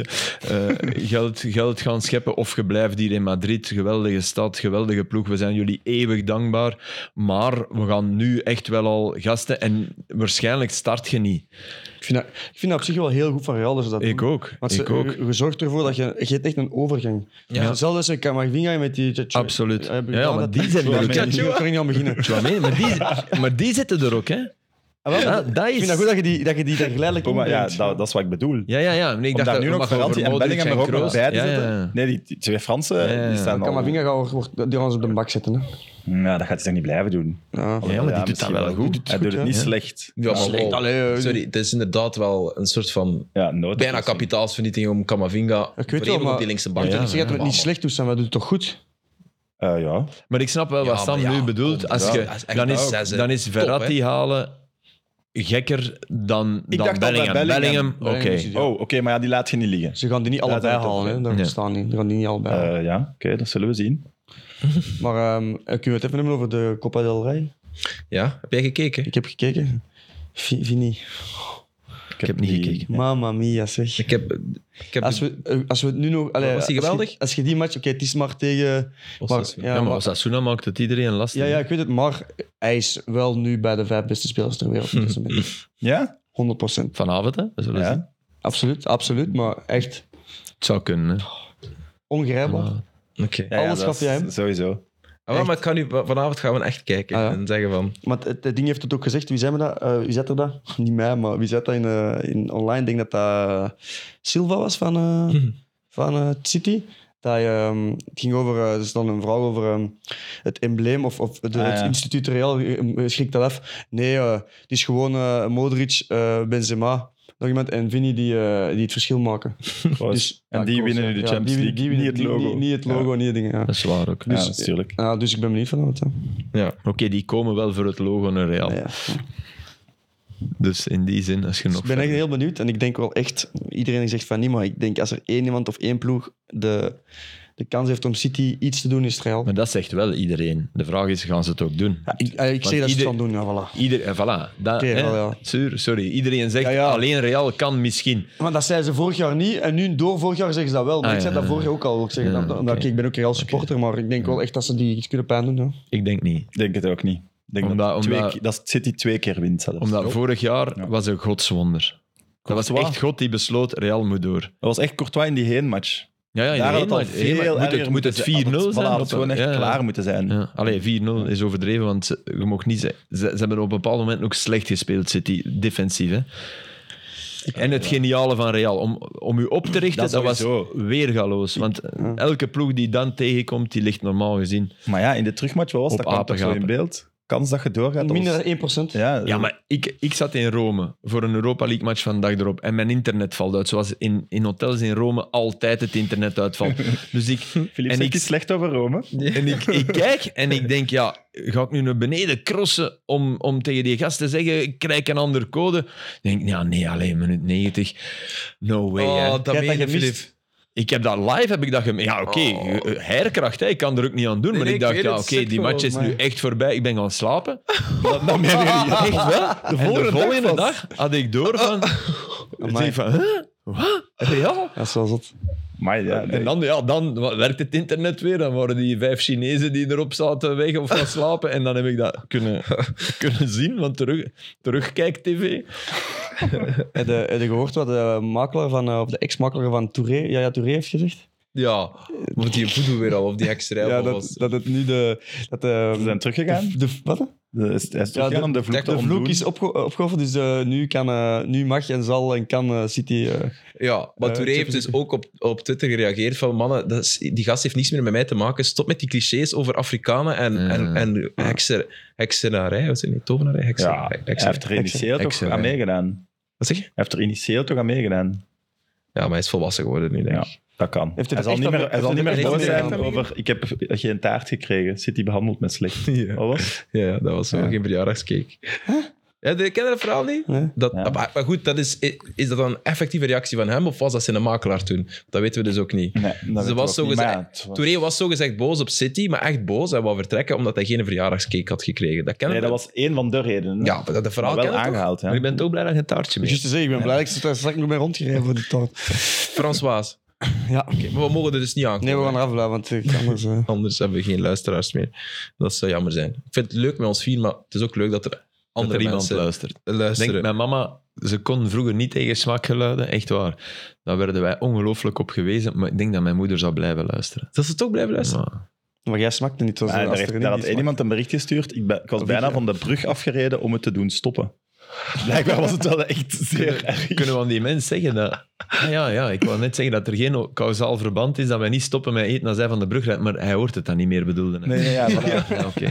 S3: eh, geld, geld gaan scheppen. Of je blijft hier in Madrid. Geweldige stad, geweldige ploeg. We zijn jullie eeuwig dankbaar. Maar we gaan nu echt wel al gasten. En waarschijnlijk start je niet.
S4: Ik vind, dat, ik vind dat op zich wel heel goed van Real. dat ze dat
S3: Ik
S4: doen.
S3: ook.
S4: Want ze,
S3: Ik ook.
S4: Je, je zorgt ervoor dat je, je hebt echt een overgang.
S1: Ja.
S4: Ja. Hetzelfde als een Camavinga met die... tje- tje-
S3: Absoluut.
S4: Heb ik
S3: Ja,
S4: gedaan
S3: maar
S4: dat-
S3: die zijn
S4: Daar
S3: er
S4: kan
S3: ook.
S4: ik niet- daar kan ik niet aan beginnen.
S3: Tchouaméni, maar, die, maar die zitten er ook, hè?
S4: Ah, wel,
S3: Ja,
S4: dat-
S3: dat
S4: Ik
S3: is-
S4: vind dat goed dat je die, dat je die daar geleidelijk
S2: Poma, ja,
S4: inbrengt.
S2: dat, dat is wat ik bedoel.
S3: Ja, ja, ja. Nee, ik
S2: Om
S3: dacht
S2: daar
S3: dat
S2: nu
S3: we
S2: nog
S3: mag over
S2: Verratti en
S3: Modric
S2: Bellingham er ook
S3: Kroos-
S2: nog bij te
S3: Ja, ja,
S2: zetten.
S3: ja.
S2: Nee, die, die twee Fransen
S3: Ja, ja,
S2: die
S3: ja.
S2: staan al...
S4: Camavinga gaat wordt- wordt- die gaan ze op de bak zetten. Hè.
S2: Ja, dat gaat hij toch niet blijven doen?
S4: Ja.
S3: Ja, maar die doet dat
S2: misschien
S3: wel goed.
S2: Hij doet het
S3: hè?
S2: niet
S3: Ja.
S2: slecht.
S1: Ja, maar wow.
S4: Allee, eh,
S1: Sorry, het is inderdaad wel een soort van
S2: Ja, nooit.
S1: bijna kapitaalsvernieting om Kamavinga
S4: weet
S1: voor
S4: wel,
S1: eeuwig op
S4: maar-
S1: die linkse
S4: Je
S1: bank
S4: moet
S1: te
S4: toch niet
S1: zetten.
S4: zeggen dat we het niet slecht doen, maar we doen het toch goed?
S2: Eh, ja.
S3: Maar ik snap wel wat
S1: Ja,
S3: Sam
S1: maar ja,
S3: nu bedoelt.
S1: kom,
S3: Als
S1: ja,
S3: je,
S1: dat is echt
S3: dan,
S1: wel
S3: is,
S1: zes, hè.
S3: dan is
S1: Top,
S3: Verratti halen gekker dan,
S2: Ik
S3: dan
S2: dacht al bij
S3: Bellingham.
S2: Bellingham.
S3: Bellingham, oké.
S4: Bellingham is idioot.
S2: Oh, oké, maar ja, die laat je niet liggen.
S4: Ze gaan die niet
S2: Ja,
S4: allebei
S2: dat is
S4: halen, hè.
S2: ook,
S4: daar
S3: ja.
S4: staan niet. Ze gaan die niet allebei halen.
S2: Eh, ja, oké, dat zullen we zien.
S4: Maar ehm, eh, kunnen we het even hebben over de Copa del Rey?
S1: Ja, heb jij gekeken?
S4: Ik heb gekeken. Vi- Vini.
S2: Ik
S3: heb niet gekeken.
S4: Mamma mia, zeg.
S1: Ik heb... Ik heb
S4: Als we, eh, als we het nu nog... allee,
S1: Was die
S4: als je-
S1: geweldig?
S4: Als je, die match... Oké, het is maar tegen... maar-
S1: Osasuna.
S3: Ja, maar
S4: maar-
S3: Osasuna maakt het iedereen lastig.
S4: ja, ja, ik weet het. Maar hij is wel nu bij de vijf beste spelers ter wereld. dus op dit moment.
S2: Ja?
S4: 100%.
S3: Vanavond, hè? We zullen zien.
S2: Ja.
S4: Absoluut, absoluut. Maar echt
S3: Het zou kunnen. Hè.
S4: ongrijpbaar.
S3: Maar-
S1: Oké.
S2: Ja, ja,
S4: Alles
S2: dat
S4: gaf
S2: is
S4: jij hem?
S2: Sowieso.
S1: Ah, wel, maar ik ga nu, vanavond gaan we echt kijken
S4: Ah, ja.
S1: en zeggen van...
S4: Maar het, het ding heeft het ook gezegd. Wie zei me dat? Eh, wie zet er dat? Niet mij, maar wie zet dat in, eh, in online? Ik denk dat dat eh, Silva was van, eh,
S2: Mhm.
S4: van eh, City. Dat, hij, ehm, het ging over, eh, er stond een vrouw over ehm, het embleem of, of de-
S2: Ah,
S4: het
S2: ja.
S4: instituut Real eh, schrikt dat af. Nee, eh, het is gewoon eh, Modric, eh, Benzema, nog iemand en Vini die, eh, die het verschil maken. Dus,
S2: en
S4: ja,
S2: die
S4: Kroos,
S2: winnen
S4: ja.
S2: nu de
S4: Ja,
S2: Champions
S4: die-
S2: League.
S4: die winnen-
S2: niet het
S4: die-
S2: logo.
S4: Niet, niet het
S2: Ja.
S4: logo, niet de dingen. Ja.
S3: Dat is waar ook.
S2: Ja,
S4: Dus-
S2: dat is tuurlijk.
S4: Ja, dus ik ben benieuwd van wat.
S1: Ja.
S3: Oké, die komen wel voor het logo naar Real.
S4: Ja.
S3: Dus in die zin, als je nog...
S4: Ik ben echt
S3: verder-
S4: heel benieuwd. En ik denk wel echt, iedereen zegt van niet, maar ik denk als er één iemand of één ploeg de, de kans heeft om City iets te doen, is het Real.
S3: Maar dat zegt wel iedereen. De vraag is, gaan ze het ook doen?
S4: Ja, ik, eh, ik zeg dat
S3: ieder-
S4: ze het gaan doen, ja, voilà.
S3: Ieder, en voilà. Dat,
S4: Oké,
S3: hè?
S4: wel, ja.
S3: Sur- Sorry, iedereen zegt
S4: Ja, ja.
S3: alleen Real kan misschien.
S4: Maar dat zeiden ze vorig jaar niet. En nu, door vorig jaar, zeggen ze dat wel. Maar
S3: Ah,
S4: ik
S3: ja,
S4: zei dat
S3: ja,
S4: vorig jaar ook al. Ik, zeg,
S3: Ja,
S4: dat- dat-
S3: oké.
S4: dat- ik ben ook Real supporter, maar ik denk wel echt dat ze die iets kunnen pijn doen. Ja.
S3: Ik denk niet.
S2: Ik denk het ook niet. Ik denk
S3: Omdat-
S2: dat, twee,
S3: omdat-
S2: keer- dat City twee keer wint zelfs.
S3: Omdat Nou, vorig jaar
S2: Ja.
S3: was een godswonder. Dat was
S2: Courtois.
S3: echt God die besloot, Real moet door.
S2: Dat was echt Courtois in die heenmatch.
S3: Ja, ja, in
S2: Daar
S3: de
S2: had het al
S3: hele- hele-
S2: veel
S3: moet het,
S2: erger
S3: moet het 4-0
S2: moeten
S3: zijn.
S2: Voilà, had
S3: op-
S2: het gewoon echt
S3: ja, ja.
S2: klaar moeten zijn.
S3: Ja. Allee, 4-0 is overdreven, want ze- je mag niet zeggen... Ze, ze hebben op een bepaald moment ook slecht gespeeld, City, defensief. Hè. En het geniale van Real, om, om u op te richten, dat,
S2: Dat
S3: was
S2: sowieso.
S3: weergaloos. Want elke ploeg die dan tegenkomt, die ligt normaal gezien...
S2: Maar ja, in de terugmatch, wat was
S3: Op
S2: dat? Kwam dat zo in
S3: apengapen.
S2: beeld? kans dat je doorgaat. dat
S4: Minder
S2: was-
S4: dan 1%.
S2: Ja,
S3: Ja, maar ik, ik zat in Rome voor een Europa League match van de dag erop. En mijn internet valt uit. Zoals in, in hotels in Rome altijd het internet uitvalt. Dus ik,
S2: Filip
S3: en
S2: zegt
S3: ik-
S2: iets slecht over Rome.
S3: en ik, ik kijk en ik denk, ja, ga ik nu naar beneden crossen om, om tegen die gast te zeggen, ik krijg een andere code? Ik denk, ja, nee, alleen minuut 90. No way, hè.
S1: Oh, dat
S2: Jij hebt
S1: meen je,
S2: dat gemist.
S1: Filip.
S3: Ik heb dat live, heb ik dat gem- Ja, oké,
S1: Oh.
S3: eh, herkracht, hè, ik kan er ook niet aan doen.
S1: Nee,
S3: maar
S1: nee,
S3: ik
S1: ik
S3: dacht,
S1: weet
S3: ja,
S1: het,
S3: oké,
S1: zeg
S3: die
S1: gewoon,
S3: match is
S1: maar-
S3: nu echt voorbij. Ik ben gaan slapen.
S2: Dat, dat meen je niet.
S3: Echt wel? De
S2: volgende
S3: volgende, en de
S2: dag
S3: volgende
S2: was-
S3: dag, had ik door van...
S1: Ah.
S3: Ik
S4: Amai.
S3: denk van, huh? Wat? Real?
S4: Dat is wel zot.
S2: Maar ja,
S3: En
S2: nee.
S3: dan, ja, dan werkt het internet weer. Dan waren die vijf Chinezen die erop zaten weg of gaan slapen. En dan heb ik dat kunnen, kunnen zien, want terug, terugkijk-tv.
S4: Heb je, heb je gehoord wat de makelaar van, eh, of de ex-makelaar van Touré, Yaya Touré heeft gezegd?
S1: Ja, moet die voodoo weer al, of die hekserij
S4: ja,
S1: al
S4: dat,
S1: was.
S4: dat het nu de... Dat de,
S2: Ze zijn teruggegaan.
S4: de, de- wat?
S2: De, hij is teruggegaan
S4: de-
S2: om de vloek
S1: dat
S2: te
S4: De vloek
S2: ontdoen.
S4: is opge opgehoven, dus eh, nu, kan, eh, nu mag en zal en kan eh, City... eh,
S1: Ja, maar
S4: Eh,
S1: Touré heeft dus ook op, op Twitter gereageerd van mannen, dat is- die gast heeft niets meer met mij te maken. Stop met die clichés over Afrikanen en,
S3: Ja.
S1: en, en hekser, heksenarij. Wat is het? Nee, tovenarij? Hekser,
S2: Ja, hij
S1: hekser-
S2: heeft er initieel toch
S3: Excellent.
S2: aan meegedaan.
S1: Wat zeg je?
S2: Hij heeft er initieel toch aan meegedaan.
S1: Ja, maar hij is volwassen geworden nu, denk ik.
S2: Ja, dat kan.
S4: Heeft het
S2: hij zal
S4: echt
S2: niet
S4: aan-
S2: meer, hij
S4: heeft
S2: zal niet
S4: het
S2: meer
S4: echt aan
S2: boos zijn
S4: meegedaan?
S2: over ik heb geen taart gekregen. City behandeld me slecht.
S1: Ja.
S2: Wat was het?
S1: Ja, dat was wel
S2: Ja.
S1: geen verjaardagscake. Ja, de- ken je dat verhaal niet?
S4: Nee.
S1: Dat,
S2: Ja.
S1: maar, maar goed, dat is, is dat dan een effectieve reactie van hem of was dat zijn makelaar toen? Dat weten we dus ook niet.
S2: Nee, dat weten
S1: Ze
S2: we
S1: was
S2: ook
S1: zo
S2: niet. Maar
S1: gezegd,
S2: ja, het was-
S1: Touré was zogezegd boos op City, maar echt boos. Hij wou vertrekken omdat hij geen verjaardagscake had gekregen. Dat kennen
S2: Nee, dat
S1: we.
S2: was één van de redenen.
S1: Ja, maar dat, dat verhaal
S2: Maar
S1: kennen
S2: wel
S1: we toch?
S2: aangehaald.
S3: Maar
S2: Ja.
S3: ik ben ook blij dat je een taartje mee
S4: Juist te zeggen, ik ben blij dat ik straks straks nog ben rondgereden voor die taart.
S1: François.
S4: Ja.
S1: Maar we mogen er dus niet aan.
S4: Nee, we gaan eraf blijven, want eh, anders... eh,
S1: Anders hebben we geen luisteraars meer. Dat zou jammer zijn. Ik vind het leuk met ons vier, maar het is ook leuk dat er
S3: Dat
S1: andere
S3: er iemand
S1: mensen
S3: luistert.
S1: luisteren.
S3: Denk, mijn mama, ze kon vroeger niet tegen smakgeluiden, echt waar. Daar werden wij ongelooflijk op gewezen, maar ik denk dat mijn moeder zou blijven luisteren.
S1: Dat ze toch blijven luisteren.
S3: Ja.
S4: Maar jij smakte niet, zoals
S2: Maar daar,
S4: als
S2: heeft,
S4: er
S2: daar
S4: niet
S2: had
S4: die
S2: één iemand een bericht gestuurd. Ik, ben, ik was bijna van de brug afgereden om het te doen stoppen. Blijkbaar was het wel echt zeer erg.
S3: Kunnen we aan die mens zeggen dat... Ah, ja, ja, ik wou net zeggen dat er geen o- kausaal verband is dat wij niet stoppen met eten als hij van de brug rijdt, maar hij hoort het dan niet meer, bedoelde hij.
S2: Nee, nee, ja, voilà.
S3: Ja, oké.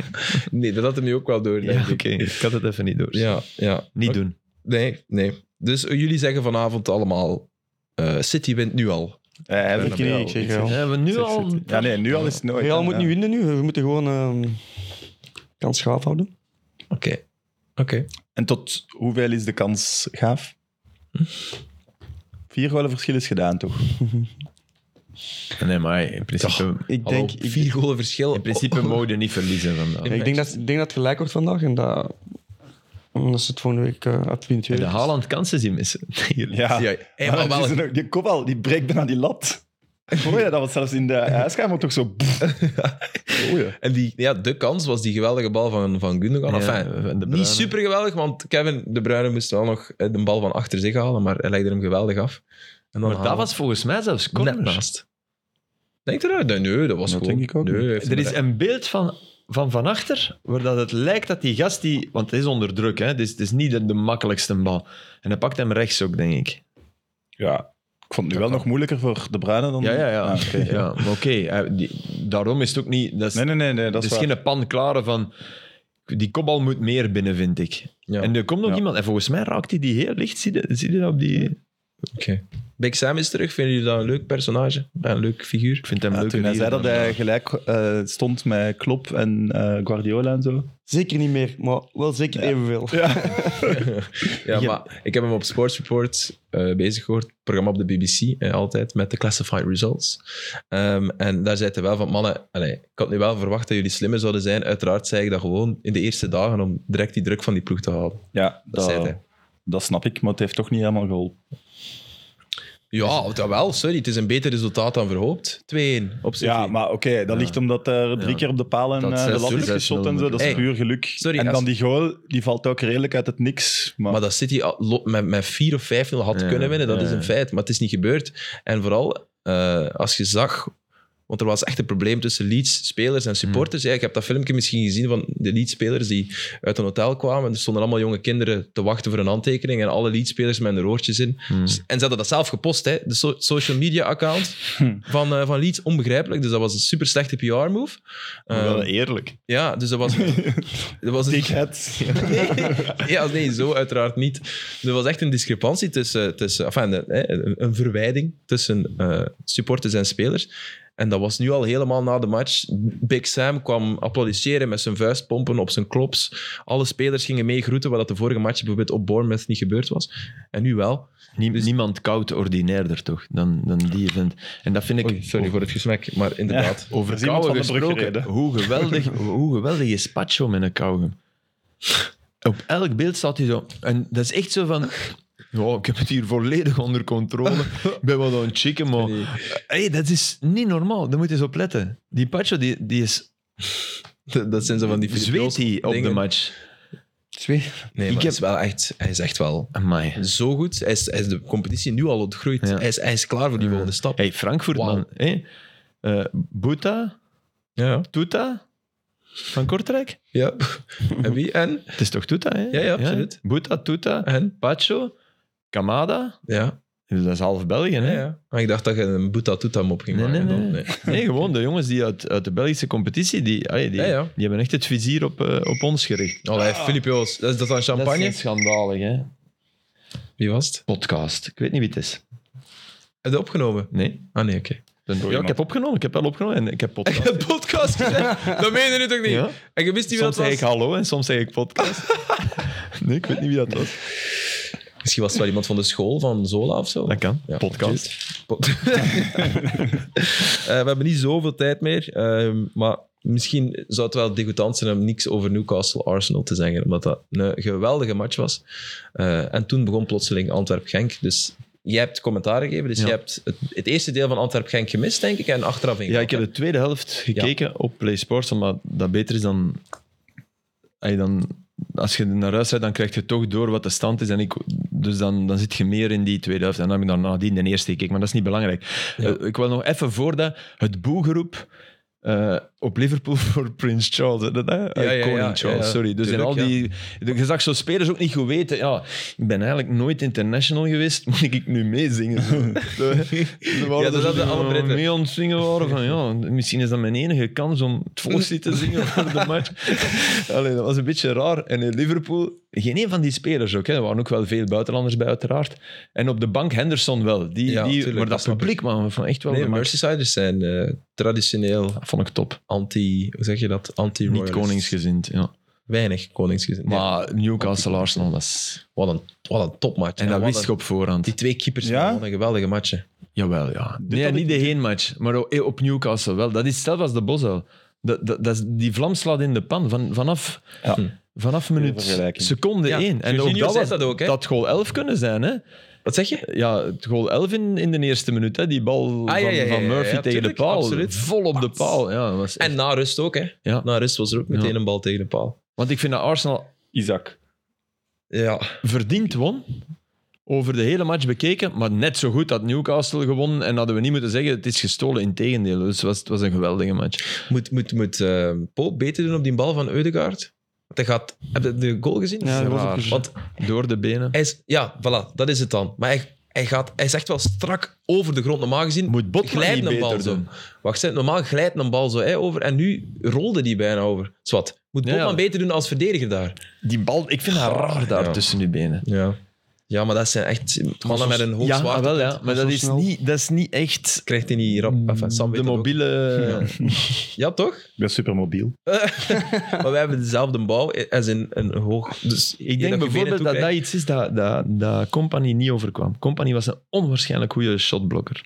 S1: Nee, dat had hem nu ook wel door, denk
S3: Ja,
S1: ik.
S3: oké. Ik had het even niet door.
S1: Ja, ja.
S3: Niet
S1: Oké.
S3: doen.
S1: Nee, nee. Dus eh, jullie zeggen vanavond allemaal, eh, City wint nu al.
S2: Eh, hij heeft
S4: Ja,
S2: niet-
S4: ik zeg Real.
S3: Hebben we nu al...
S2: Ja, nee, nu al is het nooit.
S4: Real
S2: hè.
S4: moet
S2: Ja.
S4: niet winnen nu, we moeten gewoon ehm kans schaaf houden.
S1: Oké. Oké.
S2: En tot hoeveel is de kans gaaf? Vier golen verschil is gedaan, toch?
S3: Nee, maar in principe,
S4: Ik
S1: Hallo,
S4: denk, ik,
S1: vier golen verschil.
S3: in principe mogen we niet verliezen vandaag.
S4: ik denk, dat, ik denk dat het gelijk wordt vandaag en dat, dat ze het volgende week eh uit wint
S3: En
S4: weer.
S3: de Haaland kansen zien missen. tegen
S1: Ja,
S2: Ja.
S1: Hey, maar wel-
S2: die, zijn ook- die kopbal, die breekt bijna die lat. Hoor je dat was zelfs in de huiskamer toch zo... Oh Oei.
S1: En die, ja, de kans was die geweldige bal van, van Gundogan.
S3: Ja,
S1: Enfin,
S3: De Bruyne.
S1: niet super geweldig, want Kevin De Bruyne moest wel nog eh, de bal van achter zich halen, maar hij legde hem geweldig af. En dan
S3: Maar dat
S1: Haaland
S3: was volgens mij zelfs
S1: net
S3: corner.
S1: naast. Denk je dat? Nee, Nee, dat was
S2: Dat
S1: gewoon...
S2: denk ik ook
S1: nee,
S2: niet.
S1: hij heeft
S3: Er
S1: hem
S3: is
S1: bereikt.
S3: een beeld van, van van achter, waar dat het lijkt dat die gast die... Want het is onder druk, hè. Het is, het is niet de, de makkelijkste bal. En hij pakt hem rechts ook, denk ik.
S2: Ja, ik vond het nu wel nog moeilijker voor De Bruyne dan...
S3: Ja, ja, ja.
S2: Ah, oké.
S3: ja maar oké, hij- die- daarom is het ook niet... Dat is,
S2: Nee, nee, nee, nee dat is
S3: het is
S2: waar.
S3: geen panklare van... Die kopbal moet meer binnen, vind ik.
S1: Ja.
S3: En er komt nog
S2: Ja.
S3: iemand... En volgens mij raakt hij die heel licht. Zie je, zie je dat op die...
S1: Oké. Big Sam is terug. Vinden jullie dat een leuk personage? Een leuk figuur?
S3: Ik vind hem
S2: Ja,
S3: leuk.
S2: toen hij zei dat hij gelijk eh, stond met Klopp en eh, Guardiola en zo.
S4: Zeker niet meer, maar wel zeker evenveel.
S1: Ja, maar ik heb hem op Sports Report eh, bezig gehoord. Programma op de BBC, eh, altijd, met de classified results. Ehm, en daar zei hij wel van, mannen, allee, ik had nu wel verwacht dat jullie slimmer zouden zijn. Uiteraard zei ik dat gewoon in de eerste dagen om direct die druk van die ploeg te halen.
S2: Ja,
S1: Dat zei hij.
S2: dat snap ik, maar het heeft toch niet helemaal geholpen.
S1: Ja, dat wel. Sorry, het is een beter resultaat dan verhoopt. 2-1 op zich.
S2: Ja, maar oké, dat
S3: Ja.
S2: ligt omdat er drie
S3: Ja.
S2: keer op de paal en
S3: Dat
S2: eh,
S3: zes-
S2: de lat is
S3: zes-
S2: geschot
S3: nul
S2: en zo. Dat is
S1: Hey.
S2: puur geluk.
S1: Sorry,
S2: en
S1: als-
S2: dan die goal, die valt ook redelijk uit het niks. Maar,
S1: Maar dat City al- lo- met, met 4 of 5-0 had
S3: Ja,
S1: kunnen winnen, dat
S3: ja,
S1: is een
S3: ja.
S1: feit. Maar het is niet gebeurd. En vooral eh, als je zag Want er was echt een probleem tussen Leeds-spelers en supporters.
S3: Hmm.
S1: Ja, ik heb dat filmpje misschien gezien van de Leeds-spelers die uit een hotel kwamen. En er stonden allemaal jonge kinderen te wachten voor een handtekening. En alle Leeds-spelers met hun oortjes in.
S3: Hmm.
S1: Dus- En ze hadden dat zelf gepost, hè. de so- social media-account
S3: Hmm.
S1: van, eh, van Leeds. Onbegrijpelijk. Dus dat was een super slechte PR-move.
S2: wel eerlijk.
S1: Ehm, ja, dus dat was, dat was een,
S2: Dickheads.
S1: ja, nee, zo uiteraard niet. Er was echt een discrepantie tussen, tussen enfin, eh, een, een verwijding tussen eh, supporters en spelers. En dat was nu al helemaal na de match. Big Sam kwam applaudisseren met zijn vuistpompen op zijn klops. Alle spelers gingen mee groeten, wat dat de vorige match bijvoorbeeld op Bournemouth niet gebeurd was. En nu wel.
S3: Nie- Niemand koud ordinairder, toch, dan, dan die event. En dat vind ik...
S1: Oei, sorry voor het gesmek, maar inderdaad.
S3: Over
S2: Er is iemand
S3: kouwen
S2: van de brug
S3: gesproken,
S2: gereden.
S3: hoe geweldig, hoe geweldig is Pacho met een kauwgum? Op elk beeld staat hij zo. En dat is echt zo van... Ja, ik heb het hier volledig onder controle. Ik ben wel aan het chicken, maar...
S1: Nee.
S3: Hey, dat is niet normaal. Daar moet je eens op letten. Die Pacho, die, die is...
S1: Dat- Dat zijn zo van die
S3: Zweet hij op de
S1: dingen.
S3: match?
S1: Nee, maar
S3: heb-
S1: hij is wel echt, hij is echt wel
S3: Amai.
S1: zo goed. Hij is, hij is de competitie nu al ontgroeid.
S3: Ja.
S1: Hij, is, hij is klaar voor die volgende stap.
S3: Hey, Frankfurt,
S1: Wauw.
S3: man. Hey. Eh, Boeta,
S1: Ja.
S3: Tuta van Kortrijk.
S1: Ja. En wie? En?
S3: Het is toch Tuta, hè?
S1: Ja, ja, absoluut.
S3: Boeta, Tuta,
S1: En?
S3: Pacho, Kamada.
S1: Ja.
S3: Dus Dat is half België,
S1: ja,
S3: hè?
S1: ja. Maar ik dacht dat je een Boeta Toetam op ging
S3: Nee,
S1: maken.
S3: nee,
S1: dan.
S3: nee. Nee, gewoon de jongens die uit, uit de Belgische competitie, die, allee, die,
S1: Ja, ja.
S3: die hebben echt het vizier op, eh, op ons gericht.
S1: Allee, Filip Joos. Dat is dat dan champagne?
S3: Dat is schandalig, hè?
S1: Wie was het?
S3: Podcast. Ik weet niet wie het is.
S1: Heb je opgenomen?
S3: Nee.
S1: Ah, nee, oké.
S3: Dan- ja, ik
S2: man.
S3: heb opgenomen. Ik heb wel opgenomen en ik heb podcast.
S1: Een podcast gezegd? Dat meen je nu toch niet?
S3: Ja.
S1: En je wist niet wie dat
S3: Soms
S1: was?
S3: zeg ik hallo en soms zeg ik podcast. nee, ik weet niet wie dat was.
S1: Misschien was het wel iemand van de school, van Zola of zo.
S3: Dat kan.
S1: Ja,
S3: podcast.
S1: Pot- Eh, we hebben niet zoveel tijd meer, ehm, maar misschien zou het wel degoutant zijn om niks over Newcastle-Arsenal te zeggen, omdat dat een geweldige match was. Eh, en toen begon plotseling Antwerp-Genk, dus jij hebt commentaar gegeven, dus
S3: Ja.
S1: jij hebt het, het eerste deel van Antwerp-Genk gemist, denk ik, en achteraf in.
S3: Ja, ik heb de tweede helft gekeken op Play Sports, omdat dat beter is dan... Ay, dan als je naar huis rijdt, dan krijg je toch door wat de stand is. En ik, dus dan, dan zit je meer in die tweede helft. En dan heb ik dan nadien de eerste gekeken, maar dat is niet belangrijk.
S1: Ja.
S3: Eh, ik wil nog even voor dat het boegeroep eh, op Liverpool voor Prins Charles. hè, dat, hè? Eh,
S1: ja, ja,
S3: Koning
S1: ja,
S3: Charles,
S1: ja.
S3: sorry. Dus in
S1: Tuurlijk,
S3: al die... Je zag zo spelers ook niet goed weten. Ja, ik ben eigenlijk nooit international geweest. Moet ik nu meezingen? Zo, hè? Ze waren
S1: Ja, dus dat
S3: er
S1: hadden
S3: zo
S1: alle
S3: mee
S1: Britten.
S3: aan het zingen waren van ja, misschien is dat mijn enige kans om het volkslied te zingen voor de match. Allee, dat was een beetje raar. En in Liverpool, geen een van die spelers ook. Hè. Er waren ook wel veel buitenlanders bij, uiteraard. En op de bank Henderson wel. Die,
S1: Ja,
S3: die,
S1: tuurlijk,
S3: maar
S1: dat
S3: dat
S1: snap
S3: publiek, man, van echt wel
S1: Nee,
S3: de match.
S1: Merseyders zijn eh, traditioneel
S3: Dat vond ik top.
S1: anti... Hoe zeg je dat? Anti-royalist.
S3: Niet koningsgezind, ja.
S1: Weinig koningsgezin. Nee,
S3: Maar Newcastle Arsenal was...
S1: wat, een, wat een topmatch.
S3: En
S1: hè.
S3: dat
S1: Wat
S3: wist
S1: een-
S3: je op voorhand.
S1: Die twee keepers
S2: Ja?
S1: van een geweldige matchen.
S3: Jawel, ja. Nee,
S2: had
S3: niet de heenmatch, maar o- eh, op Newcastle wel. Dat is hetzelfde als de Bosel. Dat, dat, dat is, die vlam slaat in de pan van, vanaf, hm,
S2: Ja.
S3: vanaf minuut
S2: vergelijking.
S3: seconde
S1: Ja,
S3: 1. En ook
S1: Jorginho
S3: dat,
S1: zei
S3: was,
S1: dat ook, hè?
S3: dat goal 11 kunnen zijn. Hè?
S1: Wat zeg je?
S3: Ja, het goal 11 in, in de eerste minuut. Hè? Die bal
S1: Ah, ja,
S3: van,
S1: ja, ja,
S3: van
S1: ja,
S3: Murphy
S1: ja,
S3: tegen
S1: tuurlijk,
S3: de paal.
S1: absoluut.
S3: Vol op de paal. Ja, dat was echt-
S1: En na rust ook, hè?
S3: Ja.
S1: Na rust was er ook meteen
S3: Ja.
S1: een bal tegen de paal.
S3: Want ik vind dat Arsenal
S2: Isaac.
S1: Ja.
S3: verdiend won. Over de hele match bekeken, maar net zo goed had Newcastle gewonnen. En hadden we niet moeten zeggen, het is gestolen. Integendeel, dus het was, het was een geweldige match.
S1: Moet, moet, moet eh, Pope beter doen op die bal van Eudegaard? Want hij gaat... Heb je de goal gezien?
S4: Ja, dat was ook
S3: Raar.
S4: een-
S1: Want
S3: Door de benen.
S1: hij is... Ja, voilà. Dat is het dan. Maar hij, hij, gaat, hij is echt wel strak over de grond. Normaal gezien
S3: Moet Botman
S1: glijdt
S3: niet
S1: een bal
S3: beter
S1: zo.
S3: doen?
S1: Wacht, hè, normaal glijdt een bal zo hè, over. En nu rolde die bijna over. Zwat. Moet
S3: Ja,
S1: Botman
S3: ja.
S1: beter doen als verdediger daar?
S3: Die bal, ik vind haar raar daar
S1: Ja.
S3: tussen die benen.
S1: Ja. Ja, maar dat zijn echt mannen met een hoog
S3: Ja, ah,
S1: zwaard.
S3: wel, ja. maar
S4: Zo
S3: dat is,
S4: snel.
S3: niet, dat is niet echt
S1: Krijgt hij niet rap... Enfin, Sam weet
S3: de
S1: dat ook.
S3: mobiele...
S1: Ja, toch?
S2: Ik ben supermobiel.
S1: Maar wij hebben dezelfde bouw als in een hoog. Dus
S3: Ik denk bijvoorbeeld dat dat iets is dat, dat, dat Company niet overkwam. Company was een onwaarschijnlijk goede shotblokker.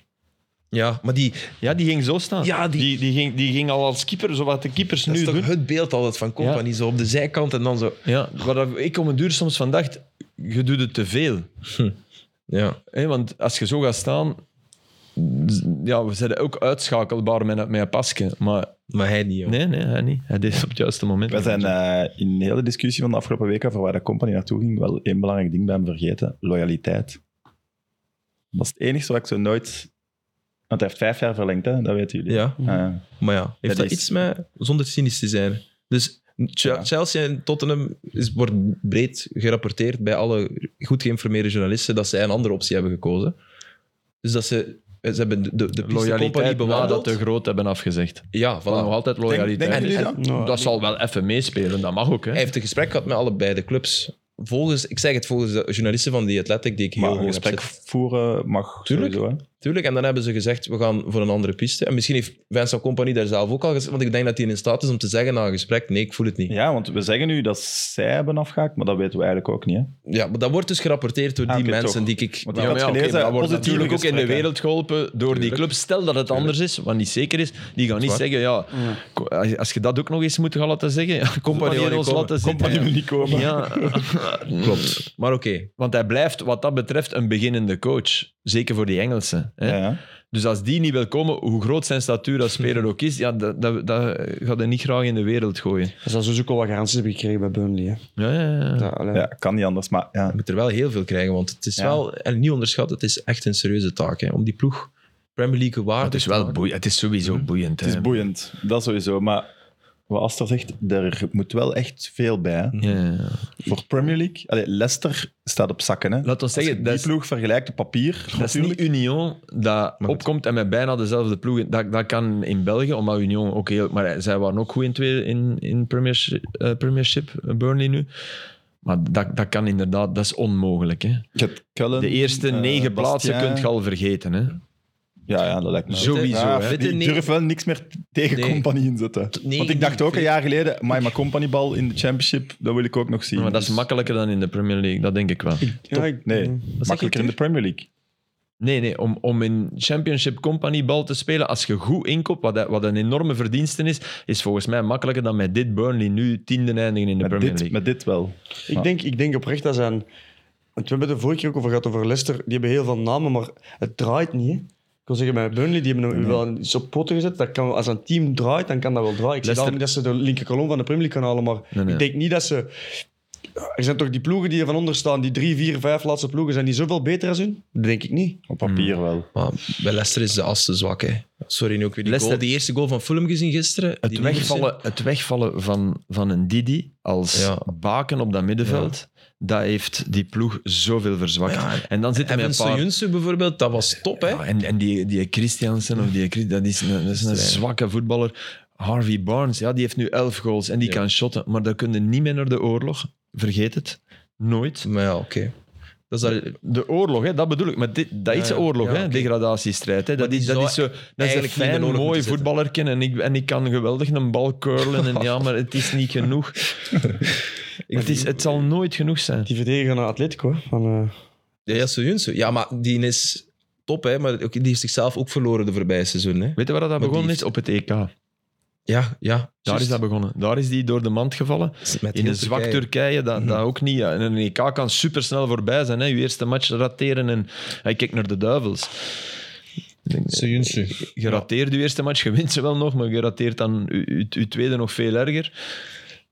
S1: Ja, maar die,
S3: Ja, die ging zo staan.
S1: Ja, die-
S3: die... Die, ging, die ging al als keeper, zo wat de keepers
S1: dat
S3: nu
S1: is toch
S3: doen.
S1: het beeld altijd van Company, zo op de zijkant en dan zo.
S3: Ja, waar dat- ik om een duur soms van dacht, je doet het te veel.
S1: Ja,
S3: Hé, want als je zo gaat staan... Ja, we zijn ook uitschakelbaar met, met een pasje. Maar
S1: maar hij niet. joh.
S3: nee, nee, hij niet. Hij deed het op het juiste moment.
S2: We zijn eh, in de hele discussie van de afgelopen week over waar de company naartoe ging, wel één belangrijk ding bij hem vergeten. Loyaliteit. Dat is het enige wat ik zo nooit Want hij heeft vijf jaar verlengd, hè? dat weten jullie.
S1: Ja.
S2: Ah,
S1: Maar ja, heeft
S2: Dat
S1: dat
S2: is-
S1: iets met, zonder cynisch te zijn. Dus Ch-
S2: Ja.
S1: Chelsea en Tottenham is, wordt breed gerapporteerd bij alle goed geïnformeerde journalisten dat zij een andere optie hebben gekozen. Dus dat ze, ze hebben de, de, de piste compagnie
S3: Loyaliteit na dat
S1: bewandeld.
S3: te groot hebben afgezegd.
S1: Ja, voilà.
S3: Voilà. Ah. Nog altijd loyaliteit.
S2: denken jullie dat?
S4: Nou,
S3: dat zal wel even meespelen, dat mag ook. Hè.
S1: Hij heeft een gesprek gehad met allebei de clubs. Volgens, ik zeg het volgens de journalisten van The Athletic, die ik heel
S2: Maar
S1: hoog
S2: een
S1: heb
S2: gesprek
S1: zitten.
S2: voeren mag
S1: Tuurlijk.
S2: sowieso, hè.
S1: Tuurlijk, en dan hebben ze gezegd, we gaan voor een andere piste. En misschien heeft Vincent Company daar zelf ook al gezegd, want ik denk dat hij in staat is om te zeggen na een gesprek, nee, ik voel het niet.
S2: Ja, want we zeggen nu dat zij hebben afgehaakt, maar dat weten we eigenlijk ook niet. Hè?
S1: Ja, maar dat wordt dus gerapporteerd door
S2: Ah,
S1: die
S2: oké,
S1: mensen
S2: toch.
S1: die ik...
S2: Want
S3: Ja,
S2: ik had
S3: maar ja, oké,
S2: gelezen,
S3: maar dat wordt
S2: positieve
S3: natuurlijk ook in de
S2: gesprekken.
S3: wereld geholpen door die
S1: Tuurlijk.
S3: club. Stel dat het anders is, wat niet zeker is. Die gaan niet
S1: waar.
S3: zeggen, ja, ko- als- als je dat ook nog eens moet gaan laten zeggen, ja, compagnie
S1: wil
S3: in
S1: niet
S3: ons
S1: komen.
S3: laten zitten.
S2: Compagnie wil niet komen.
S3: Ja, Mm.
S1: Klopt. Maar oké,
S3: want hij blijft wat dat betreft een beginnende coach. Zeker voor die Engelsen. Hè?
S2: Ja, ja.
S3: Dus als die niet wil komen, hoe groot zijn statuur als speler ook is, ja, dat, dat, dat gaat hij niet graag in de wereld gooien.
S4: dat zou sowieso ook al wat garanties hebben gekregen bij Burnley. Hè.
S3: Ja, ja, ja.
S4: Ja, allee.
S2: Ja, kan niet anders, maar ja.
S1: je moet er wel heel veel krijgen, want het is
S2: Ja.
S1: wel... En niet onderschat, het is echt een serieuze taak, hè, om die ploeg Premier League
S3: Maar
S1: waardig
S3: het is
S1: te
S3: wel
S1: maken.
S3: boeiend. Mhm. Het is sowieso boeiend.
S2: het
S3: hè.
S2: is boeiend. Dat sowieso, maar wat Aster zegt, er moet wel echt veel bij. hè.
S3: Ja, ja, ja.
S2: Voor Premier League, allee, Leicester staat op zakken. Hè.
S3: Laat ons
S2: Als je
S3: zeggen,
S2: die
S3: dat is-
S2: ploeg vergelijkt op papier,
S3: Dat is
S2: natuurlijk.
S3: niet Union dat opkomt en met bijna dezelfde ploeg. Dat, dat kan in België, omdat Union ook heel... Maar zij waren ook goed in, twee, in, in premiership, eh, premiership, eh, Burnley nu. Maar dat, dat kan inderdaad, dat is onmogelijk. Hè.
S2: Je hebt Cullen,
S3: De eerste
S2: eh,
S3: negen plaatsen
S2: Bastien.
S3: kunt je al vergeten. Hè.
S2: Ja, ja, dat lijkt me.
S3: Sowieso,
S2: Ja,
S1: hè.
S2: ik durf wel niks meer tegen
S1: Nee.
S2: Company inzetten.
S1: Nee,
S2: Want ik dacht ook een
S1: nee.
S2: jaar geleden, maar mijn Company bal in de Championship, dat wil ik ook nog zien.
S3: Maar dat is Mm.
S2: Dus
S3: makkelijker dan in de Premier League, dat denk ik wel.
S4: Ja, ik-
S2: Nee,
S4: ja.
S2: makkelijker in de Premier League.
S3: Nee, nee, om, om in Championship Company bal te spelen, als je goed inkoopt, wat, dat- wat een enorme verdienste is, is volgens mij makkelijker dan met dit Burnley nu tiende eindigen in de
S2: Met
S3: Premier
S2: dit,
S3: League.
S2: met dit wel.
S4: Ik, denk, ik denk oprecht dat zijn. Want we hebben het de vorige keer ook over gehad over Leicester. Die hebben heel veel namen, maar het draait niet. hè. Ik wil zeggen, bij Burnley die hebben hem wel iets op poten gezet. Dat kan, als een team draait, dan kan dat wel draaien. Ik
S3: Leicester-
S4: zeg daarom niet dat ze de linker kolom van de Premier League gaan halen, maar
S3: Nee, nee.
S4: ik denk niet dat ze... Er zijn toch die ploegen die er van onder staan, die drie, vier, vijf laatste ploegen, zijn die zoveel beter als hun? Dat denk ik niet.
S2: Op
S3: Mm.
S2: papier wel.
S1: Maar bij Leicester is de as te zwak, hè. Sorry, nu ook weer die,
S3: Leicester-
S1: goal, die eerste goal van Fulham gezien gisteren.
S3: Het
S1: die
S3: wegvallen, het wegvallen van, van een Didi als
S1: Ja.
S3: baken op dat middenveld, dat heeft die ploeg zoveel verzwakt.
S1: Ja,
S3: en dan zit hij met
S1: Evan
S3: een paar...
S1: Sojunsu bijvoorbeeld, dat was top, hè.
S3: Ja, en en die, die Christiansen, of die, Chris- dat is een, dat is een zwakke voetballer. Harvey Barnes, ja, die heeft nu elf goals en die
S1: Ja.
S3: kan shotten. Maar dat kunnen niet meer naar de oorlog. Vergeet het. Nooit.
S1: Maar ja, oké. Dat is al-
S3: De oorlog, hè, dat bedoel ik. Maar dit, dat
S1: Ja,
S3: is
S1: ja.
S3: oorlog,
S1: Ja,
S3: hè,
S1: oké.
S3: degradatiestrijd. Hè. Dat,
S1: die
S3: is, dat
S1: zou
S3: is zo... Dat is een
S1: eigenlijk niet in de
S3: fijn,
S1: oorlog
S3: mooi
S1: moeten zitten.
S3: voetballerken en ik, en ik kan geweldig een bal curlen. En, ja, maar het is niet genoeg. het, is, het zal nooit genoeg zijn.
S4: Die verdediger naar Atletico. hè, Van, eh,
S1: Ja, ja, Soyuncu. Ja, maar die is top, hè. Maar ook- die heeft zichzelf ook verloren de voorbije seizoen, hè.
S3: Weet je waar dat
S1: die
S3: begonnen
S1: heeft-
S3: is? Op het EK. Daar
S1: Ja, ja.
S3: is dat begonnen. Daar is die door de mand gevallen.
S1: Met
S3: In
S1: heel
S3: een zwak
S1: Turkije. Mhm.
S3: Turkije, dat, dat ook niet. ja. En een EK kan supersnel voorbij zijn. Hè. Je eerste match rateren en hij kijkt naar de duivels. Ik denk, Je rateert je eerste match, je wint ze wel nog, maar je rateert dan je- je je tweede nog veel erger.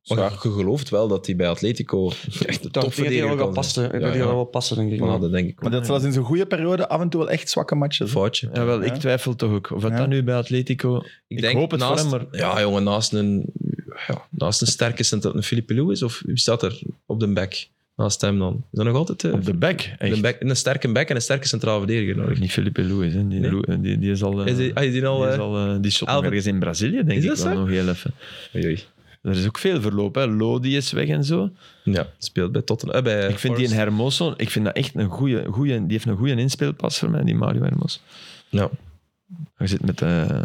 S1: Maar je, je gelooft wel dat hij bij Atletico echt de
S4: ik denk dat die
S1: topverdediger
S4: wel
S1: kan zijn.
S4: gaat passen. Ik denk
S1: Ja,
S4: dat die
S1: ja.
S4: wel passen, denk ik.
S1: Voilà,
S4: maar-
S1: dat denk ik ook.
S2: Maar dat was in zo'n goede periode af en toe wel echt zwakke matches. hè.
S1: foutje.
S3: Ja, wel, ik
S2: Ja.
S3: twijfel toch ook. Of dat
S2: Ja.
S3: dan nu bij Atletico... Ik, hoop het
S1: naast,
S3: voor hem, maar...
S1: Ja, jongen, naast een, ja, naast een sterke cent dat een Philippe Lewis, of wie staat er op de back naast hem dan? Is dat nog altijd eh,
S3: Op de back, echt.
S1: een, back, een sterke back en een sterke centrale verdediger nodig?
S3: Niet Felipe Luis, hè. Die,
S1: Nee?
S3: Lu- die, die is al... eh,
S1: Is die, ah, is die al...
S3: die, is
S1: eh,
S3: al, eh, die shot nog
S1: Alve-
S3: ergens in Brazilië, denk
S1: Is
S3: ik
S1: dat
S3: wel,
S1: zo?
S3: nog heel even.
S1: oei, oei.
S3: Er is ook veel verloop, hè. Lodi is weg en zo.
S1: Ja, speelt bij Tottenham. eh, bij
S3: Ik vind die in
S1: Forest.
S3: Hermoso, ik vind dat echt een goede, goede die heeft een goede inspeelpas voor mij, die Mario Hermoso.
S1: Ja.
S3: Hij zit met eh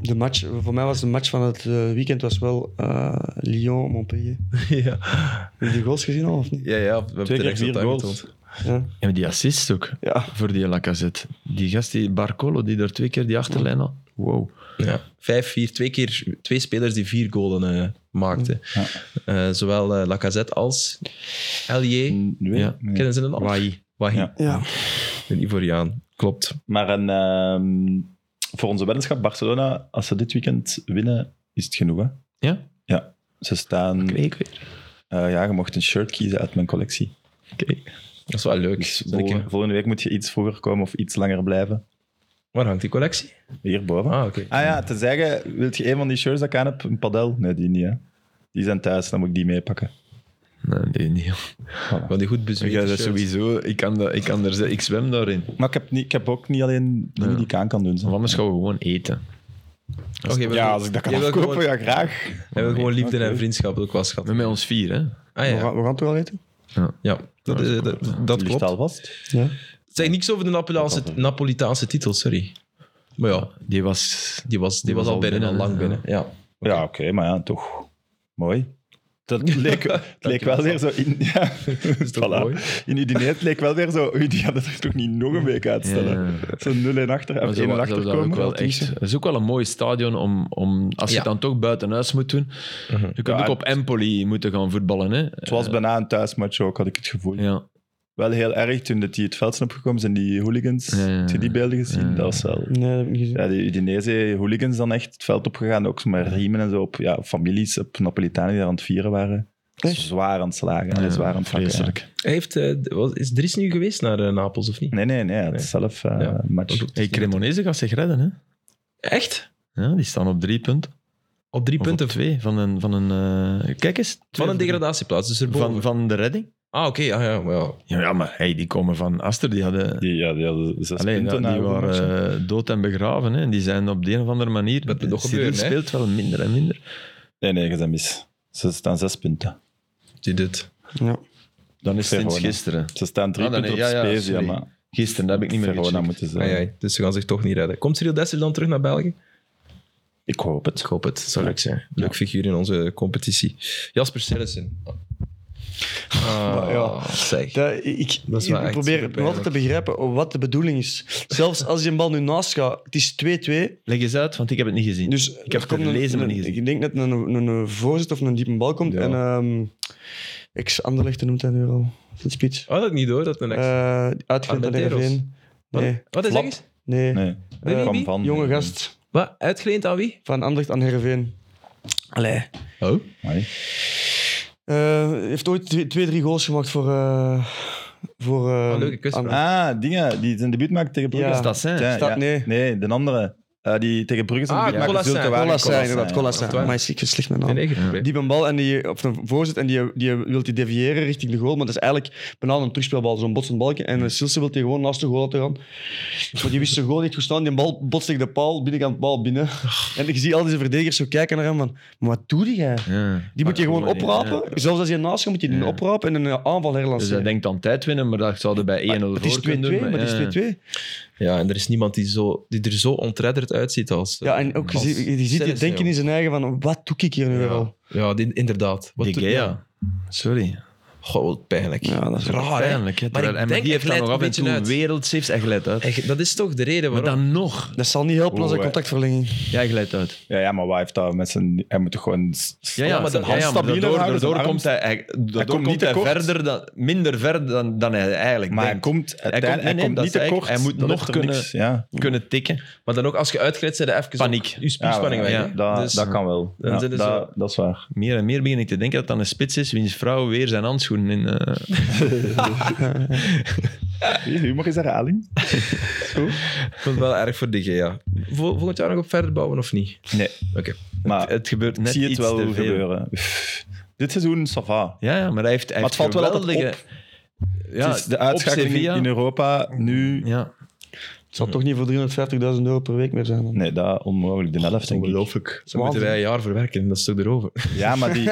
S4: De match, voor mij was de match van het eh, weekend was wel eh, Lyon-Montpellier.
S1: ja.
S4: Heb je die goals gezien al of niet?
S1: Ja, ja, we hebben
S2: Twee keer
S1: terecht
S2: vier
S1: dat
S2: goals.
S1: aangetoond.
S4: Ja.
S3: en die assist ook
S4: ja.
S3: voor die Lacazette. Die gast, die Barcolo, die er twee keer die achterlijn had. Wow.
S1: Ja. Vijf, vier, twee keer twee spelers die vier goalen eh, maakten.
S2: Ja.
S1: Eh, zowel eh, Lacazette als L.J.
S2: Nee,
S3: Ja.
S2: nee.
S1: Kennen ze een ander?
S3: Wai.
S1: Wahi.
S2: Mm, Ja.
S4: Ja.
S1: Een Ivoriaan. Klopt.
S2: Maar een, ehm, voor onze weddenschap, Barcelona, als ze dit weekend winnen, is het genoeg. Hè?
S3: Ja?
S2: Ja. Ze staan...
S3: Kreeg weer.
S2: eh, ja, je mocht een shirt kiezen uit mijn collectie.
S3: Oké.
S1: Dat is wel leuk.
S2: Dus
S1: Zal ik
S2: volgende,
S1: hem-
S2: volgende week moet je iets vroeger komen of iets langer blijven.
S1: Waar hangt die collectie?
S2: Hierboven.
S1: Ah, oké.
S2: Ah ja, te zeggen, wilt je een van die shirts dat ik aan heb? Een padel? Nee, die niet, hè. Die zijn thuis, dan moet ik die meepakken.
S3: Nee, nee, nee.
S1: Van die goed
S3: Ik, ga
S1: bezweet.
S3: dat sowieso, ik, kan dat, ik, kan er, ze- ik zwem daarin.
S2: Maar ik heb, niet, ik heb ook niet alleen dingen die ik aan kan doen. zo.
S3: Want anders gaan we gewoon eten.
S2: Ja, als ik dat kan
S1: Jij wil
S2: afkopen,
S1: gewoon-
S2: ja, graag.
S1: Hij wil gewoon liefde en vriendschap ook wel schatten.
S3: Met met ons vier, hè?
S1: Ah
S4: We,
S1: ja,
S4: gaan, we gaan toch al eten?
S1: ja. dat, is- dat, dat
S2: Ligt
S1: klopt.
S2: al vast.
S4: Ja.
S1: Zeg niks over de Napolitaanse, Napolitaanse titel, sorry. Maar ja,
S3: Die was...
S1: die was, die was al binnen, al lang binnen. Ja.
S2: Ja, oké, maar ja, toch. Mooi. Dat leek, het leek wel weer zo in... Ja.
S1: is toch
S2: Voilà.
S1: mooi?
S2: In Udine, het leek wel weer zo... Oei, die hadden er toch niet nog een week uitstellen?
S3: Ja.
S2: Zo 0 en achter,
S3: Maar
S2: even
S3: ze
S2: 1 en
S3: hebben-
S2: achter
S3: ze hebben daar ook
S2: komen.
S3: wel echt, het is ook wel een mooi stadion om, om als je
S1: Ja.
S3: het dan toch buiten huis moet doen. Je kunt
S2: Ja,
S3: ook op Empoli moeten gaan voetballen. Hè?
S2: Het was bijna een thuismatch ook, had ik het gevoel.
S3: eh, Ja.
S2: Wel heel erg toen dat die het veld zijn opgekomen, zijn die hooligans.
S3: Ja, ja, ja.
S2: Heb je die beelden gezien?
S3: Ja.
S2: Dat was wel...
S4: Nee, dat heb ik niet gezien.
S2: Ja, die Udinese hooligans dan echt het veld opgegaan, ook zo met riemen en zo op ja, families, op Napolitanen die daar aan het vieren waren. Zwaar aan het slagen, en
S3: Ja,
S2: zwaar aan het pakken, ja.
S3: vreselijk.
S1: Hij heeft, eh, was- is Dries nu geweest naar eh, Napels, of niet?
S2: Nee, nee, nee, het is zelf eh,
S1: Ja.
S2: match.
S3: Hey, Cremonese gaat zich redden. Hè?
S1: Echt?
S3: Ja, die staan op drie punten.
S1: Op drie
S3: Of
S1: punten
S3: op twee van een... Van een eh, kijk eens. Twee
S1: van een
S3: of drie.
S1: degradatieplaats. Dus er
S3: Van,
S1: boven.
S3: van de redding.
S1: Ah, oké, ja, ja, maar ja.
S3: Ja, ja, maar hey, die komen van Aster. Die hadden...
S2: Die, ja, die hadden zes
S3: Alleen,
S2: punten na
S3: die
S2: elke match.
S3: waren eh, dood en begraven. Hè? En die zijn op de een of andere manier...
S1: Dat moet nog
S3: Cyril
S1: gebeuren, hè.
S3: speelt wel minder en minder.
S2: Nee, nee, je bent mis. Ze staan zes punten.
S1: Die dit.
S4: Ja.
S3: Dan is het sinds
S2: Verona.
S3: gisteren.
S2: Ze staan drie
S3: Ah, dan-
S2: punten op
S3: ja, ja,
S2: Spezia,
S3: sorry.
S2: maar
S3: Gisteren, dat heb ik niet meer
S2: Verona
S3: gecheckt.
S2: moeten ze.
S1: Ai, ai, dus ze gaan zich toch niet redden. Komt Cyril Dessel dan terug naar België?
S2: Ik hoop
S1: Ik
S2: het.
S1: hoop het, zou leuk zijn. Leuk figuur in onze competitie. Jasper Sillissen. Ah,
S4: ja.
S1: zeg.
S4: Ja, ik
S1: Dat is
S4: ik
S1: wel echt
S4: probeer
S1: superpijnlijk.
S4: nog altijd te begrijpen wat de bedoeling is. Zelfs als die bal nu naast gaat, het is 2-2.
S3: Leg eens uit, want ik heb het niet gezien.
S4: Dus
S3: ik heb
S4: er
S3: het
S4: komt
S3: gelezen,
S4: een,
S3: maar niet gezien.
S4: Ik denk dat een, een, een voorzet of een diepe bal komt.
S2: Ja.
S4: En ehm ex-Anderlecht noemt dat nu al. De spits.
S1: Oh, dat niet hoor, dat een ex.
S4: Eh uitgelegd aan
S1: Armenteros.
S4: RV1.
S1: Wat-
S4: Nee,
S1: Wat is
S2: Flap.
S1: dat?
S4: nee.
S2: Nee.
S1: Weet
S2: Kwam
S1: wie?
S2: van.
S4: Eh, Jonge gast
S1: Wat? Uitgeleend aan wie?
S4: van Anderlecht aan Heerenveen. Allee.
S1: Oh.
S2: Amai.
S4: Eh, heeft ooit twee, twee, drie goals gemaakt voor... eh voor eh,
S1: Ah, leuke kusvraag.
S4: aan-
S2: Ah, dingen die zijn debuut maakte tegen Brugge.
S4: Ja.
S3: dat zijn.
S2: Ja,
S4: Staat-
S2: ja.
S4: nee.
S2: Nee, de andere. Eh, die tegen Brugge zijn
S1: Ah,
S2: debuut maakte.
S1: Colassin.
S2: zult te waren.
S4: Colas zijn,
S3: eh,
S2: Colassin,
S4: inderdaad.
S2: ja.
S4: Colas zijn.
S1: waar.
S4: Maar is ik vind slecht met naam.
S1: Nee, nee, geen probleem.
S4: Die een bal en die, of een voorzet en die, die wil die deviëren richting de goal. Maar dat is eigenlijk bijna een terugspeelbal, zo'n botsend balkje. En eh, Silse wil die gewoon naast de goal laten gaan. Maar die wist zijn goal niet goed staan. Die bal botst tegen de paal, binnenkant paal binnen. En ik zie al deze verdedigers zo kijken naar hem van... Maar wat doe jij?
S3: Ja.
S4: Die moet je gewoon
S3: Ja.
S4: oprapen. Zelfs als je naast gaat, moet je die
S3: Ja.
S4: oprapen en een aanval
S3: Dus hij
S4: herlanceren.
S3: denkt aan tijd winnen, maar dat zouden bij 1-0 voor
S4: Het is 2-2,
S3: kunnen doen.
S4: maar
S3: ja.
S4: het is 2-2.
S1: Ja, en er is niemand die, zo, die er zo ontredderd uitziet als... eh,
S4: Ja, en ook, je,
S1: als
S4: ziet- je ziet die
S1: Sillissen,
S4: denken in zijn eigen van... Wat doe ik hier nu weer
S1: Ja,
S4: al?
S1: ja die- inderdaad.
S3: Die
S1: doet-
S3: Gea. Sorry.
S1: Goh, wat pijnlijk.
S4: Ja, dat is
S1: raar, hè?
S3: Pijnlijk, hè.
S1: Maar ik
S3: Terwijl- en- Maar,
S1: denk,
S3: die
S1: hij
S3: heeft dan
S1: glijdt
S3: nog af
S1: een
S3: en
S1: beetje
S3: toe
S1: uit.
S3: wereldsaves en glijdt uit.
S1: Echt, dat is toch de reden
S3: Maar
S1: waarom...
S3: dan nog.
S4: Dat zal niet helpen als een
S2: Oeh, hè.
S4: contactverlenging.
S3: Ja, hij glijdt uit.
S2: Ja, ja, maar waar heeft dat met zijn... Hij moet toch gewoon... s-
S3: Ja,
S1: Ja,
S3: ja,
S1: maar
S3: zijn
S1: dat-
S3: hand
S2: ja, maar
S3: stabieler
S2: daardoor-
S3: houden,
S2: daardoor
S3: zijn
S2: komt
S3: arm- hij, daardoor
S2: komt
S3: komt
S2: niet
S3: hij
S2: tekort.
S3: verder dan, minder ver dan, dan hij eigenlijk
S2: Maar hij
S3: denkt.
S2: komt uiteindelijk
S3: nee,
S2: hij
S3: nee,
S2: komt
S3: dat
S2: niet
S3: zei
S2: te
S3: ik.
S2: kort.
S3: Hij moet
S2: Dat
S3: nog
S2: heeft er
S3: kunnen-
S2: niks, Ja.
S3: Kunnen tikken.
S1: Maar dan ook, als je uitglijdt, zijn er even...
S3: Paniek.
S1: ook Je spierspanning
S2: Ja,
S1: weg.
S2: ja,
S1: hè?
S2: dat,
S1: Dus-
S2: dat kan wel.
S1: dan
S2: Ja,
S1: zijn ze
S2: dat, dat is waar.
S3: Meer en meer begin ik te denken dat het dan een spits is wiens vrouw weer zijn handschoenen in... eh,
S2: Hier, Humor is herhaling.
S1: Ik vond het wel erg voor de Gea. Vol- volgend jaar nog op verder bouwen of niet?
S2: Nee.
S1: Oké.
S2: Maar
S3: het gebeurt
S2: ik
S3: net
S2: zie het
S3: iets
S2: wel
S3: te veel.
S2: gebeuren. Pff, Dit seizoen, ça va.
S3: Ja, ja, maar hij heeft, hij
S2: Maar het
S3: heeft
S2: valt wel altijd
S3: geweldige... Ja,
S2: het is de
S3: op
S2: uitschakeling
S3: Sevilla.
S2: in Europa nu...
S3: Ja.
S4: Het
S3: Mhm.
S4: zal toch niet voor 350.000 euro per week meer zijn. dan?
S2: Nee, dat onmogelijk. De helft, denk ik.
S1: Ongelooflijk. Zo moeten
S4: Waanzin.
S1: wij een jaar verwerken, dat is toch erover?
S2: Ja, maar die,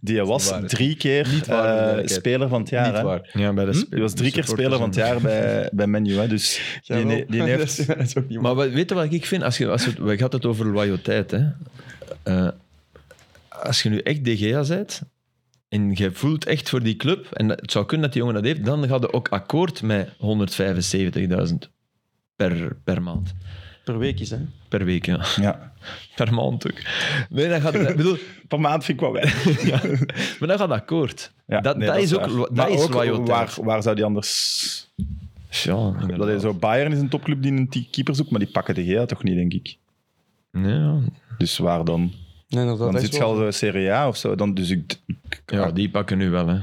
S2: die was
S1: waar, hè?
S2: drie keer
S1: waar,
S2: eh,
S1: voor de duidelijkheid.
S2: speler van het jaar.
S1: Niet
S2: hè.
S1: waar.
S3: ja, bij de sp-
S2: Die was drie keer
S3: supporters
S2: speler van het
S3: en-
S2: jaar bij, bij Menu. Hè. Dus die,
S4: Jawel.
S2: ne- die heeft...
S4: dat, is, dat is ook niet waar.
S3: Maar wat- weet je wat ik vind? Als je, als je, we hadden het over loyaliteit. Hè? Eh, als je nu echt DGA bent en je voelt echt voor die club, en dat- het zou kunnen dat die jongen dat heeft, dan gaat je ook akkoord met 175.000 per, per maand.
S4: Per week is, hè?
S3: Per week, ja.
S2: Ja.
S3: Per maand ook. Nee, dat gaat, ik bedoel,
S2: Per maand vind ik wel weinig.
S3: maar dat gaat akkoord.
S2: Ja,
S3: dat,
S2: nee,
S3: dat, is ook,
S2: waar.
S3: lo- dat
S2: Maar
S3: is
S2: ook,
S3: loyaliteit.
S2: waar, waar zou die anders...
S3: Ja, inderdaad.
S2: Dat is zo, Bayern is een topclub die een t- keeper zoekt, maar die pakken de GA toch niet, denk ik.
S3: Ja,
S2: Dus waar dan?
S4: Nee, inderdaad.
S2: dan
S4: dat is
S2: zit je
S4: wel-
S2: al zo Serie A of zo. Dan, dus ik,
S3: ja, die pakken nu wel, hè.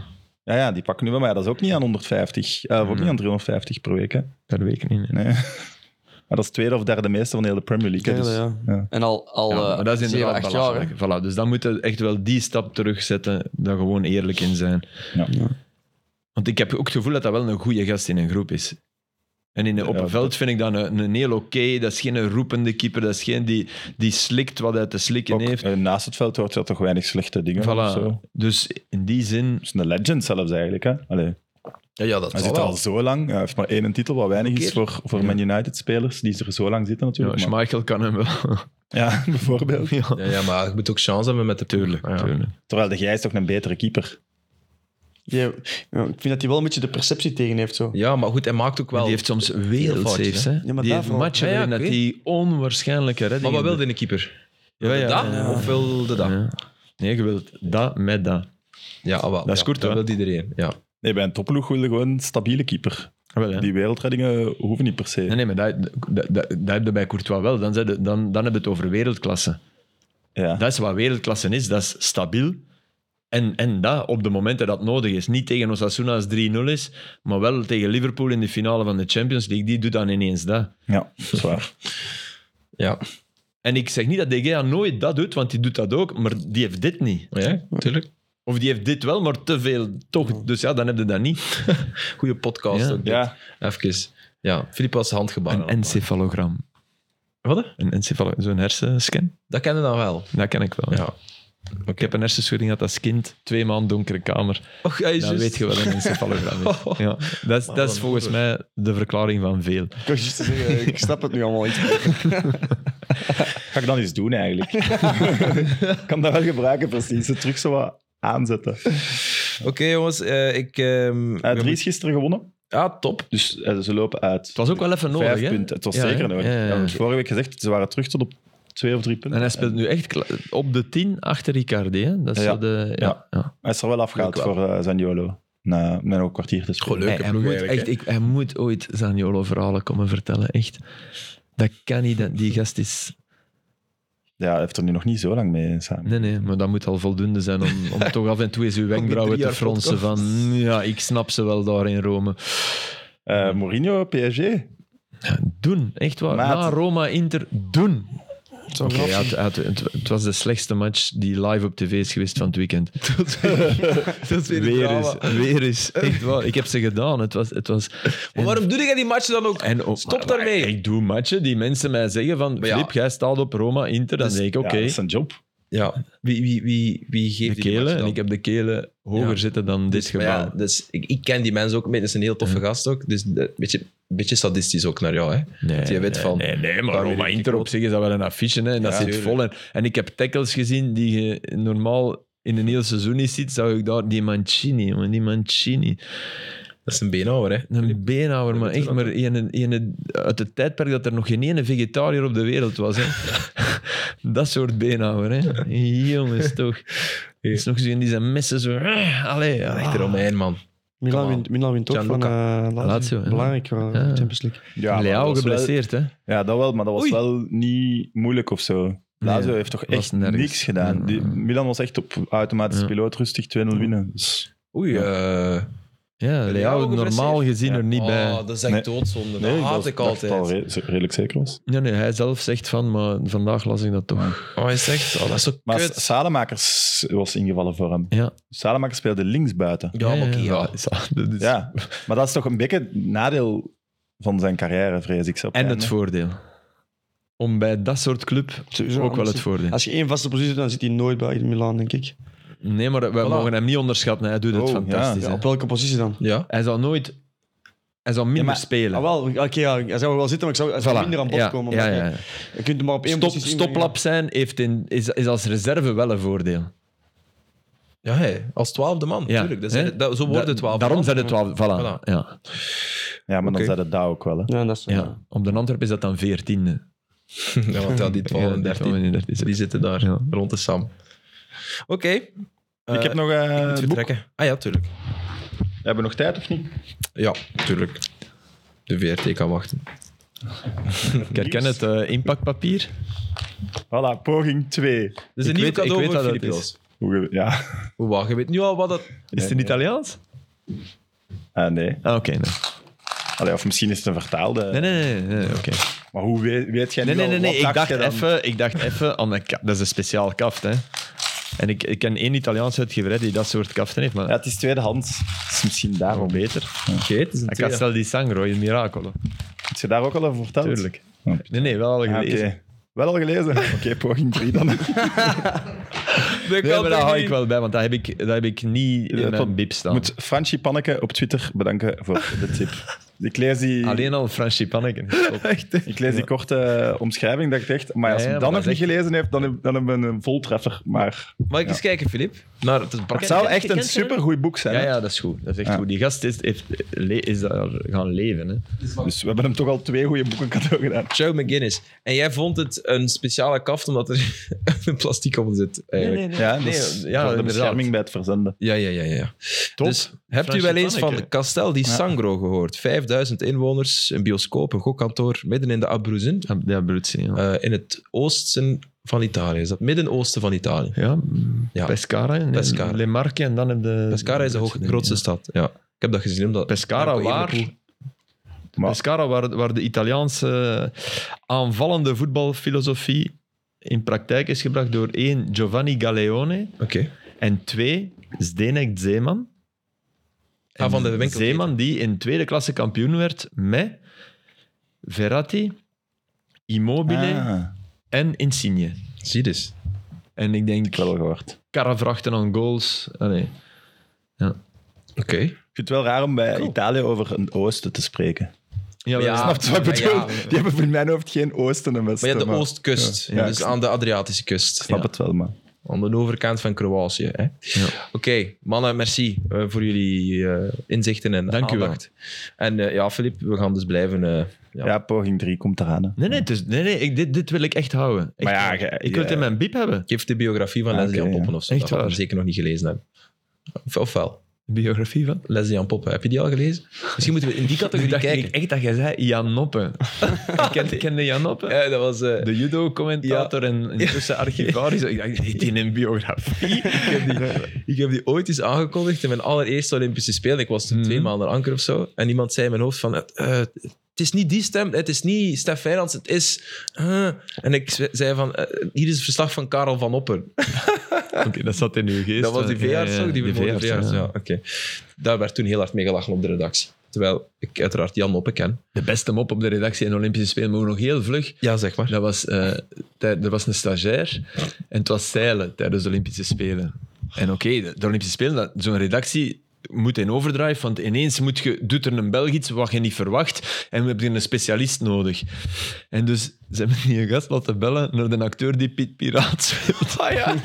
S2: ja, ja, die pakken nu wel,
S4: Mhm.
S2: maar ja, dat is ook niet aan 150. eh, of ook niet aan 350 per week, hè.
S3: Per week niet. hè.
S2: Nee. Maar dat is tweede of derde meeste van de hele Premier League. hè,
S4: Derde,
S2: dus-
S4: ja.
S2: ja.
S6: En al, al
S3: Ja,
S6: eh,
S3: maar dat is
S6: zeven,
S3: inderdaad
S6: acht jaar. hè.
S3: belachelijk. Voilà, dus dan moet je echt wel die stap terugzetten, daar gewoon eerlijk in zijn.
S2: Ja.
S4: Ja.
S3: Want ik heb ook het gevoel dat dat wel een goede gast in een groep is. En in, op
S2: Ja,
S3: een veld vind ik dat een, een heel oké. Dat is geen roepende keeper. Dat is geen die, die slikt wat hij te slikken
S2: Ook,
S3: heeft.
S2: eh, naast het veld hoort je toch weinig slechte dingen. of
S3: voilà.
S2: zo.
S3: Dus in die zin...
S2: Het is een legend zelfs eigenlijk. Hè? Allee,
S1: Ja, ja dat
S2: hij
S1: is
S2: zit er al
S1: wel.
S2: zo lang. Hij heeft maar één titel, wat weinig is voor, voor Man United-spelers die er zo lang zitten
S3: Ja,
S2: natuurlijk. maar-
S3: Schmeichel kan hem wel.
S2: ja bijvoorbeeld.
S1: Ja, ja, maar je moet ook chance hebben met de ploeg.
S3: Tuurlijk,
S1: Ja.
S3: tuurlijk.
S2: Terwijl de Gijs toch een betere keeper.
S4: Ja, ja, ik vind dat hij wel een beetje de perceptie tegen heeft. Zo.
S1: Ja, maar goed, hij maakt ook wel...
S3: Die heeft soms wereldsaves. hè.
S4: Ja, maar
S3: die heeft
S4: daarvoor-
S3: matchen
S1: Ja, ja,
S3: waarin
S1: ik
S3: dat
S1: weet.
S3: die onwaarschijnlijke
S1: maar
S3: reddingen
S1: wat
S3: doet.
S1: wilde een keeper?
S3: Ja, ja,
S1: dat?
S3: ja,
S1: Of wilde dat?
S3: Ja. Nee, je wilt dat met dat.
S1: Ja, ah, wel,
S3: Dat is
S1: ja,
S3: kort,
S1: Dat
S3: hè?
S1: wil iedereen, ja.
S2: Nee, bij een topploeg wil je gewoon een stabiele keeper.
S3: Ah, wel, hè.
S2: Die wereldreddingen hoeven niet per se.
S3: Nee, nee, maar dat, dat, dat, dat heb je bij Courtois wel. Dan, zijn de- dan, dan heb je het over wereldklasse.
S2: Ja.
S3: Dat is wat wereldklasse is. Dat is stabiel. En, en dat op de momenten dat het nodig is. Niet tegen Osasuna als 3-0 is, maar wel tegen Liverpool in de finale van de Champions League. Die doet dan ineens dat.
S2: ja, dat is waar.
S1: Ja,
S3: En ik zeg niet dat De Gea nooit dat doet, want die doet dat ook. Maar die heeft dit niet.
S1: ja tuurlijk.
S3: Of die heeft dit wel, maar te veel toch. Dus ja, dan heb je dat niet.
S1: Goeie podcast
S3: Ja.
S1: ook. dit.
S2: Ja,
S1: Even. Ja, Filip was handgebaren.
S3: Een encefalogram.
S1: Wat? hè?
S3: Een encefalogram. Zo'n hersenscan.
S1: Dat kende dan wel.
S3: Dat ken ik wel.
S1: Ja.
S3: Ik heb een hersenschudding gehad als kind. Twee maanden donkere kamer.
S1: Och, hij is
S3: Dan
S1: juist.
S3: weet je wel een encefalogram is. Ja, dat is, dat is volgens mij de verklaring van veel.
S4: Ik was juist te zeggen, ik snap het nu allemaal iets.
S2: ga ik dan eens doen eigenlijk. Ik kan dat wel gebruiken, precies. Het terug zo wat aanzetten. Eh,
S1: Oké, jongens. eh, ik... ehm,
S2: Uh,
S1: we
S2: Dries gisteren gewonnen,
S1: moeten- Ah, top.
S2: dus eh, ze lopen uit.
S3: Het was ook wel even nodig,
S2: Vijf
S3: hè?
S2: punten. Het was
S3: Ja,
S2: zeker
S3: hè?
S2: nodig.
S3: Ja,
S2: Ja,
S3: ja, ja.
S2: want Vorige week gezegd, ze waren terug tot op twee of drie punten.
S3: En hij speelt nu echt kla- op de 10 achter Riccardi. Hè? Dat is
S2: Ja.
S3: zo de, ja. ja.
S2: Hij is er wel afgehaald
S1: Leuk wel.
S2: voor eh, Zaniolo. Na, na een kwartier dus. te spelen.
S1: Goh, leuk.
S3: Hij, hij
S1: ploeg
S3: moet
S1: eigenlijk,
S3: echt, ik, hij moet ooit Zaniolo verhalen komen vertellen. Echt. Dat kan niet. Dat, die gast is...
S2: Ja, hij heeft er nu nog niet zo lang mee samen.
S3: Nee, nee. Maar dat moet al voldoende zijn om, om toch af en toe eens uw wenkbrauwen
S1: drie
S3: te
S1: jaar
S3: fronsen van... "Mm, Ja, ik snap ze wel daar in Rome.
S2: Eh, Mourinho, PSG.
S3: Doen. Echt waar.
S2: Maat.
S3: Na Roma, Inter. Doen. Oké, hij had- hij had- het, het was de slechtste match die live op tv is geweest van het weekend.
S1: Dat is weer, een
S3: Weer
S1: drama.
S3: eens, weer eens. Echt waar. Ik heb ze gedaan. Het was, het was,
S1: Maar waarom doe jij die matchen dan ook?
S3: en op-
S1: Stop
S3: maar-
S1: daarmee.
S3: maar Ik doe matchen die mensen mij zeggen van,
S1: Maar ja.
S3: Filip, jij staat op Roma, Inter. Dan
S1: Dus-
S3: denk ik, oké,
S2: Ja, dat is zijn job.
S1: Ja. Wie, wie, wie, wie
S3: de
S1: geeft die
S3: kelen.
S1: matchen
S3: En
S1: dan?
S3: ik heb de kelen hoger
S1: Ja.
S3: zitten dan dit
S1: Maar
S3: gebouw.
S1: ja, dus ik, ik ken die mensen ook mee. Dat is een heel toffe gast ook. Dus een beetje, beetje sadistisch ook naar jou, hè?
S3: Nee,
S1: dat je weet
S3: nee,
S1: van-
S3: Nee, nee, maar
S1: Daar
S3: Roma
S1: weet ik
S3: Inter
S1: ook.
S3: op zich is dat wel een affiche. Hè, en dat
S1: Ja,
S3: zit
S1: tuurlijk.
S3: vol. En, en ik heb tackles gezien die je normaal in een heel seizoen niet ziet. Zou ik daar die Mancini, jongen, die Mancini.
S1: Dat is een beenhouwer, hè?
S3: Een beenhouwer, maar echt maar ene- ene- uit het tijdperk dat er nog geen ene vegetariër op de wereld was. Hè. dat soort beenhouwer, hè. Jongens, toch. Er is nog zo'n die zijn messen zo... Allee, ah.
S1: Echt een Romein, man.
S4: Milan,
S1: Come on.
S4: wint- Milan wint toch van
S1: Gianluca.
S4: eh, Lazio.
S3: Lazio, ja.
S4: Belangrijk voor eh,
S3: Ja.
S4: Champions League.
S2: Ja, maar dat
S3: Leao
S2: was wel-
S3: geblesseerd, hè.
S2: Ja, dat wel, maar dat was
S1: Oei.
S2: wel niet moeilijk of zo. Lazio
S3: Nee,
S2: heeft toch
S3: was
S2: echt
S3: nergens.
S2: niks gedaan. Die,
S3: Ja.
S2: Milan was echt op automatische
S3: Ja. Mm.
S2: piloot rustig 2-0 winnen. Dus,
S1: Oei, eh,
S3: Ja, Leao normaal
S1: geblesseerd?
S3: gezien
S2: Ja.
S3: er niet bij.
S1: Oh, dat is echt
S2: Nee.
S1: doodzonde. Dat
S2: nee, ik
S1: haat
S2: was-
S1: ik
S2: dacht
S1: altijd.
S2: dat het al re- redelijk zeker was.
S3: Ja, nee, hij zelf zegt van, maar vandaag las ik dat toch.
S1: Oh, hij zegt, oh, dat is zo
S2: Maar
S1: kut.
S2: S- Salamakers was ingevallen voor hem.
S3: Ja.
S2: Salamakers speelde linksbuiten.
S1: Ja, maar oké, ja.
S3: Ja, ja, dat is-
S2: Ja, maar dat is toch een beetje het nadeel van zijn carrière, vrees ik. zo op
S3: En het
S2: einde.
S3: voordeel. Om bij dat soort club
S4: Sowieso,
S3: ook wel
S4: als-
S3: het voordeel.
S4: Als je één vaste positie hebt, dan zit hij nooit bij Milan, denk ik.
S3: Nee, maar wij
S1: Voilà.
S3: mogen hem niet onderschatten. Hij doet het
S2: Oh, ja.
S3: fantastisch.
S2: Ja,
S3: hè.
S4: Op welke positie dan?
S1: Ja.
S3: Hij zal nooit... Hij zal minder
S2: Ja, maar-
S3: spelen.
S4: Ah, wel, oké, ja, hij zou wel zitten, maar ik zou, hij zou
S3: Voilà.
S4: minder aan bod
S3: ja,
S4: komen.
S3: Ja,
S4: maar
S3: ja.
S4: kijk, Je kunt hem maar op één
S3: Stop,
S4: positie inbrengen.
S3: stoplap zijn heeft in, is, is als reserve wel een voordeel.
S1: Ja, hé, als twaalfde man,
S3: Ja.
S1: tuurlijk. Dat
S3: Hè?
S1: zijn, dat, zo wordt het
S3: Da-
S1: twaalfde
S3: Daarom
S1: man.
S3: zijn het 12. Voilà.
S1: Voilà.
S3: Ja.
S2: Ja, maar
S1: Oké.
S2: dan zei het daar ook wel. Hè.
S4: Ja, dat is zo.
S3: Ja. Op de Antwerp is dat dan 14e.
S1: Ja, want ja, die 12 en 13,
S3: Dus
S1: die zitten daar
S3: Ja.
S1: rond de Sam. Oké.
S2: ik heb nog... eh,
S1: het
S2: het boek.
S1: vertrekken. Ah ja, tuurlijk.
S2: Hebben we nog tijd of niet?
S1: Ja, tuurlijk. De VRT kan wachten.
S3: Ik herken het eh, impactpapier.
S2: Voilà, poging 2.
S1: Dus een
S3: Ik
S1: nieuw
S3: weet-
S1: cadeau
S3: ik weet
S1: voor
S3: wat dat
S1: Filip
S3: is.
S1: Joos.
S2: Hoe, ge- ja,
S1: Hoe wacht, je weet nu al wat dat...
S3: Is het in Italiaans?
S2: Ah, nee.
S3: Ah, oké. nee.
S2: Allee, of misschien is het een vertaalde.
S3: nee. Nee, nee, nee. nee, Oké.
S2: Maar hoe weet, weet jij
S3: Nee,
S2: nu
S3: nee, nee,
S2: al
S3: nee.
S2: wat
S3: Ik, dacht
S2: je dan?
S3: even, ik dacht even aan een ka- Dat is een speciaal kaft, hè. En ik, ik ken één Italiaanse uitgeverij die dat soort kaften heeft, maar
S2: Ja, het is tweedehands. Het is misschien daarom.
S3: daarom beter.
S1: Oké, het is een
S3: En Castel di Sangro, Il Miracolo.
S2: Heb je daar ook al over verteld?
S3: Tuurlijk.
S2: Oh.
S3: Nee, nee, wel al
S2: Ah, Oké.
S3: gelezen.
S2: Wel al gelezen? Oké, poging 3 dan.
S3: Nee, maar daar hou ik wel bij, want dat heb ik, dat heb ik niet in mijn bib staan.
S2: Moet Franchi Panneke op Twitter bedanken voor de tip. Ik lees die,
S3: Alleen al Franchi Panneken. Top.
S2: ik lees die korte omschrijving, dacht ik echt. Maar als
S3: Ja,
S2: hij
S3: ja,
S2: dan
S3: maar
S2: nog
S3: dat
S2: niet
S3: is echt-
S2: gelezen heeft, dan, heb- dan hebben we een voltreffer. Maar
S1: Mag ik eens kijken, Filip? Naar het
S2: het zou
S1: parket?
S2: echt een supergoed boek zijn.
S3: Ja,
S2: hè?
S3: ja, dat is goed. Dat is echt
S2: Ja.
S3: goed. Die gast is, heeft, le- is daar gaan leven. Hè.
S2: Dus we hebben hem toch al twee goede boeken cadeau gedaan.
S1: Joe McGuinness. En jij vond het een speciale kaft omdat er een plastic om zit. Eigenlijk.
S2: Ja, dat is
S3: ja,
S2: voor de
S3: inderdaad.
S2: bescherming bij het verzenden.
S1: Ja, ja, ja. ja.
S3: Top.
S1: Dus hebt u
S3: Fransje
S1: wel eens van
S3: Panneke.
S1: Castel di Sangro gehoord? 5000 inwoners, een bioscoop, een gokkantoor, midden in de Abruzzen,
S3: Ja, ja, Bruzzi, ja.
S1: eh, in het oosten van Italië. Is dat midden-oosten van Italië?
S3: Ja,
S1: Ja.
S3: Pescara. en
S1: Pescara.
S3: Le Marche en dan heb de...
S1: Pescara is de hoog-
S3: Bruzzi,
S1: grootste
S3: ja.
S1: stad. Ja. Ik heb dat gezien omdat.
S3: Pescara
S1: Marco
S3: waar...
S1: Evenepoel-
S2: Maar-
S3: Pescara waar, waar de Italiaanse aanvallende voetbalfilosofie in praktijk is gebracht door één, Giovanni Galeone,
S1: Oké.
S3: en twee, Zdenek Zeeman.
S1: Ah, van de winkel.
S3: Zeeman die in tweede klasse kampioen werd met Verratti, Immobile
S2: Ah,
S3: en Insigne.
S1: Zie dus.
S3: En ik denk,
S2: ik wel gehoord.
S3: karrevrachten aan goals. Allee.
S1: Oké.
S2: Ik vind het wel raar om bij Italië over een oosten te spreken.
S3: Ja,
S1: Maar
S3: wel,
S1: ja,
S3: snap-
S2: Snap je wat ik
S1: maar ja.
S2: bedoel? Die hebben in mijn hoofd geen oosten en westen.
S1: Maar ja, de oostkust.
S2: Ja, ik
S1: dus
S2: snap-
S1: aan de Adriatische kust.
S2: Ik snap
S1: Ja.
S2: het wel, maar...
S1: Aan de overkant van Kroatië. hè. Oké, mannen, merci eh, voor jullie eh, inzichten en
S3: Dank u wel.
S1: aandacht. En eh, ja, Filip, we gaan dus blijven... eh, ja.
S2: Ja, poging 3 komt eraan. hè.
S3: Nee, nee, het is- nee, nee ik, dit, dit wil ik echt houden. Echt
S2: Maar ja,
S3: waar.
S2: ge-
S3: ik wil het
S2: je-
S3: in mijn biep hebben.
S1: Ik geef de biografie van
S2: Ah,
S1: Leslie
S2: oké,
S1: Jan
S2: ja.
S1: Poppen of zo.
S3: Echt
S1: dat gaan we
S3: waar?
S1: zeker nog niet gelezen hebben. Of, of wel.
S3: Biografie van?
S1: Leslie Jan Poppen, heb je die al gelezen? Misschien moeten we in die
S3: Ik
S1: categorie
S3: dacht
S1: kijken.
S3: ik echt dat jij zei Jan Noppen. ik kende ken Jan Noppen.
S1: Ja, dat was... eh,
S3: De judo-commentator en intussen archivaris. Ik dacht, dit in een biografie.
S1: Ik heb die ooit eens aangekondigd in mijn allereerste Olympische Spelen. Ik was toen
S3: Mhm.
S1: twee maanden anker of zo. En iemand zei in mijn hoofd van... eh, eh, het is niet die stem, het is niet Stef Feyenoord, het is... eh." en ik ze- zei van, eh, hier is het verslag van Karel van Opper.
S3: Oké, dat zat in uw geest.
S1: Dat was die
S3: Ja, ja,
S1: veearts
S3: ja,
S1: ook, die vermoorde
S3: veearts,
S1: veearts.
S3: ja.
S1: Ja, oké. Daar werd toen heel hard mee gelachen op de redactie. Terwijl ik uiteraard Jan Noppen ken.
S3: De beste mop op de redactie in Olympische Spelen, maar ook nog heel vlug.
S1: Ja, zeg maar.
S3: Dat was, eh, tij- er was een stagiair en het was zeilen tijdens de Olympische Spelen. En oké, de, de Olympische Spelen, dat- zo'n redactie moet in overdrive, want ineens moet je, doet er een Belg iets wat je niet verwacht en we hebben een specialist nodig. En dus ze hebben die gast laten bellen naar de acteur die Piet Piraat speelt. Ah ja.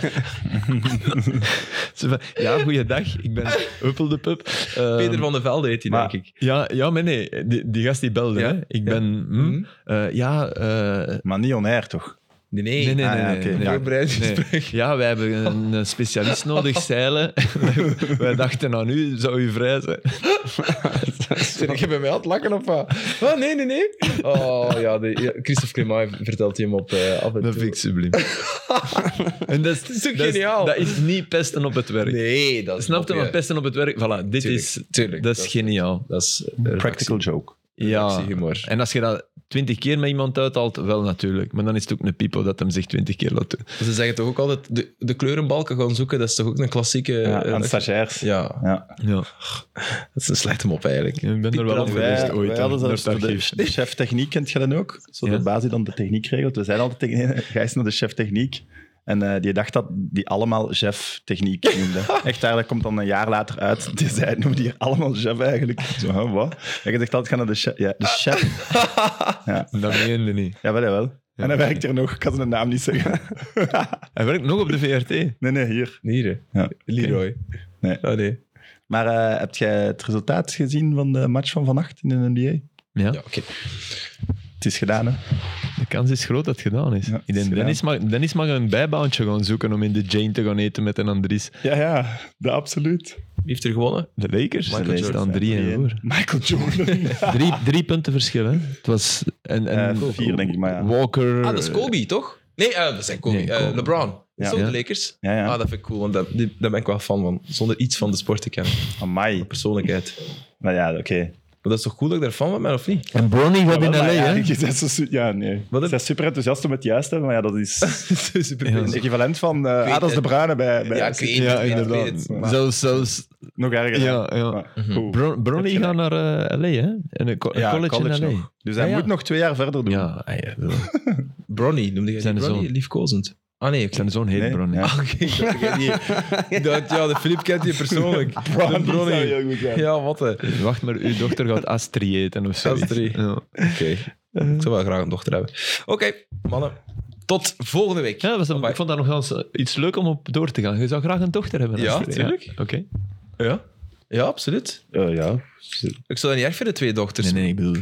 S3: Ze van, ja, goeiedag, ik ben Uppel de Pup. Ehm,
S1: Peter van de Velde heet hij,
S2: maar-
S1: denk ik.
S3: ja, ja, maar nee, die, die gast die belde.
S1: Ja,
S3: Hè. Ik ben... hm,
S1: Mhm.
S3: eh, ja, eh,
S2: Maar niet on-air, toch?
S1: Nee, nee.
S3: Nee, nee,
S2: Ah,
S3: nee.
S2: ja,
S3: nee,
S2: oké.
S3: nee.
S2: Ja.
S1: Voorbereid
S3: Nee.
S1: gesprek.
S3: Ja, wij hebben een eh, specialist nodig, zeilen. Wij- wij dachten aan u, zou u vrij zijn.
S1: Zeg, je bij mij aan het lakken of wat? Oh, nee, nee, nee. Oh, ja, de, ja, Christophe Clément vertelt hij hem op eh af en toe.
S3: Dat vind ik subliem. en dat is, dat is
S1: toch geniaal?
S3: Dat is niet pesten op het werk.
S1: Nee, dat is
S3: Snap je?
S1: mopje.
S3: Maar pesten op het werk, voilà, dit
S1: Tuurlijk,
S3: is...
S1: tuurlijk,
S3: dat is
S1: dat-
S3: geniaal.
S1: Dat is eh,
S2: Practical joke.
S3: Ja.
S1: Actiehumor.
S3: En als je dat twintig keer met iemand uithaalt, wel natuurlijk. Maar dan is het ook een pipo dat hem zich twintig keer laat doen.
S1: Ze zeggen toch ook altijd, de, de kleurenbalken gaan zoeken, dat is toch ook een klassieke...
S2: Ja,
S1: eh,
S2: aan
S1: eh,
S2: stagiairs.
S1: ja,
S2: Ja.
S3: Ja.
S1: dat is een slechte mop eigenlijk.
S3: Ik ben er wel op
S1: Brand,
S3: geweest
S2: Wij,
S3: ooit.
S2: wij
S3: hè,
S2: hadden
S3: naar
S2: zelfs
S3: het
S2: voor de,
S3: archief.
S2: de chef techniek, kent je dat ook? Zo
S3: Ja.
S2: de baas die dan de techniek regelt. We zijn altijd tegen een ga eens naar de chef techniek. En eh, die dacht dat die allemaal chef techniek noemden. Echt waar, dat komt dan een jaar later uit. Die zei, noemde hier allemaal chef eigenlijk. Zo, hè, wat? En je zegt altijd, ga naar de chef. Ja,
S1: Ah.
S2: de chef.
S3: Dat meende niet.
S2: Jawel, jawel. En hij werkt er nog, ik kan zijn naam niet zeggen.
S3: Hij werkt nog op de VRT.
S2: Nee, nee, hier.
S1: Nieren.
S2: Ja.
S1: Leroy.
S2: Nee.
S1: Oh, nee.
S2: Maar eh, heb jij het resultaat gezien van de match van vannacht in de NBA?
S3: Ja.
S1: Ja, oké.
S2: Het is gedaan, hè?
S3: De kans is groot dat het gedaan is.
S2: Ja,
S3: ik denk,
S2: is
S3: Dennis, mag, Dennis mag een bijbaantje gaan zoeken om in de Jane te gaan eten met een Andries.
S2: Ja, ja, de absoluut.
S1: Wie heeft er gewonnen?
S3: De Lakers?
S1: Michael
S3: De Lakers
S1: Jordan.
S3: staan drie en voor.
S2: Michael Jordan.
S3: Drie, drie punten verschil, hè? Het was... En, en
S2: Eh, vier, denk ik, maar ja.
S3: Walker...
S1: Ah, dat is Kobe, toch? Nee, eh, dat zijn Kobe.
S3: Nee,
S1: Eh,
S3: Kobe.
S1: LeBron. Is
S2: Ja.
S1: dat
S3: Ja.
S1: de Lakers?
S2: ja, ja.
S1: Ah, dat vind ik cool, want dat- die- daar ben ik wel fan van. Zonder iets van de sport te kennen.
S2: Amai.
S1: Persoonlijkheid.
S2: Nou ja, oké.
S1: dat is toch goed dat ik daar fan van ben, of niet?
S3: En Brony gaat in
S2: Jawel,
S3: LA,
S2: maar ja,
S3: hè?
S2: je bent zo su- Ja, nee.
S1: Wat
S2: Ze
S1: heb-
S2: zijn super enthousiast om het juist te hebben, maar ja, dat is
S1: Super
S2: een equivalent van eh
S1: weet
S2: Adels de
S1: het.
S2: Bruyne bij... bij
S1: Dus Ja, ik weet het,
S3: Ja,
S1: ik weet
S3: inderdaad.
S1: het.
S2: Maar-
S3: Zelfs, zelfs
S2: Nog erger.
S3: Ja, ja.
S2: Maar
S1: Mhm.
S2: goed.
S3: Bron, Bronny
S2: Heb je
S3: gaat naar eh, LA, hè? En een co- een
S2: Ja,
S3: college,
S2: college
S3: in LA.
S2: nog. Dus hij
S3: Ja, ja.
S2: moet nog twee jaar verder doen.
S3: Ja, ah, ja, wel.
S1: Bronny, noemde jij die
S3: Zijn
S1: Bronny?
S3: zoon.
S1: Liefkozend. Ah nee, ik
S3: zijn zo'n heet
S2: Nee,
S3: Bronny.
S2: ja.
S1: Ah, oké, ik dacht, ik weet niet. Dat- Ja, de Filip kent je persoonlijk. De
S2: Bronny zou
S1: Bronny.
S2: heel goed zijn.
S1: Ja, wat hè.
S3: Wacht maar, uw dochter gaat Astri eten of zo.
S1: Astrid.
S3: Ja.
S1: Oké. Ik zou wel graag een dochter hebben. Oké, mannen. Tot volgende week.
S3: Ja, dat was een-
S1: Amai.
S3: ik vond dat nog wel eens, eh, iets leuk om op door te gaan. Je zou graag een dochter hebben.
S1: Ja,
S3: Astrid.
S1: tuurlijk.
S3: Oké.
S1: Ja, ja absoluut.
S2: Eh, ja.
S1: Ik zou dat niet erg vinden, twee dochters.
S3: Nee, nee, ik bedoel...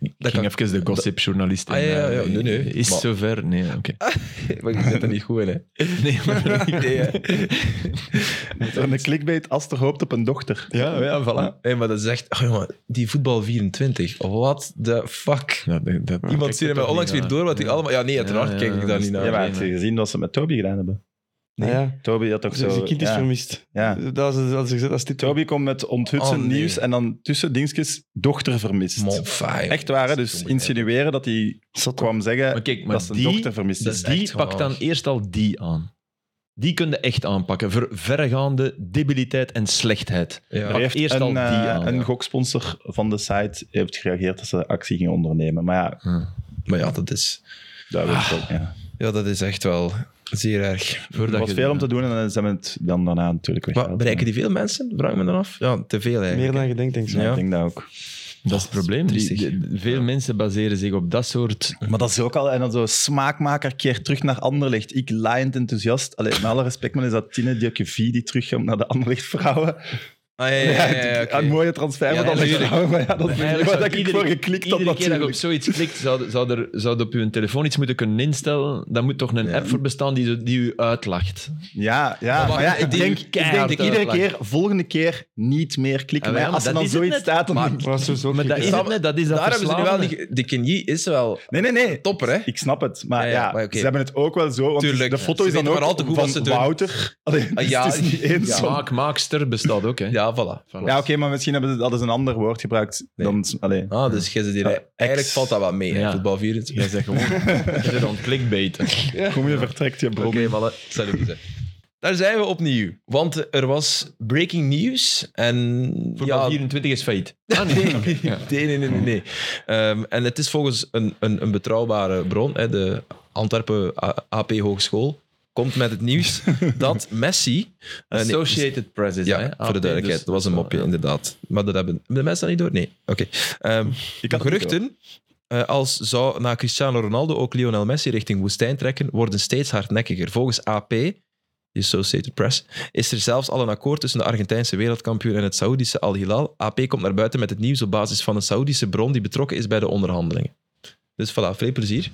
S3: Ik
S1: Dat
S3: ging
S1: kan-
S3: even de gossipjournalist in,
S1: Ah, ja, ja, ja.
S3: eh,
S1: Nee, nee.
S3: Is
S1: Maar-
S3: zover? Nee, oké.
S1: Maar ik zit er niet goed in, hè.
S3: Nee, maar...
S1: Nee, hè.
S2: Een clickbait, Aster hoopt op een dochter.
S3: ja, ja, voilà.
S1: Nee, maar dat is echt... Oh, jongen, die voetbal 24. What the fuck?
S3: Ja, dat, dat-
S1: Iemand stuurde mij onlangs weer door wat die allemaal... Ja, nee, uiteraard
S3: Ja, ja,
S1: kijk ik daar
S3: dat
S1: niet
S3: is-
S1: naar.
S2: Ja, maar
S3: nee,
S2: heb je
S3: nee.
S2: gezien wat ze met Toby gedaan hebben?
S4: Nou ja,
S2: Toby had toch
S4: ze-
S2: zo...
S4: zijn kind is
S2: ja.
S4: vermist.
S2: Ja.
S4: Dat is als ik zeg, als dit
S2: Toby komt met onthutsend
S1: Oh, nee.
S2: nieuws en dan tussen dingetjes dochter vermist.
S1: Mon faai.
S2: Echt waar, hè? dus insinueren dat hij
S4: zat
S2: kwam zeggen
S3: Maar kijk, maar
S2: dat zijn
S3: die-
S2: dochter vermist
S1: dat
S2: is.
S1: is
S3: Die
S1: echt
S3: pakt dan
S1: waar.
S3: eerst al die aan. Die kun je echt aanpakken. Ver, verregaande debiliteit en slechtheid.
S1: Ja.
S2: Er
S3: Pak
S2: heeft
S3: eerst
S2: een,
S3: al die
S2: eh,
S3: aan.
S2: een
S3: ja.
S2: goksponsor van de site heeft gereageerd dat ze actie gingen ondernemen. Maar ja,
S3: Hm.
S1: Maar ja, dat is...
S2: dat weet ik ook. Ja.
S1: Ja, dat is echt wel zeer erg.
S2: Er
S3: Voordat
S2: was
S3: je-
S2: veel om te doen en dan zijn we het dan daarna natuurlijk weer.
S1: Maar bereiken die veel mensen? Vraag ik me dan af. Ja, te veel eigenlijk.
S4: meer dan je denkt, denk ik.
S2: Ja,
S1: Ja.
S2: ik denk dat ook.
S3: Dat is het probleem. Die-
S1: Triestig.
S3: de- de- veel mensen baseren zich op dat soort...
S2: Maar dat is ook al... En dan zo smaakmaker keert terug naar Anderlecht. Ik laaiend enthousiast. Allee, met alle respect, maar is dat Tine Diakevie die terugkomt naar de Anderlecht vrouwen.
S1: Ah, ja, ja, ja, ja,
S2: Ja,
S1: oké.
S2: Een mooie transfer
S1: Ja,
S2: met Anderlecht
S1: natuurlijk.
S2: vrouwen. Maar ja, dat is niet
S3: Eigenlijk
S2: waar
S3: zou
S2: dat ik voor geklikt had
S3: iedere keer dat je op
S2: natuurlijk.
S3: zoiets klikt, zou, zou, er, zou er op je telefoon iets moeten kunnen instellen. Daar moet toch een app voor bestaan die, zo- die u uitlacht.
S2: Ja, ja.
S1: Maar
S2: Maar ja,
S1: wacht,
S2: ik
S1: die
S2: denk, ik denk dat
S3: keihard
S2: ik iedere
S3: uitlachen.
S2: keer, volgende keer, niet meer klikken.
S3: Ah, ja,
S2: Maar
S3: maar
S2: als er
S3: dat
S2: dan
S3: is het
S2: zoiets
S3: net.
S2: staat, dan
S1: Maar-
S2: denk ik-
S4: Maar sowieso
S3: Maar dat is het net. Dat is dat
S1: Daar hebben ze nu wel...
S3: verslavende.
S1: Die, de Kenji is wel
S2: Nee, nee, nee.
S1: topper, hè?
S2: Ik snap het, maar
S1: Ja,
S2: ja,
S1: ja, maar oké.
S2: ze hebben het ook wel zo. Want
S1: Tuurlijk,
S2: de foto
S1: ze
S2: is dan
S1: weten
S2: ook
S1: maar al te goed wat ze
S2: van
S1: doen.
S2: Wouter. Alleen,
S1: Ah, ja,
S2: het is niet eens
S1: ja.
S2: van-
S3: Smaak, maakster bestaat ook, hè.
S1: Ja, voilà.
S3: Voilà.
S2: Ja, oké, maar misschien hebben ze, hadden ze een ander woord gebruikt.
S1: Nee.
S2: Dan, allee.
S1: Ah, dus jij zit hier...
S2: Ja,
S1: eigenlijk
S2: ex.
S1: valt dat wel mee, hè,
S3: Ja.
S1: voetbal 24.
S3: Jij zegt gewoon... Je bent aan het clickbaiten.
S2: Kom je vertrekt je bron.
S1: Oké, mannen. Salut. Daar zijn we opnieuw. Want er was breaking news. En
S3: Voetbal
S1: ja,
S3: 24 is failliet. Ah,
S1: nee. nee, nee, nee, nee, nee. Ehm, en het is volgens een, een, een betrouwbare bron, hè, de Antwerpen A- AP Hogeschool, komt met het nieuws dat Messi... eh, nee,
S3: Associated Press is
S1: ja,
S3: hè?
S1: voor
S3: AP,
S1: de duidelijkheid.
S3: dus-
S1: dat was een mopje,
S3: Ja.
S1: inderdaad. Maar dat hebben hebben de mensen dat niet door? Nee. Oké. Ehm, geruchten eh, als zou na Cristiano Ronaldo ook Lionel Messi richting woestijn trekken, worden steeds hardnekkiger. Volgens AP, de Associated Press, is er zelfs al een akkoord tussen de Argentijnse wereldkampioen en het Saoedische Al Hilal. AP komt naar buiten met het nieuws op basis van een Saoedische bron die betrokken is bij de onderhandelingen. Dus voilà, veel plezier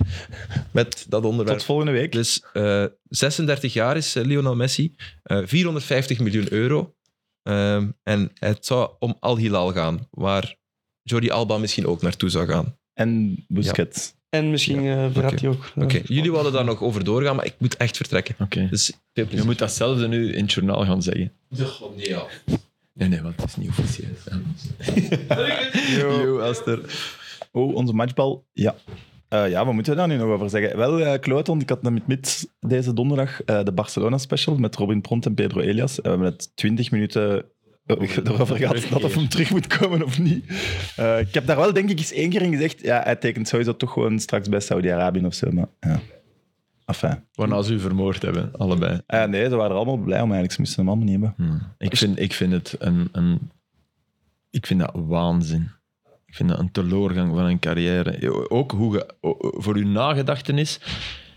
S1: met dat onderwerp.
S2: Tot volgende week.
S1: Dus eh, 36 jaar is eh, Lionel Messi. Eh, 450 miljoen euro. Ehm, en het zou om Al Hilal gaan, waar Jordi Alba misschien ook naartoe zou gaan.
S2: En Busquets.
S4: En misschien eh verraadt
S1: oké.
S4: hij ook.
S1: Oké, jullie wilden daar nog over doorgaan, maar ik moet echt vertrekken.
S3: Oké.
S1: Dus
S3: Je moet datzelfde nu in het journaal gaan zeggen.
S1: nee, ja.
S3: Nee, nee, want het is niet officieel.
S2: Yo, Aster. Oh, onze matchbal. Ja. Eh, ja, wat moeten we daar nu nog over zeggen? Wel, eh Kloton, ik had met mid deze donderdag eh, de Barcelona special met Robin Pront en Pedro Elias. En we hebben het 20 minuten eh, erover gehad dat of hem terug moet komen of niet. Eh, ik heb daar wel denk ik eens één keer in gezegd, ja, hij tekent sowieso toch gewoon straks bij Saudi-Arabië of zo. Maar, ja. Enfin.
S3: Waarna ze u vermoord hebben, allebei.
S2: Eh, nee, ze waren er allemaal blij om eigenlijk. Ze moesten hem allemaal niet hebben.
S3: Hmm. Ik, vind, ik vind het een, een... Ik vind dat waanzin. Ik vind dat een teleurgang van een carrière. Ook hoe je... o- o- Voor uw nagedachtenis